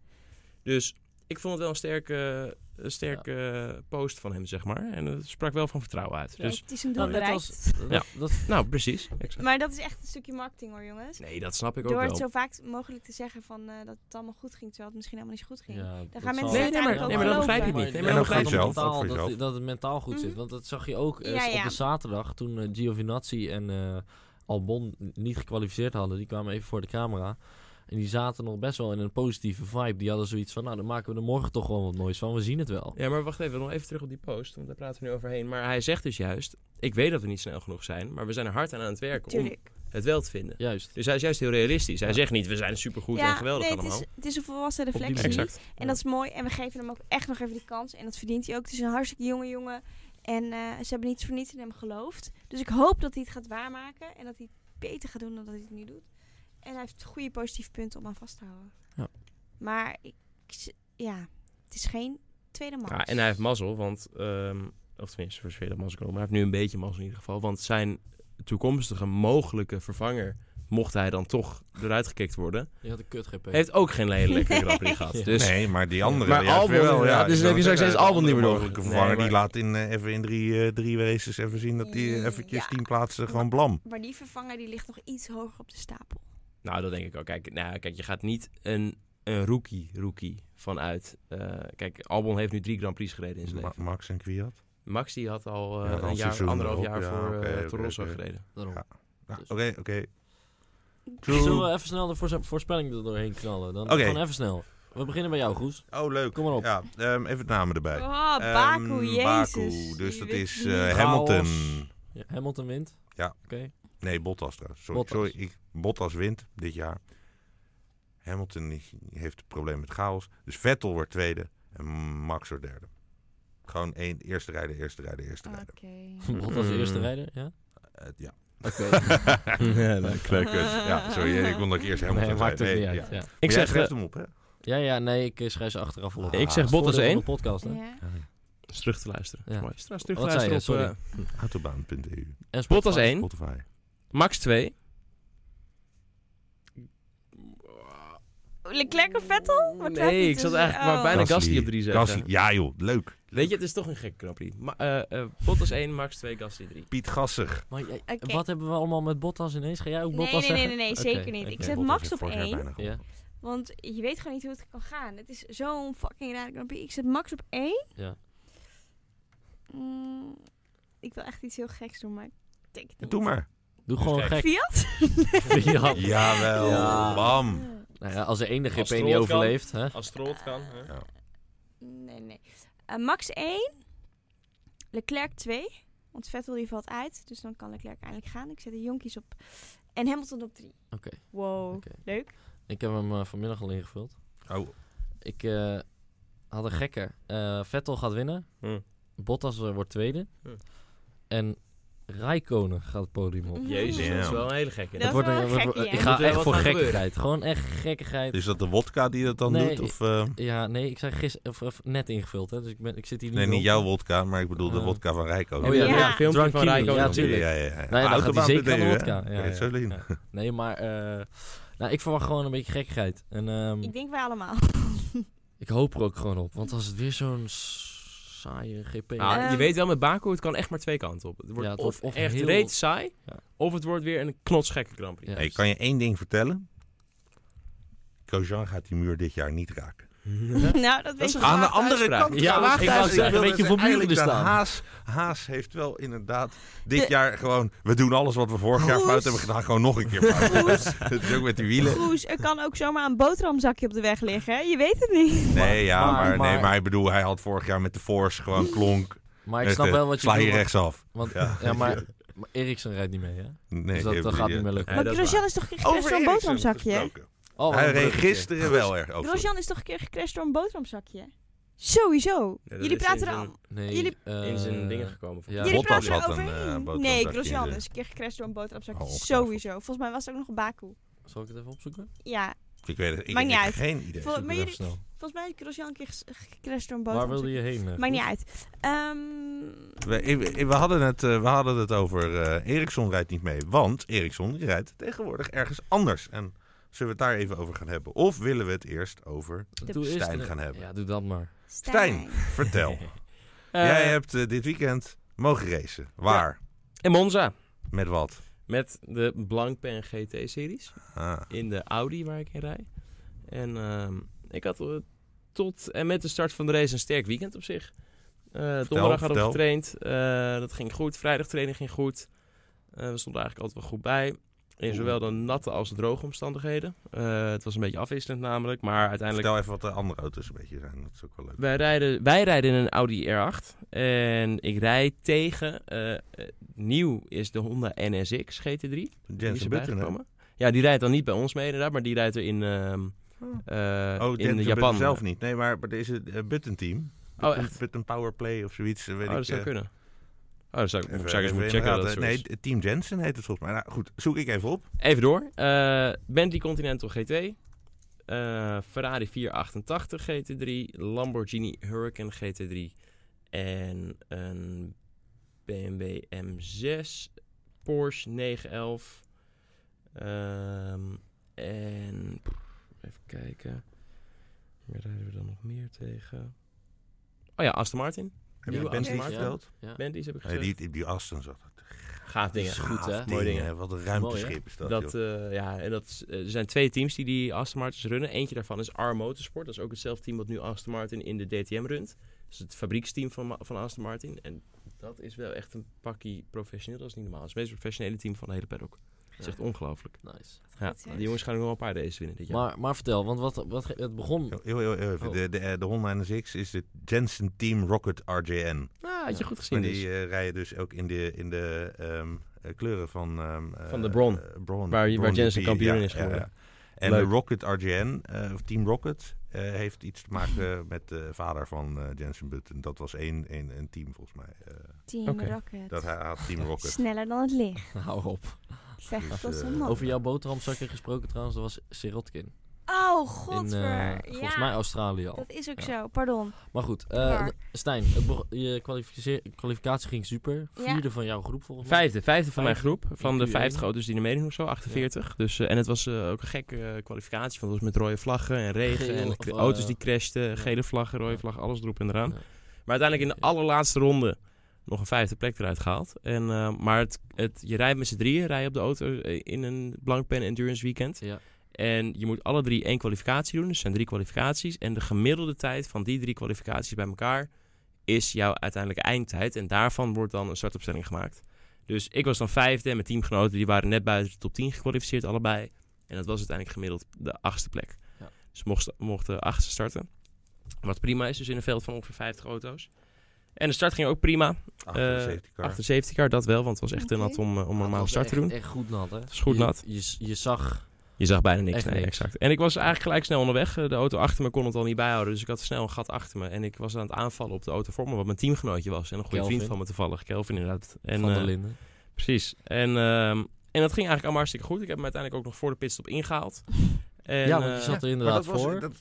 S4: Dus ik vond het wel een sterke, een sterke post van hem, zeg maar. En het sprak wel van vertrouwen uit.
S1: Ja,
S4: Dus,
S1: het is een doel
S3: Nou, net
S1: bereikt.
S3: als- dat- dat-
S4: nou, precies. Exact.
S1: Maar dat is echt een stukje marketing hoor, jongens.
S4: Nee, dat snap ik ook
S1: Door
S4: wel.
S1: het zo vaak mogelijk te zeggen van, eh, dat het allemaal goed ging, terwijl het misschien helemaal niet zo goed ging.
S3: Ja,
S1: gaan mensen
S3: zal-
S4: Nee, nee, maar- nee, maar dat begrijp ik niet. Nee, maar
S3: En
S4: dat
S3: ook
S4: begrijp
S3: gaat
S2: ik
S3: om
S2: zelf,
S3: mentaal,
S2: ook voor
S3: dat,
S2: jezelf.
S3: dat het mentaal goed zit.
S1: Mhm.
S3: Want dat zag je ook eh,
S1: Ja,
S3: op
S1: ja.
S3: de zaterdag toen eh, Giovinazzi en eh, Albon niet gekwalificeerd hadden. Die kwamen even voor de camera. En die zaten nog best wel in een positieve vibe. Die hadden zoiets van, nou dan maken we er morgen toch gewoon wat moois van. We zien het wel.
S4: Ja, maar wacht even, nog even terug op die post, want daar praten we nu overheen. Maar hij zegt dus juist, ik weet dat we niet snel genoeg zijn, maar we zijn er hard aan aan het werken om
S1: Tuurlijk.
S4: het wel te vinden.
S3: Juist.
S4: Dus hij is juist heel realistisch. Hij
S3: Ja.
S4: zegt niet, we zijn supergoed en geweldig
S1: nee, het
S4: allemaal.
S1: is, het is een volwassen
S3: die
S1: reflectie.
S3: manier.
S4: Exact.
S1: En dat is mooi. En we geven hem ook echt nog even die kans. En dat verdient hij ook. Het is een hartstikke jonge jongen. En eh, ze hebben niets voor niets in hem geloofd. Dus ik hoop dat hij het gaat waarmaken. En dat hij het beter gaat doen dan dat hij het nu doet. En hij heeft goede positieve punten om aan vast te houden.
S3: Ja.
S1: Maar ik, ik- ja, het is geen tweede man.
S4: Ja, en hij heeft mazzel, want... ehm, of tenminste, voor zover dat mazzel kan, maar hij heeft nu een beetje mazzel in ieder geval. Want zijn toekomstige mogelijke vervanger, mocht hij dan toch eruit gekikt worden...
S3: Je had een kut GP.
S4: heeft ook geen hele lekkere Grand Prix gehad.
S3: Nee.
S4: Dus
S2: nee, maar die andere.
S4: Maar
S2: juist weer
S4: Albon
S2: wel, ja.
S4: inderdaad, dus
S2: Die
S4: dan heb je
S2: zou
S4: straks
S2: zeggen,
S4: steeds Albon
S2: de
S4: niet meer
S2: andere mogelijke
S4: door.
S2: vervanger,
S4: Nee,
S2: die laat in eh, even in drie, eh, drie races even zien dat die
S1: Ja.
S2: eventjes tien plaatsen gewoon blam.
S1: Maar die vervanger die ligt nog iets hoger op de stapel.
S4: Nou, dat denk ik ook. Kijk, nou, kijk je gaat niet een, een rookie, rookie vanuit... eh, kijk, Albon heeft nu drie Grand Prix gereden in zijn
S2: Ma-
S4: leven.
S2: Max en Kwiat.
S4: Max die had al
S2: Ja,
S4: eh,
S2: had al
S4: een
S2: een
S4: jaar,
S2: seizoen
S4: anderhalf
S2: erop.
S4: jaar
S2: Ja,
S4: voor
S2: oké,
S4: eh,
S2: oké,
S4: Torosso
S2: oké.
S4: gereden.
S3: Daarom.
S2: Ja. Nou,
S3: Dus-
S2: Oké, oké. True.
S3: Zullen we even snel de voorz- voorspelling er doorheen knallen? Dan
S2: Oké.
S3: gewoon even snel. We beginnen bij jou, Goes.
S2: Oh, leuk.
S3: Kom maar op.
S2: Ja, ehm, even de namen erbij.
S1: Oh,
S2: Ehm,
S1: Baku, jezus.
S2: Baku, dus
S1: Je
S2: dat
S1: weet
S2: is
S1: niet.
S2: eh,
S3: Chaos.
S2: Hamilton.
S3: Ja, Hamilton wint.
S2: Ja.
S3: Oké.
S2: Nee, Bottas trouwens. Sorry,
S3: Bottas.
S2: sorry ik, Bottas wint dit jaar. Hamilton is- heeft een probleem met chaos. Dus Vettel wordt tweede en Max wordt derde. Gewoon één, eerste rijden, eerste rijden,
S1: Ah.
S2: eerste rijden.
S1: Oké.
S3: Bottas als
S4: Mm.
S3: eerste rijder, ja?
S2: Eh, ja.
S3: Oké.
S4: Ja, leuk, leuk.
S2: ja, sorry, ik kon dat ik eerst Hamilton
S3: Nee, maakt
S2: zei.
S3: ook niet
S2: Nee,
S3: uit.
S2: ja.
S3: Ja.
S4: Ik
S2: Maar jij
S4: zeg... eh,
S2: schrijft hem op, hè?
S3: Ja, ja, nee, ik eh, schrijf ze achteraf al op.
S2: Ah,
S4: Ik zeg
S3: Het
S4: Bottas
S3: voordeel
S4: 1.
S3: van de podcast, hè?
S1: Ja.
S2: eh,
S4: Is terug te luisteren.
S3: Ja.
S4: Dat is mooi. Is trouwens terug te
S3: Wat zei je?
S4: luisteren op,
S3: Sorry.
S4: eh,
S2: Autobaan.eu,
S3: En Spotify.
S4: Bottas 1.
S2: E Spotify.
S4: Max 2.
S1: Leclerc of Vettel? Wat twijfel
S4: Nee,
S1: je
S4: ik zat
S1: tussen?
S4: eigenlijk maar
S1: Oh.
S4: bijna
S2: Gasly,
S4: Gasly op 3 zeggen.
S2: Gasly. Ja joh, leuk.
S4: Weet je, het is toch een gekke Grand Prix. Ma eh, eh, Bottas 1, Max 2, Gasly 3.
S2: Piet Gasser.
S3: Maar jij-
S1: Oké.
S3: wat hebben we allemaal met Bottas ineens? Ga jij ook
S1: Nee,
S3: Bottas
S1: nee, nee,
S3: zeggen?
S1: nee, nee,
S3: Oké,
S1: zeker niet.
S3: oké.
S1: Ik zet
S2: Bottas
S1: Max
S2: heeft
S1: op
S2: vorig jaar
S1: 1,
S2: bijna gewonnen.
S1: want je weet gewoon niet hoe het kan gaan. Het is zo'n fucking raar Grand Prix. Ik zet Max op 1.
S3: Ja.
S1: Mm, ik wil echt iets heel geks doen, maar ik denk het niet.
S2: Doe maar.
S3: Doe gewoon
S4: Dus
S3: gek.
S1: Fiat?
S3: Fiat.
S2: Jawel.
S3: Ja.
S2: Bam.
S3: Nou ja, als de ene GP
S4: Als
S3: niet
S4: Stroll
S3: overleeft,
S1: Oh.
S3: hè?
S4: Als Stroll het kan. hè?
S1: Nee, nee. Eh, Max 1. Leclerc 2. Want Vettel die valt uit. Dus dan kan Leclerc eindelijk gaan. Ik zet de jonkies op. En Hamilton op 3.
S3: Oké.
S1: Wow,
S3: Oké.
S1: leuk.
S3: Ik heb hem eh, vanmiddag al ingevuld.
S2: Oh,
S3: Ik eh, had een gekke. Eh, Vettel gaat winnen.
S4: Hm.
S3: Bottas eh, wordt tweede.
S4: Hm.
S3: En Rijkonen gaat het podium op.
S1: Mhm.
S4: Jezus, dat is
S2: Damn.
S4: wel een hele gekke.
S1: Dat
S3: Het
S1: is
S3: wordt
S1: wel
S3: een-
S1: een
S3: wordt-
S1: gekkie, hè?
S3: ik
S4: Moet
S3: ga
S4: er
S3: echt
S4: wat
S3: voor
S4: gaan
S3: gekkigheid. Gewoon echt gekkigheid.
S2: Is dat de wodka die dat dan
S3: Nee,
S2: doet? Of, eh,
S3: Ja, nee, ik zei gisteren of, of net ingevuld, hè? Dus ik, ben, ik zit hier niet.
S2: nee, niet
S3: op.
S2: jouw wodka, maar ik bedoel de
S3: Eh.
S2: wodka van Rijko.
S3: Oh ja,
S1: Ja.
S3: ja.
S1: Ja,
S4: filmpje
S3: Drunk
S4: van
S3: Kimi,
S4: Rijkonen.
S3: Ja, tuurlijk.
S2: Ja, ja, ja.
S3: Nee, dan gaat hij
S2: Autobaan
S3: zeker aan de
S2: BTU, hè?
S3: wodka. Ja,
S2: Kan je het
S3: ja,
S2: zo zien?
S3: ja. Nee, maar eh, nou, ik verwacht gewoon een beetje gekkigheid. En ehm,
S1: Ik denk wij allemaal.
S3: ik hoop er ook gewoon op. Want als het weer zo'n s- saaie GP is.
S4: Nou, je
S1: Ehm.
S4: weet wel, met Baku, het kan echt maar twee kanten op. Het wordt
S3: Ja, het
S4: of,
S3: wordt
S4: echt
S3: heel-
S4: reet saai,
S3: Ja.
S4: of het wordt weer een knotsgekke Grand Prix.
S3: Ja.
S2: Hey, kan je één ding vertellen? Grosjean gaat die muur dit jaar niet raken.
S1: nou, dat weet
S4: is
S1: je
S4: een
S1: wel.
S2: Aan de
S4: Waagde
S2: andere
S4: uitspraak.
S2: kant
S3: Ja,
S2: trouwens,
S3: ik wou
S2: Thijs,
S3: zeggen,
S2: wilde
S3: een
S2: zeggen,
S3: beetje voor muren
S2: eigenlijk dat
S3: staan.
S2: Haas, Haas heeft wel inderdaad dit
S1: De-
S2: jaar gewoon... We doen alles wat we vorig jaar
S1: Koers.
S2: fout hebben gedaan, gewoon nog een keer fout. dat is ook met die wielen.
S1: Groes, er kan ook zomaar een boterhamzakje op de weg liggen. hè? Je weet het niet.
S2: Nee, ja,
S3: maar-
S2: maar, Mm. nee,
S3: maar-
S2: maar ik bedoel, hij had vorig jaar met de Force gewoon klonk.
S3: Maar ik
S2: Echt,
S3: snap
S2: eh,
S3: wel wat je
S2: Sla je
S3: bedoelt,
S2: rechtsaf.
S3: Want,
S2: Ja.
S3: ja. maar, maar Eriksen rijdt niet mee, hè?
S2: Nee, eh,
S3: dus dat,
S2: je-
S3: dat gaat
S2: je-
S3: niet meer lukken.
S4: Ja,
S1: maar
S4: dat is
S1: Grosjean is, toch gecrashed door een
S2: Eriksen
S1: boterhamzakje? hè?
S2: gesproken.
S3: Oh, wat
S2: Hij
S3: een
S2: reed
S3: bruggetje.
S2: gisteren wel erg. over.
S1: Grosjean is toch een keer gecrashed door een boterhamzakje? hè? Sowieso.
S4: dat
S1: Jullie
S4: is
S1: praten
S4: in
S1: er
S4: zijn-
S1: al.
S3: Nee,
S1: Jullie-
S3: eh,
S4: In zijn dingen gekomen.
S3: ja.
S1: Jullie
S2: Bottas
S1: praten er
S2: had een, eh,
S1: overheen.
S2: boterhamzakje
S1: nee,
S2: in
S1: Grosjean
S2: de-
S1: is een keer gecrashed door een boterhamzakje.
S2: Oh, ongetwijfeld.
S1: Sowieso. Volgens mij was het ook nog een Baku.
S3: Zal ik het even opzoeken?
S1: Ja,
S2: Ik weet het, ik
S1: Maakt
S2: heb
S1: niet uit.
S2: geen idee.
S1: Vol-
S3: Zoek
S1: maar
S3: het
S1: jullie-
S3: even snel.
S1: volgens mij is Grosjean een keer ges- gecrashed door een
S3: Waar wilde
S1: boterhamzakje.
S3: je heen? eh,
S1: Maakt niet
S3: Groen?
S1: uit. Ehm,
S2: We, ik- we, hadden het, eh, we hadden het over eh Ericsson rijdt niet mee. Want Ericsson die rijdt tegenwoordig ergens anders. En zullen we het daar even over gaan hebben? Of willen we het eerst over
S3: Doe eerst
S2: Stijn
S3: de-
S2: gaan hebben?
S3: Ja, doe dat maar.
S1: Stijn.
S4: Eh,
S2: Vertel. Jij hebt eh, dit weekend mogen racen. Waar?
S4: En Monza,
S2: Met wat?
S4: met de Blancpain GT-series.
S2: Ah,
S4: in de Audi waar ik in rijd. En ehm, ik had eh, tot en met de start van de race een sterk weekend op zich. Eh, donderdag hadden
S2: vertel.
S4: we getraind. Eh, dat ging goed. Vrijdag training ging goed. Eh, we stonden eigenlijk altijd wel goed bij. In zowel de natte als de droge omstandigheden. Eh, het was een beetje afwisselend namelijk. Maar uiteindelijk...
S2: Vertel even wat de andere auto's een beetje zijn. Dat is ook wel leuk.
S4: Wij rijden, wij rijden in een Audi R8. En ik rijd tegen... eh, eh, nieuw is de Honda NSX GT3. Die is
S2: Jensen
S4: erbij
S2: Button, hè?
S4: gekomen. Ja, die rijdt dan niet bij ons mee inderdaad, maar die rijdt er in, ehm, eh,
S2: Oh,
S4: in
S2: Jensen
S4: Japan.
S2: Button zelf niet. Nee, maar, maar er is een eh, Button team.
S4: Oh,
S2: Button,
S4: echt?
S2: Button Powerplay of zoiets. eh, Weet
S4: Oh,
S2: ik,
S4: dat zou
S2: eh,
S4: kunnen. Oh, dat zou ik, moet ik
S2: even-
S4: zou ik eens
S2: even
S4: moeten
S2: in de
S4: checken. Dat
S2: gaten.
S4: het zo
S2: nee,
S4: is.
S2: het team Jensen heet het volgens mij. Nou goed, zoek ik even op.
S4: Even door. Eh Bentley Continental GT. eh, Ferrari 488 GT3. Lamborghini Hurricane GT3. En een BMW M6. Porsche 911. Ehm, en even kijken. Waar rijden we dan nog meer tegen? Oh ja, Aston Martin.
S2: Heb
S3: Ja,
S2: je
S4: Aston
S2: Bentley
S4: Martin.
S2: verteld?
S4: Bentley's heb ik
S2: Nee,
S4: gezegd.
S2: die, die Aston zat.
S4: Gaaf dingen. Ah,
S3: is goed, hè?
S4: Mooie
S2: Mooie
S4: dingen.
S2: dingen. Wat een ruimteschip is dat.
S4: Dat,
S2: joh.
S4: eh, ja, en dat is- eh, er zijn twee teams die die Aston Martins runnen. Eentje daarvan is R Motorsport. Dat is ook hetzelfde team wat nu Aston Martin in de DTM runt. Dus het fabrieksteam van, Ma- van Aston Martin. En dat is wel echt een pakkie professioneel. Dat is niet normaal. Het is het meest professionele team van de hele paddock. Dat is echt ongelooflijk.
S3: Nice.
S4: Ja,
S1: hè?
S4: die jongens gaan nog wel een paar races winnen dit jaar.
S3: Maar, maar vertel, want wat, wat, het begon...
S2: Heel- heel- heel even.
S3: Oh.
S2: De, de, eh, de Honda NSX is het Jensen Team Rocket RJN.
S4: ah, had je
S3: Ja.
S4: goed gezien
S2: Maar
S4: dus.
S2: die eh, rijden dus ook in de, in de ehm, eh, kleuren van... ehm, eh,
S4: Van de Bron.
S2: eh, Bron.
S4: Waar- waar
S2: Bron
S4: Jensen
S2: GP,
S4: kampioen
S2: ja,
S4: is
S2: ja,
S4: geworden.
S2: ja. En
S4: Leuk.
S2: de Rocket RJN, eh, of Team Rocket, eh, heeft iets te maken met de vader van eh, Jensen Button. Dat was één, één, een team volgens mij. eh,
S1: Team
S4: Oké.
S1: Rocket.
S2: dat hij had Team Rocket.
S1: Sneller dan het licht.
S3: Hou op.
S1: Zeg
S2: Dus,
S1: dat is een
S2: eh,
S1: man.
S3: Over jouw boterhamzakken gesproken trouwens, dat was Sirotkin.
S1: Oh,
S3: In, eh,
S1: godver.
S3: Volgens
S1: ja,
S3: mij Australië al.
S1: dat is ook
S3: Oh. Ja.
S1: zo. Pardon.
S3: Maar goed, eh,
S1: Waar?
S3: Stijn, het beg- je kwalificeer- kwalificatie ging super.
S1: Ja.
S3: Vierde van jouw groep volgens mij.
S4: Vijfde, vijfde van mijn groep. Van de
S3: Q1.
S4: 50 auto's die er meedoen of zo, 48. Dus, eh, en het was eh, ook een gekke eh, kwalificatie. Want het was met rode vlaggen en regen.
S3: Geel,
S4: en
S3: of,
S4: de
S3: eh,
S4: auto's die crashten, gele vlaggen, rode
S3: Ja.
S4: vlaggen, alles erop en eraan.
S3: Ja.
S4: Maar uiteindelijk in de
S3: Ja.
S4: allerlaatste ronde nog een vijfde plek eruit gehaald. En, eh, maar het, het, je rijdt met z'n drieën, rij je op de auto eh, in een Blancpain Endurance Weekend.
S3: Ja.
S4: En je moet alle drie één kwalificatie doen. Dus er zijn drie kwalificaties. En de gemiddelde tijd van die drie kwalificaties bij elkaar is jouw uiteindelijke eindtijd. En daarvan wordt dan een startopstelling gemaakt. Dus ik was dan vijfde en mijn teamgenoten die waren net buiten de top 10 gekwalificeerd allebei. En dat was uiteindelijk gemiddeld de achtste plek.
S3: Ja.
S4: Dus we mochten, we mochten achtste starten. Wat prima is, dus in een veld van ongeveer 50 auto's. En de start ging ook prima.
S2: Achter de
S4: Eh,
S2: safety car.
S4: Achter de safety car, dat wel, want het was echt te
S1: Oké.
S4: nat om, eh, om een
S3: Het
S4: normale
S3: was
S4: start te
S3: echt-
S4: doen.
S3: Echt goed nat, hè?
S4: is goed
S3: Je-
S4: nat.
S3: Je, je, zag
S4: Je zag bijna niks.
S3: Echt
S4: Nee,
S3: niks.
S4: exact. En ik was eigenlijk gelijk snel onderweg. Eh, De auto achter me kon het al niet bijhouden. Dus ik had snel een gat achter me. En ik was aan het aanvallen op de auto voor me. Wat mijn teamgenootje was. En een goede
S3: Kelvin.
S4: vriend van me toevallig. Kelvin inderdaad. En,
S3: van
S4: eh,
S3: der Linden.
S4: Precies. En, ehm, en dat ging eigenlijk allemaal hartstikke goed. Ik heb hem uiteindelijk ook nog voor de pitstop ingehaald. En,
S3: ja, want die
S4: eh,
S3: zat er
S2: Maar
S3: inderdaad
S2: dat was,
S3: voor.
S2: dat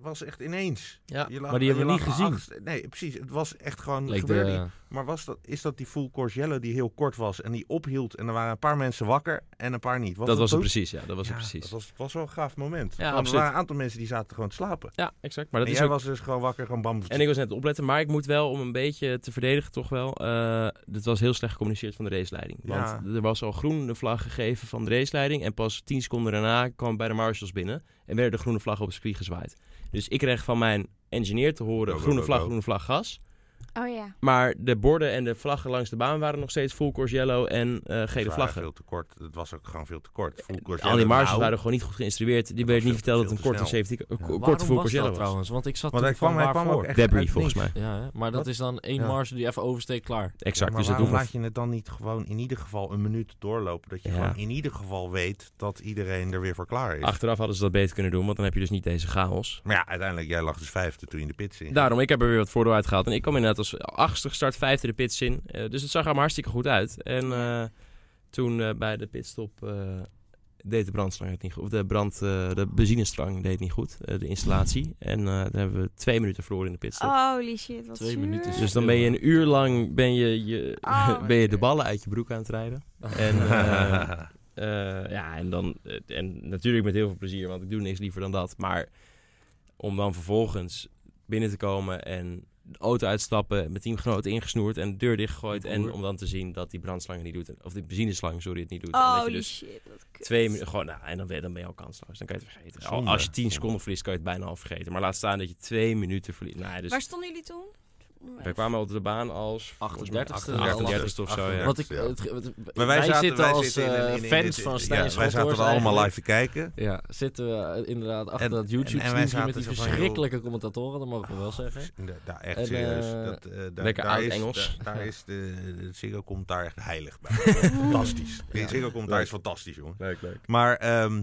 S2: was echt ineens.
S4: ja.
S2: Je lag-
S3: maar die hebben we
S2: je
S3: niet
S2: lag
S3: gezien.
S2: achter- nee, precies. Het was echt gewoon...
S3: Leek
S2: gebeurde
S3: de,
S2: Maar was dat, is dat die full course yellow die heel kort was en die ophield en er waren een paar mensen wakker en een paar niet?
S4: dat was het
S2: ook?
S4: precies. Ja, dat was het
S2: Ja,
S4: precies.
S2: Dat was, het was wel een gaaf moment.
S4: Ja,
S2: Want er
S4: absoluut.
S2: waren een aantal mensen die zaten gewoon te slapen.
S4: Ja, exact. Maar dat
S2: en
S4: is
S2: jij
S4: ook...
S2: was dus gewoon wakker, gewoon bam.
S4: En ik was net opletten, maar ik moet wel om een beetje te verdedigen toch wel. eh dit was heel slecht gecommuniceerd van de raceleiding. Want
S2: Ja.
S4: er was al groen de vlag gegeven van de raceleiding. En pas tien seconden daarna kwam bij de marshals binnen. En werden de groene vlag op het circuit gezwaaid. Dus ik kreeg van mijn engineer te horen,
S2: Go, go,
S4: groene
S2: go,
S4: vlag,
S2: go.
S4: groene vlag, gas.
S1: Oh ja.
S4: Maar de borden en de vlaggen langs de baan waren nog steeds full course yellow en eh
S2: Ze
S4: gele
S2: waren
S4: vlaggen. Eh,
S2: Veel te kort. Het was ook gewoon veel te kort. Full course
S4: Al die
S2: yellow,
S4: marges
S2: nou,
S4: waren gewoon niet goed geïnstrueerd. Die werd
S2: veel
S4: niet
S2: te-
S4: verteld dat
S2: veel
S4: een
S2: te
S4: korte
S2: snel.
S4: safety, een ko-
S3: waarom
S4: korte full
S3: was dat
S4: course
S3: nou
S4: yellow was.
S3: trouwens? Want ik zat
S2: Want hij
S3: toen van
S2: kwam, hij kwam ook
S3: waarvoor?
S2: echt
S4: Debris
S2: uit
S4: volgens
S2: niks.
S4: mij.
S3: Ja, hè? maar dat
S2: Wat?
S3: is dan één
S2: Ja.
S3: marge die even oversteekt, klaar.
S4: Exact,
S2: maar
S4: dus dat
S2: waarom
S4: doen we
S2: laat je het dan niet gewoon in ieder geval een minuut doorlopen? Dat je
S4: Ja.
S2: gewoon in ieder geval weet dat iedereen er weer voor klaar is.
S4: Achteraf hadden ze dat beter kunnen doen, want dan heb je dus niet deze chaos.
S2: Maar ja, uiteindelijk, jij lag dus vijfde toen je de pit ging.
S4: Daarom, ik heb er weer wat voordeel uit gehaald. En ik kwam inderdaad als achtste start, vijfde de pits in. Eh, dus het zag er maar hartstikke goed uit. En eh, toen eh, bij de pitstop eh, deed de brandstang het niet goed. Of de, brand, eh, de benzinestrang deed het niet goed, eh, de installatie. En eh daar hebben we twee minuten verloren in de
S1: Oh,
S4: pitstop.
S1: Holy shit, wat
S3: Twee
S1: zuur.
S3: minuten is
S4: Dus dan ben je een uur lang ben je, je,
S1: Oh,
S4: ben je de ballen uit je broek aan het rijden. En, eh, eh, ja, en, dan, eh, en natuurlijk met heel veel plezier, want ik doe niks liever dan dat. Maar om dan vervolgens binnen te komen en de auto uitstappen, mijn teamgenoot ingesnoerd en de deur dichtgegooid. En
S3: Broer.
S4: om dan te zien dat die brandslang het niet doet, of die benzineslang, sorry, het niet doet. en dat je
S1: Holy
S4: dus
S1: shit, wat kut.
S4: twee minuten, gewoon, nou, en dan ben, dan ben je al kansloos. Dan kan je het vergeten. Al-
S2: Zonde.
S4: Als je tien seconden verliest, kan je het bijna al vergeten. Maar laat staan dat je twee minuten verliest. Nou, ja, dus
S1: Waar stonden jullie toen?
S4: we kwamen op de baan als
S3: 38e.
S4: 38 of zo. Ja.
S3: Want ik,
S2: 38e,
S3: het- het-
S2: Maar
S3: wij,
S2: zaten-
S3: zitten
S2: wij
S3: als
S2: zitten in een-
S3: eh,
S2: in- in- in-
S3: fans van Stijn
S2: ja, Wij zaten
S3: Schotwoord
S2: er allemaal live
S3: eigenlijk.
S2: te kijken.
S3: Ja, zitten we eh, inderdaad achter
S2: En-
S3: dat youtube
S2: en- en wij zaten
S3: streampje met die
S2: zo van,
S3: verschrikkelijke commentatoren, dat mogen we wel zeggen.
S2: Da- daar echt
S3: En, eh,
S2: serieus. dat, eh, daar,
S4: lekker
S2: daar
S4: oud
S2: is,
S4: Engels.
S2: da- Daar, is de, de Ziggo komt daar echt heilig bij. fantastisch.
S3: Ja.
S2: De Ziggo komt daar is fantastisch, jongen.
S4: Leuk, leuk.
S2: Maar ehm,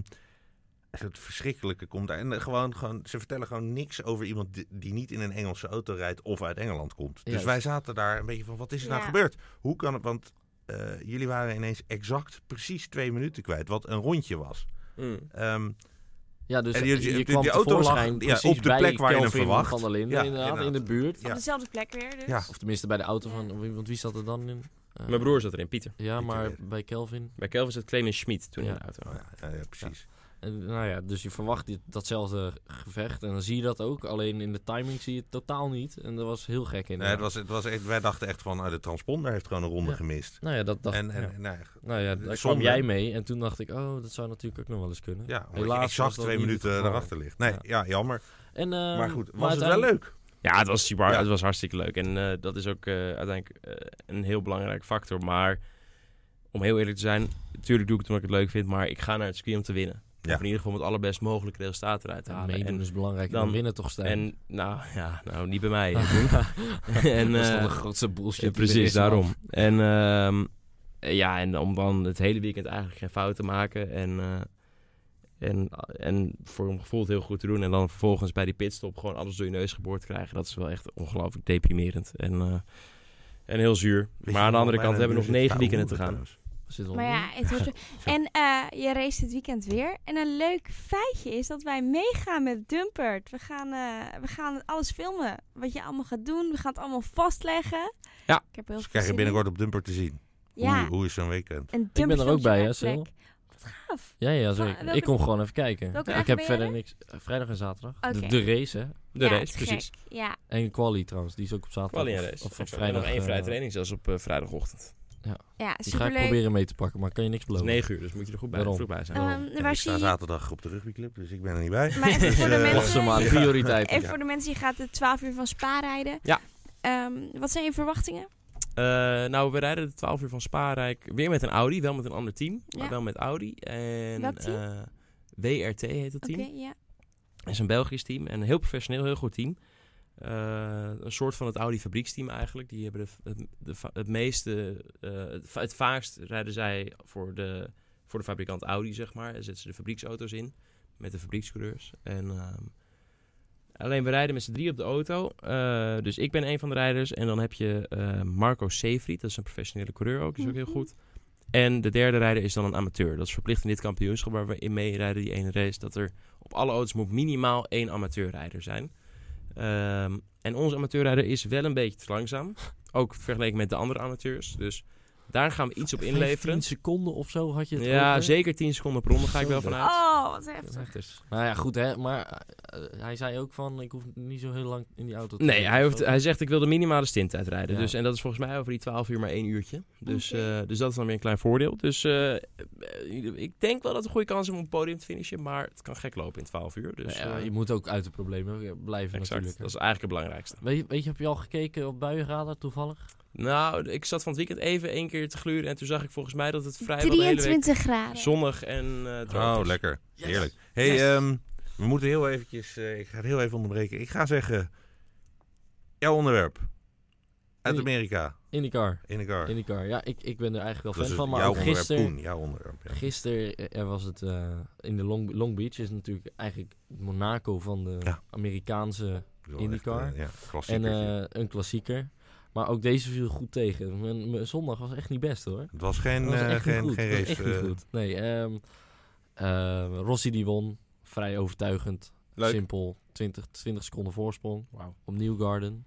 S2: het verschrikkelijke komt daar. En eh, gewoon, gewoon, ze vertellen gewoon niks over iemand die, die niet in een Engelse auto rijdt of uit Engeland komt. Dus
S3: Juist.
S2: wij zaten daar een beetje van, wat is er nou
S1: Ja.
S2: gebeurd? Hoe kan het, want eh, jullie waren ineens exact precies twee minuten kwijt, wat een rondje was.
S4: Hm.
S2: Ehm,
S3: Ja, dus
S2: En
S3: je,
S2: die-
S3: je
S2: die-
S3: kwam
S2: die auto
S3: tevoorschijn
S2: lag, ja,
S3: precies
S2: op de
S3: bij
S2: plek waar je hem
S3: Kelvin
S2: verwacht.
S3: van der Linden,
S2: Ja,
S3: inderdaad, in de
S2: inderdaad.
S3: buurt.
S2: Ja.
S1: Op dezelfde plek weer dus.
S2: Ja.
S3: Of tenminste bij de auto van, wie- want wie zat er dan in? Eh,
S4: Mijn broer zat erin, Pieter.
S3: Ja,
S2: Pieter
S3: maar
S2: weer.
S3: bij Kelvin.
S4: Bij Kelvin zat Clemens Schmid toen in
S3: Ja.
S4: de auto.
S2: nou ja, ja, ja, precies.
S3: En, nou ja, dus je verwacht dit, datzelfde gevecht en dan zie je dat ook. Alleen in de timing zie je het totaal niet. En dat was heel gek
S2: Nee,
S3: inderdaad.
S2: het was, het was echt, wij dachten echt van, ah, de transponder heeft gewoon een ronde
S3: Ja.
S2: gemist.
S3: Nou ja, dat dacht
S2: en en
S3: ja.
S2: nou ja,
S3: Nou ja, daar kwam
S2: Zonde.
S3: jij mee en toen dacht ik, oh, dat zou natuurlijk ook nog wel eens kunnen.
S2: Ja, omdat
S3: Helaas
S2: je
S3: was
S2: exact
S3: dat
S2: twee
S3: niet
S2: minuten
S3: het geval.
S2: erachter ligt. Nee,
S3: Ja.
S2: ja, jammer.
S3: En, eh,
S2: maar goed, was het wel
S3: uiteindelijk-
S2: leuk?
S4: Ja, het was super.
S2: Ja.
S4: Het was hartstikke leuk. En eh, dat is ook eh, uiteindelijk eh, een heel belangrijk factor. Maar om heel eerlijk te zijn, natuurlijk doe ik het omdat ik het leuk vind. Maar ik ga naar het circuit om te winnen.
S2: Ja.
S4: Of in ieder geval met het allerbest mogelijke resultaat eruit te
S3: Ja,
S4: halen.
S3: meedoen
S4: en,
S3: is belangrijk en
S4: dan-
S3: dan winnen toch staan.
S4: en nou, ja, nou, niet bij mij.
S3: en, dat is
S4: eh,
S3: toch de grootste bullshit.
S4: Ja,
S3: die er
S4: precies,
S3: is, man.
S4: daarom. En ehm, ja, en om dan het hele weekend eigenlijk geen fout te maken en, eh, en, en voor een gevoel het heel goed te doen. En dan vervolgens bij die pitstop gewoon alles door je neus geboord krijgen. Dat is wel echt ongelooflijk deprimerend en, eh, en heel zuur.
S2: Weet
S4: maar
S2: je,
S4: aan de andere
S2: bijna
S4: kant hebben we nog
S2: nu zit
S4: negen
S2: het
S4: weekenden te
S2: oude
S4: gaan.
S2: hoeren
S3: Zit al
S1: Maar ja, het wordt... En eh, je race dit weekend weer. En een leuk feitje is dat wij meegaan met Dumpert. We gaan, eh, we gaan alles filmen. Wat je allemaal gaat doen. We gaan het allemaal vastleggen.
S4: Ja.
S1: Ik heb heel
S2: Dus
S1: veel
S2: krijg je
S1: zin
S2: binnenkort op Dumper te zien.
S1: in. Ja.
S2: Hoe, hoe is zo'n weekend?
S1: En Dumpert
S3: ben er
S1: filmt
S3: ook
S1: je
S3: bij,
S1: op
S3: hè,
S1: plek.
S3: Sil?
S1: Wat gaaf.
S3: Ja, ja,
S1: Wa-
S3: zeker.
S1: welke-
S3: Ik kom gewoon even kijken.
S1: welke
S3: ik
S1: dagen
S3: heb
S1: ben
S3: verder
S1: jij
S3: niks. eh, Vrijdag en zaterdag. De-
S1: Oké.
S3: De, race, hè.
S4: De
S1: ja, het
S4: race,
S1: is
S4: precies.
S1: gek. Ja.
S3: En quali trouwens, die is ook op zaterdag.
S4: Wel in
S3: of-
S4: een race.
S3: Of, op
S4: Exact. En
S3: vrijdag.
S4: nog één
S3: eh,
S4: vrije training zelfs op eh, vrijdagochtend.
S1: Ja,
S3: Die ga ik
S1: superleuk.
S3: proberen mee te pakken, maar kan je niks
S4: Het is
S3: beloven.
S4: 9 uur, dus moet je er goed bij,
S3: Daarom.
S4: vroeg bij zijn.
S1: Ehm,
S2: En
S1: waar
S2: ik
S1: zie
S2: sta
S1: je...
S2: zaterdag op de rugbyclub, dus ik ben er niet bij.
S1: Maar even voor de
S2: eh,
S3: Klasse
S1: mensen...
S3: maar,
S1: je-
S3: prioriteit.
S1: Even voor de mensen, je gaat de 12 uur van Spa rijden.
S4: Ja.
S1: Ehm, wat zijn je verwachtingen?
S4: Eh, nou, we rijden de 12 uur van Spaarrijk weer met een Audi. Wel met een ander team, maar
S1: Ja.
S4: wel met Audi. En,
S1: Welk team?
S4: eh, WRT heet dat
S1: Oké,
S4: team.
S1: ja.
S4: Het is een Belgisch team en een heel professioneel, heel goed team. Eh, een soort van het Audi fabrieksteam eigenlijk. Die hebben de, het, de, va- het meeste, eh, het, va- het vaakst rijden zij voor de voor de fabrikant Audi, zeg maar. Daar zetten ze de fabrieksauto's in met de fabriekscoureurs. En, ehm, alleen we rijden met z'n drie op de auto. Eh, dus ik ben een van de rijders. En dan heb je eh, Marco Sefried, dat is een professionele coureur ook, die is ook heel
S1: Mhm.
S4: goed. En de derde rijder is dan een amateur. Dat is verplicht in dit kampioenschap waar we in meerijden, die ene race, dat er op alle auto's moet minimaal één amateurrijder zijn. Ehm, en onze amateurrijder is wel een beetje te langzaam. Ook vergeleken met de andere amateurs. Dus daar gaan we iets op inleveren.
S3: 10 seconden of zo had je het
S4: Ja,
S3: over?
S4: zeker 10 seconden per ronde ga ik wel
S3: Zo.
S4: vanuit.
S1: Oh, wat heftig.
S3: Ja, dus- Nou ja, goed hè. Maar eh, eh, hij zei ook van, ik hoef niet zo heel lang in die auto te
S4: Nee,
S3: zitten
S4: hij,
S3: of
S4: hoeft,
S3: zo.
S4: hij zegt ik wil de minimale stinttijd rijden.
S3: Ja.
S4: Dus, en dat is volgens mij over die 12 uur maar één uurtje. Dus,
S1: Oké.
S4: eh, dus dat is dan weer een klein voordeel. Dus eh, eh, ik denk wel dat we een goede kans hebben om op het podium te finishen. Maar het kan gek lopen in 12 uur. Dus
S3: Nou Ja,
S4: eh,
S3: je moet ook uit de problemen blijven
S4: exact,
S3: natuurlijk. hè.
S4: dat is eigenlijk het belangrijkste.
S3: Weet, je- weet je, heb je al gekeken op buienradar toevallig?
S4: Nou, ik zat van het weekend even één keer te gluren. En toen zag ik volgens mij dat het vrijwel de hele week
S1: 23 graden.
S4: zonnig en eh droog
S2: Oh,
S4: is.
S2: lekker. Heerlijk. hey, ehm, we moeten heel eventjes... eh, ik ga het heel even onderbreken. Ik ga zeggen... Jouw onderwerp. Uit
S3: Nee.
S2: Amerika.
S3: In die car.
S2: In de car.
S3: In die car. Ja, ik, ik ben er eigenlijk wel
S2: Dat is
S3: fan van. Maar
S2: jouw
S3: ook
S2: onderwerp,
S3: gisteren,
S2: Koen. Jouw onderwerp. Ja.
S3: gisteren eh, er was het eh, in de Long, Long Beach. is natuurlijk eigenlijk het Monaco van de
S2: Ja.
S3: Amerikaanse...
S2: Ik bedoel,
S3: IndyCar.
S2: echt, eh, ja,
S3: En
S2: klassieker.
S3: eh, een klassieker. Maar ook deze viel goed tegen. Mijn, mijn zondag was echt niet best hoor.
S2: het was geen,
S3: Dat was
S2: eh,
S3: echt niet
S2: geen,
S3: goed.
S2: geen
S3: Dat was
S2: race.
S3: echt niet
S2: eh,
S3: goed. Nee, ehm, eh, Rossi die won. Vrij overtuigend.
S2: Leuk.
S3: Simpel. 20, 20 seconden voorsprong.
S4: Wauw.
S3: Op Newgarden.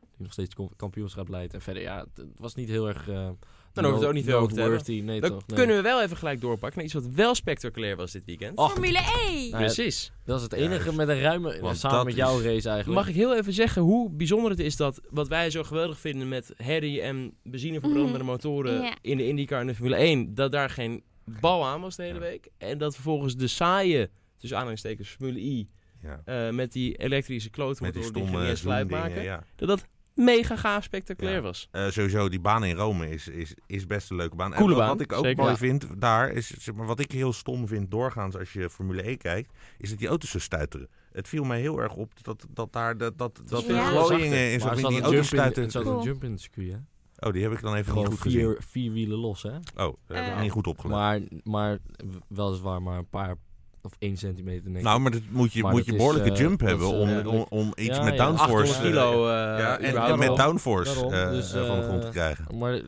S3: Die nog steeds kom- kampioenschap leidt. En verder, ja, het, het was niet heel erg... eh
S4: Nou, Dan hoeven we het ook niet veel over te hebben.
S3: noteworthy. Nee,
S4: Dan
S3: toch? Nee.
S4: kunnen we wel even gelijk doorpakken naar iets wat wel spectaculair was dit weekend.
S3: Ach,
S1: Formule 1!
S3: Nou ja,
S4: Precies.
S3: dat is het enige met een ruime...
S2: Want
S3: samen
S2: dat
S3: met jouw
S2: is-
S3: race eigenlijk.
S4: Mag ik heel even zeggen hoe bijzonder het is dat wat wij zo geweldig vinden met herrie en benzine verbrandende
S1: Mhm.
S4: motoren
S1: Ja.
S4: in de IndyCar en de Formule 1, dat daar geen bal aan was de hele
S2: Ja.
S4: week. En dat vervolgens de saaie, tussen aanhalingstekens, Formule I,
S2: ja.
S4: eh, met die elektrische
S2: Met die
S4: klootmotoren die
S2: stomme
S4: geen
S2: zoomdingen,
S4: sluit maken,
S2: ja.
S4: dat dat mega gaaf spectaculair
S2: Ja.
S4: was.
S2: Eh, sowieso, die baan in Rome is, is, is best een leuke baan.
S4: Coole
S2: en wat,
S4: baan,
S2: wat ik ook
S4: zeker.
S2: mooi
S4: Ja.
S2: vind daar, is, zeg maar, wat ik heel stom vind doorgaans als je Formule 1 kijkt, is dat die auto's zo stuiteren. Het viel mij heel erg op dat, dat daar dat, dat, dat
S1: veel
S2: de
S4: zachter.
S2: glooiingen en zo
S3: Maar er
S2: in
S3: zat
S2: die
S3: een jump
S2: auto's
S3: in, er zat
S2: stuiteren.
S3: een
S1: Cool.
S3: jump in het circuit, hè?
S2: Oh, die heb ik dan even
S3: Gewoon
S2: niet goed gezien.
S3: vier, vier wielen los, hè?
S2: Oh, daar heb ik
S1: Eh.
S2: niet goed opgelet.
S3: Maar, maar w- weliswaar maar een paar of één centimeter. denk ik.
S2: Nou, maar dat moet je,
S3: Maar
S2: moet
S3: dat
S2: je
S3: is,
S2: behoorlijke
S3: eh,
S2: jump
S3: dat
S2: hebben
S3: is,
S2: om,
S3: eh,
S2: om, om iets
S3: ja,
S2: met
S3: ja.
S2: downforce,
S4: 800
S2: eh,
S4: kilo. eh,
S2: ja, en,
S4: überhaupt
S2: en met
S4: al.
S2: downforce
S3: Daarom,
S2: eh,
S3: dus,
S2: eh, van de
S3: eh,
S2: grond te krijgen.
S3: Maar eh,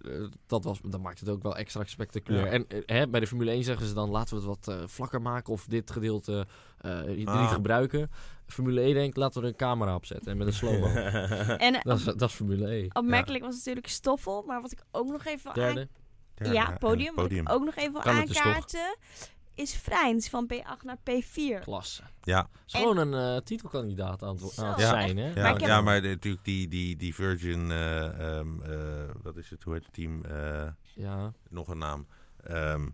S3: dat, was, dat maakt het ook wel extra spectaculair.
S2: Ja.
S3: En eh, hè, bij de Formule 1 zeggen ze dan laten we het wat eh, vlakker maken of dit gedeelte eh, niet
S2: Ah.
S3: gebruiken. Formule 1 denkt laten we er een camera op zetten en met een slow-mo.
S1: En eh,
S3: dat, is, dat is Formule 1.
S1: opmerkelijk was natuurlijk Stoffel, maar wat ik ook nog even wil
S3: Derde.
S1: Ja,
S2: en het
S1: podium. Wat ik ook nog even wil
S3: Kan het dus toch?
S1: aankaarten is Vrijns van P8 naar P4.
S3: Klasse.
S2: Ja.
S3: Is gewoon een eh, titelkandidaat aan het,
S1: Zo,
S3: aan het
S1: Ja.
S3: zijn, hè?
S2: Ja,
S1: Maar
S2: maar,
S1: ik heb-
S2: ja, maar de- natuurlijk die, die, die Virgin, eh, ehm, eh, wat is het, hoe heet het team? Eh,
S3: Ja.
S2: nog een naam. Ehm,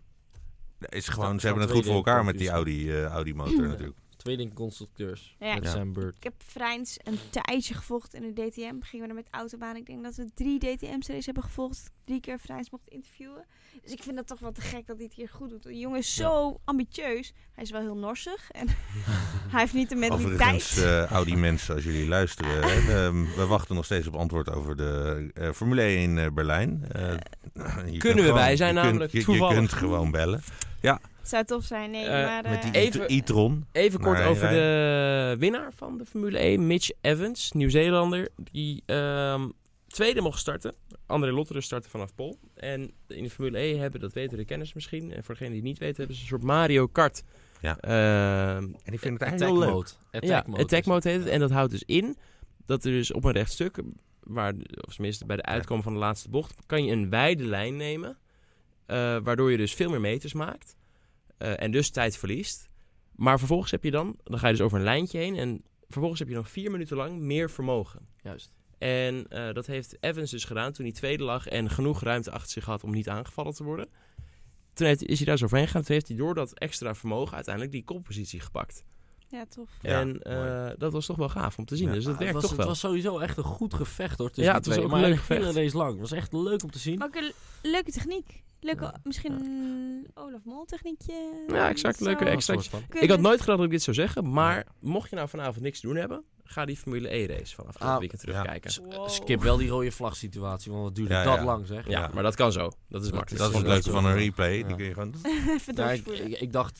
S2: er is
S3: Staan-
S2: gewoon, ze
S3: staan
S2: hebben het
S3: tweede
S2: goed voor elkaar
S3: in
S2: met die Audi, eh, Audi motor
S3: Ja.
S2: natuurlijk.
S3: Tweede in constructeurs.
S1: Ja.
S3: Met
S2: Ja.
S3: Sam Bird.
S1: Ik heb Vrijns een tijdje gevolgd in de DTM. Gingen we er met autobaan. Ik denk dat we drie DTM's race hebben gevolgd. Drie keer Vrijns mocht interviewen. Dus ik vind dat toch wel te gek dat hij het hier goed doet. De jongen is zo ambitieus. Hij is wel heel norsig. En hij heeft niet de mentaliteit.
S2: Overigens, eh, Audi mensen, als jullie luisteren, hè, ehm, we wachten nog steeds op antwoord over de eh, Formule 1 in eh, Berlijn. Eh, je kunt
S4: we bij zijn
S2: je kunt-
S4: namelijk,
S2: je- je,
S4: toevallig.
S2: kunt gewoon bellen.
S1: Het zou tof zijn. Nee,
S4: Eh,
S1: maar... eh,
S2: Met die
S4: Even-
S2: Even, e-tron.
S4: Even kort
S2: Nee,
S4: over
S2: nee.
S4: de winnaar van de Formule 1, Mitch Evans, Nieuw-Zeelander, die ehm, tweede mocht starten. André Lotterer startte vanaf Pol. En in de Formule 1 hebben, dat weten de kenners misschien, en voor degenen die het niet weten, hebben ze een soort Mario Kart.
S2: Ja.
S4: Ehm,
S2: En ik vind het
S3: Attack
S2: eigenlijk heel leuk.
S3: mode. Attack
S4: ja,
S3: mode.
S4: attack
S3: is het.
S4: mode heet het. En dat houdt dus in dat er dus op een recht stuk, waar, of tenminste bij de uitkomst van de laatste bocht, kan je een wijde lijn nemen. eh, waardoor je dus veel meer meters maakt. eh, en dus tijd verliest. Maar vervolgens heb je dan, dan ga je dus over een lijntje heen. En vervolgens heb je dan vier minuten lang meer vermogen.
S3: Juist.
S4: En eh, dat heeft Evans dus gedaan toen hij tweede lag en genoeg ruimte achter zich had om niet aangevallen te worden. Toen heeft- is hij daar zo overheen gegaan. Toen heeft hij door dat extra vermogen uiteindelijk die koppositie gepakt.
S1: ja, tof.
S2: Ja,
S4: en eh,
S2: mooi.
S4: dat was toch wel gaaf om te zien.
S2: Ja.
S4: Dus dat
S3: Ah,
S4: werkt
S3: het was,
S4: toch
S3: het
S4: wel.
S3: was sowieso echt een goed gevecht hoor. Tussen die
S4: Ja, het was
S3: twee.
S4: ook
S3: maar
S4: een
S3: een
S4: leuk
S3: hele
S4: gevecht.
S3: race lang. Het was echt leuk om te zien.
S1: Maar ook een leuke techniek. Leuke,
S3: Ja.
S1: misschien Olaf Mol techniekje.
S4: Ja, exact. Leuke
S1: Zo.
S4: extra.
S3: Soort van.
S1: Kunnen-
S4: Ik had nooit gedacht dat ik dit zou zeggen, maar mocht je nou vanavond niks te doen hebben, Ga die Formule E-race van afgelopen
S3: Ah,
S4: weekend
S2: ja.
S4: terugkijken.
S3: S-
S1: Wow.
S3: Skip wel die rode vlag situatie, want wat duurde
S2: Ja,
S3: dat
S2: ja.
S3: lang zeg.
S4: Ja,
S2: Ja.
S4: maar dat kan zo. Dat is
S3: Dat
S4: makkelijk.
S2: Dat is het
S3: leuk.
S2: leuke van een replay.
S3: Ja.
S2: Die kun je gewoon...
S1: Even
S3: Ja, ik,
S1: doorspoelen.
S3: ik- ik dacht, eh,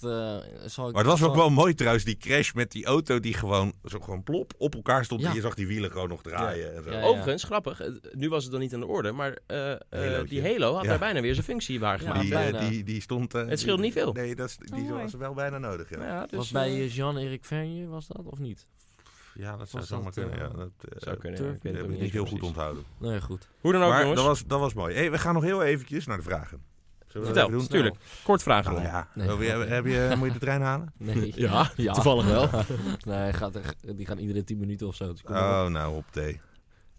S3: zal ik...
S2: Maar het was ook
S3: zal-
S2: wel mooi trouwens, die crash met die auto die gewoon, zo gewoon plop op elkaar stond.
S3: Ja.
S2: En je zag die wielen gewoon nog draaien. En zo.
S3: Ja, ja.
S4: Eh, Overigens, grappig, het- nu was het dan niet aan de orde, maar eh, eh,
S2: Helootje.
S4: die Halo had
S2: Ja.
S4: daar bijna weer zijn functie waargemaakt.
S2: die,
S3: Ja,
S2: eh,
S3: bijna.
S2: die, die stond... eh,
S4: Het scheelt
S2: die-
S4: niet veel.
S2: Nee, dat is, die
S1: Oh, mooi.
S2: was wel bijna nodig. Ja,
S4: Ja, dus,
S3: was bij
S4: eh,
S3: eh, Jean-Eric Vergne, was dat, of niet?
S2: ja dat zou
S3: Was dat,
S2: zomaar kunnen.
S3: eh,
S2: ja, dat, eh,
S4: zou kunnen.
S3: Turf,
S4: ja, ik
S2: dat
S4: weet het
S2: heb
S4: ook
S2: ik
S4: niet
S2: niet heel
S4: precies.
S2: goed onthouden.
S3: Nee, goed.
S4: Hoe dan ook,
S2: Maar
S4: jongens.
S2: dat was, dat was mooi. Hey, we gaan nog heel eventjes naar de vragen. Zullen we dat
S4: Vertel,
S2: even doen?
S4: tuurlijk. Kort vragen.
S2: Nou ja,
S3: Nee,
S2: Wil je-
S3: grapje.
S2: heb je, moet je de trein halen?
S3: Nee.
S4: Ja, toevallig wel.
S3: nee, gaat, er- die gaan iedere 10 minuten of zo. Dus kom maar op.
S2: Oh, nou, op thee.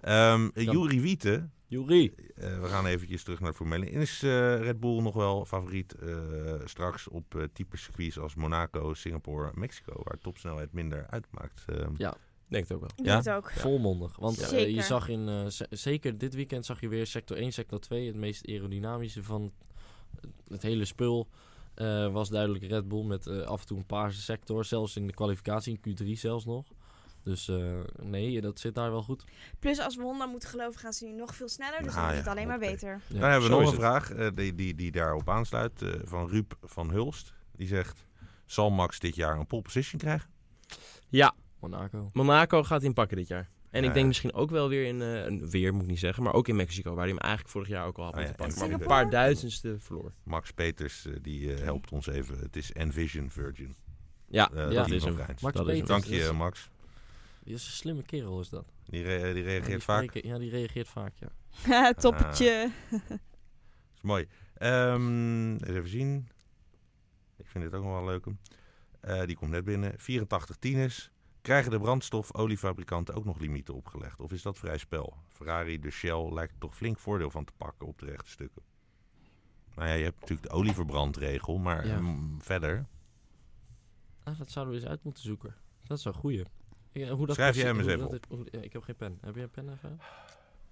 S2: Ehm Juri Wieten,
S3: Joeri.
S2: Eh, we gaan eventjes terug naar de Formule 1. Is eh, Red Bull nog wel favoriet eh, straks op eh type circuits als Monaco, Singapore, Mexico, waar topsnelheid minder uitmaakt? Ehm,
S3: Ja.
S4: Denk het ook wel.
S1: Ik
S2: Ja?
S1: doe het ook.
S3: Volmondig. Want eh, je
S1: Zeker.
S3: zag in, eh, z- zeker dit weekend zag je weer sector 1, sector 2, het meest aerodynamische van het hele spul. eh, was duidelijk Red Bull met eh, af en toe een paarse sector, zelfs in de kwalificatie, in Q3 zelfs nog. Dus eh, nee, dat zit daar wel goed.
S1: Plus als we Honda moeten geloven gaan ze nu nog veel sneller. Dus
S2: Nou
S1: dan
S2: ja,
S1: wordt het alleen maar
S2: hoppakee.
S1: beter.
S3: Ja,
S2: Dan hebben we
S4: zo
S2: nog
S4: is
S2: een vraag eh, die, die, die daarop aansluit eh, van Ruup van Hulst. Die zegt, zal Max dit jaar een pole position krijgen?
S3: Monaco.
S4: Monaco gaat hij pakken dit jaar.
S2: Ja,
S4: En ik
S2: ja.
S4: denk misschien ook wel weer in, eh, een weer moet ik niet zeggen, maar ook in Mexico, waar hij hem eigenlijk vorig jaar ook al had
S2: Oh ja,
S4: moeten
S2: en
S4: pakken. Maar met een
S1: Singapore?
S4: paar duizendste verloor.
S2: Max Peters eh, die eh, helpt ons even. Het is Envision Virgin.
S4: Ja,
S2: Eh,
S3: dat
S2: team
S4: is
S2: van
S4: hem.
S2: Vrijns.
S3: Max
S4: dat is hem.
S3: Peters.
S2: Dank je
S3: is-
S2: Max.
S3: Die is een slimme kerel, is dat.
S2: Die, re- die
S3: Ja, die
S2: reageert vaak.
S3: spreken- Ja, die reageert vaak, ja.
S2: Eh,
S1: Toppetje.
S2: is mooi. Ehm, eens even zien. Ik vind dit ook nog wel leuk. Eh, die komt net binnen. 84 tieners. Krijgen de brandstofoliefabrikanten ook nog limieten opgelegd? Of is dat vrij spel? Ferrari, de Shell lijkt er toch flink voordeel van te pakken op de rechte stukken. Nou ja, je hebt natuurlijk de olieverbrandregel, maar
S3: Ja.
S2: mm, verder.
S3: Ah, dat zouden we eens uit moeten zoeken. Dat is een goeie. Ik- eh, hoe dat
S2: Schrijf jij hem
S3: precies-
S2: eens
S3: hoe
S2: even
S3: dat- hoe- ja, ik heb geen pen. Heb jij een pen even?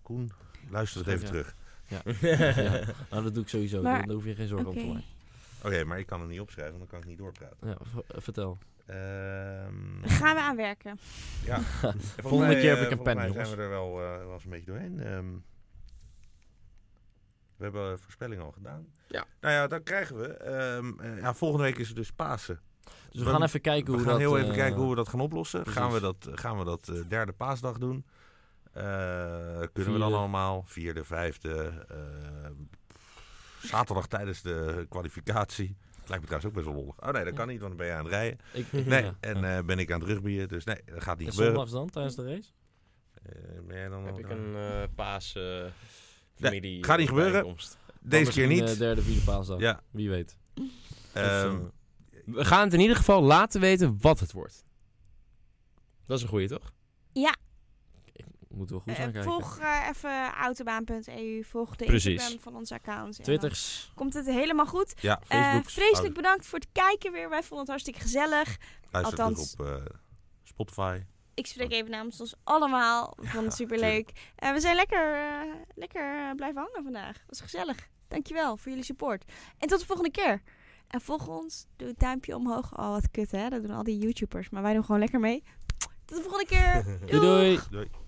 S2: Koen, luister het even
S3: Ja.
S2: terug.
S3: ja. Nou, dat doe ik sowieso.
S1: Maar-
S3: Dan- Daar hoef je geen zorgen
S1: Oké.
S3: om te maken.
S2: Oké, maar ik kan het niet opschrijven, want dan kan ik niet doorpraten.
S3: Ja, v- eh, vertel.
S2: Ehm,
S1: Gaan we aan werken.
S2: Ja.
S3: Volgende keer heb ik een pen,
S2: Volgens mij
S3: jongens.
S2: zijn we er wel, eh, wel eens een beetje doorheen. Ehm, we hebben voorspellingen al gedaan.
S4: Ja.
S2: Nou ja, dan krijgen we. ehm, eh, ja, volgende week is het dus Pasen.
S3: Dus we
S2: Dan-
S3: gaan even kijken
S2: we
S3: hoe
S2: gaan
S3: dat...
S2: heel even
S3: eh,
S2: kijken hoe we dat gaan oplossen.
S3: precies.
S2: Gaan we dat, gaan we dat eh, derde paasdag doen? Eh, kunnen we dan
S3: Vierde.
S2: allemaal? Vierde, vijfde. eh, pff, zaterdag tijdens de kwalificatie. Het lijkt me trouwens ook best wel lollig. Oh nee, dat
S3: Ja.
S2: kan niet, want dan ben je aan het rijden.
S3: Ik,
S2: Nee,
S3: ja,
S2: en
S3: ja.
S2: eh, ben ik aan het rugbyen. Dus nee, dat gaat niet
S3: En
S2: gebeuren.
S3: zondags dan, tijdens de race?
S2: Eh, ben jij dan
S4: Heb
S2: al
S4: ik
S2: klaar?
S4: een eh paas eh familie
S2: gaat niet gebeuren.
S4: bijeenkomst.
S2: Deze keer niet.
S3: De derde, vierde paasdag.
S2: Ja.
S3: Wie weet.
S2: Ehm,
S3: Dus, eh,
S4: We gaan het in ieder geval laten weten wat het wordt. Dat is een goeie, toch?
S3: moeten we goed
S1: Eh,
S3: gaan kijken.
S1: volg eh, even autobaan.eu. Volg de
S4: Precies.
S1: Instagram van onze account. en
S3: Twitters.
S1: dan Komt het helemaal goed.
S2: ja,
S1: Eh,
S2: Facebook.
S1: vreselijk bedankt voor het kijken weer. Wij vonden het hartstikke gezellig.
S2: Luister terug
S1: althans-
S2: op eh, Spotify.
S1: Ik spreek even namens ons allemaal. We vonden het superleuk. En we zijn lekker, eh, lekker eh, blijven hangen vandaag. Was gezellig. Dankjewel voor jullie support. En tot de volgende keer. En volg ons. Doe het duimpje omhoog. Oh, wat kut hè. Dat doen al die YouTubers. Maar wij doen gewoon lekker mee. Tot de volgende keer.
S3: Doei doei.
S2: Doei.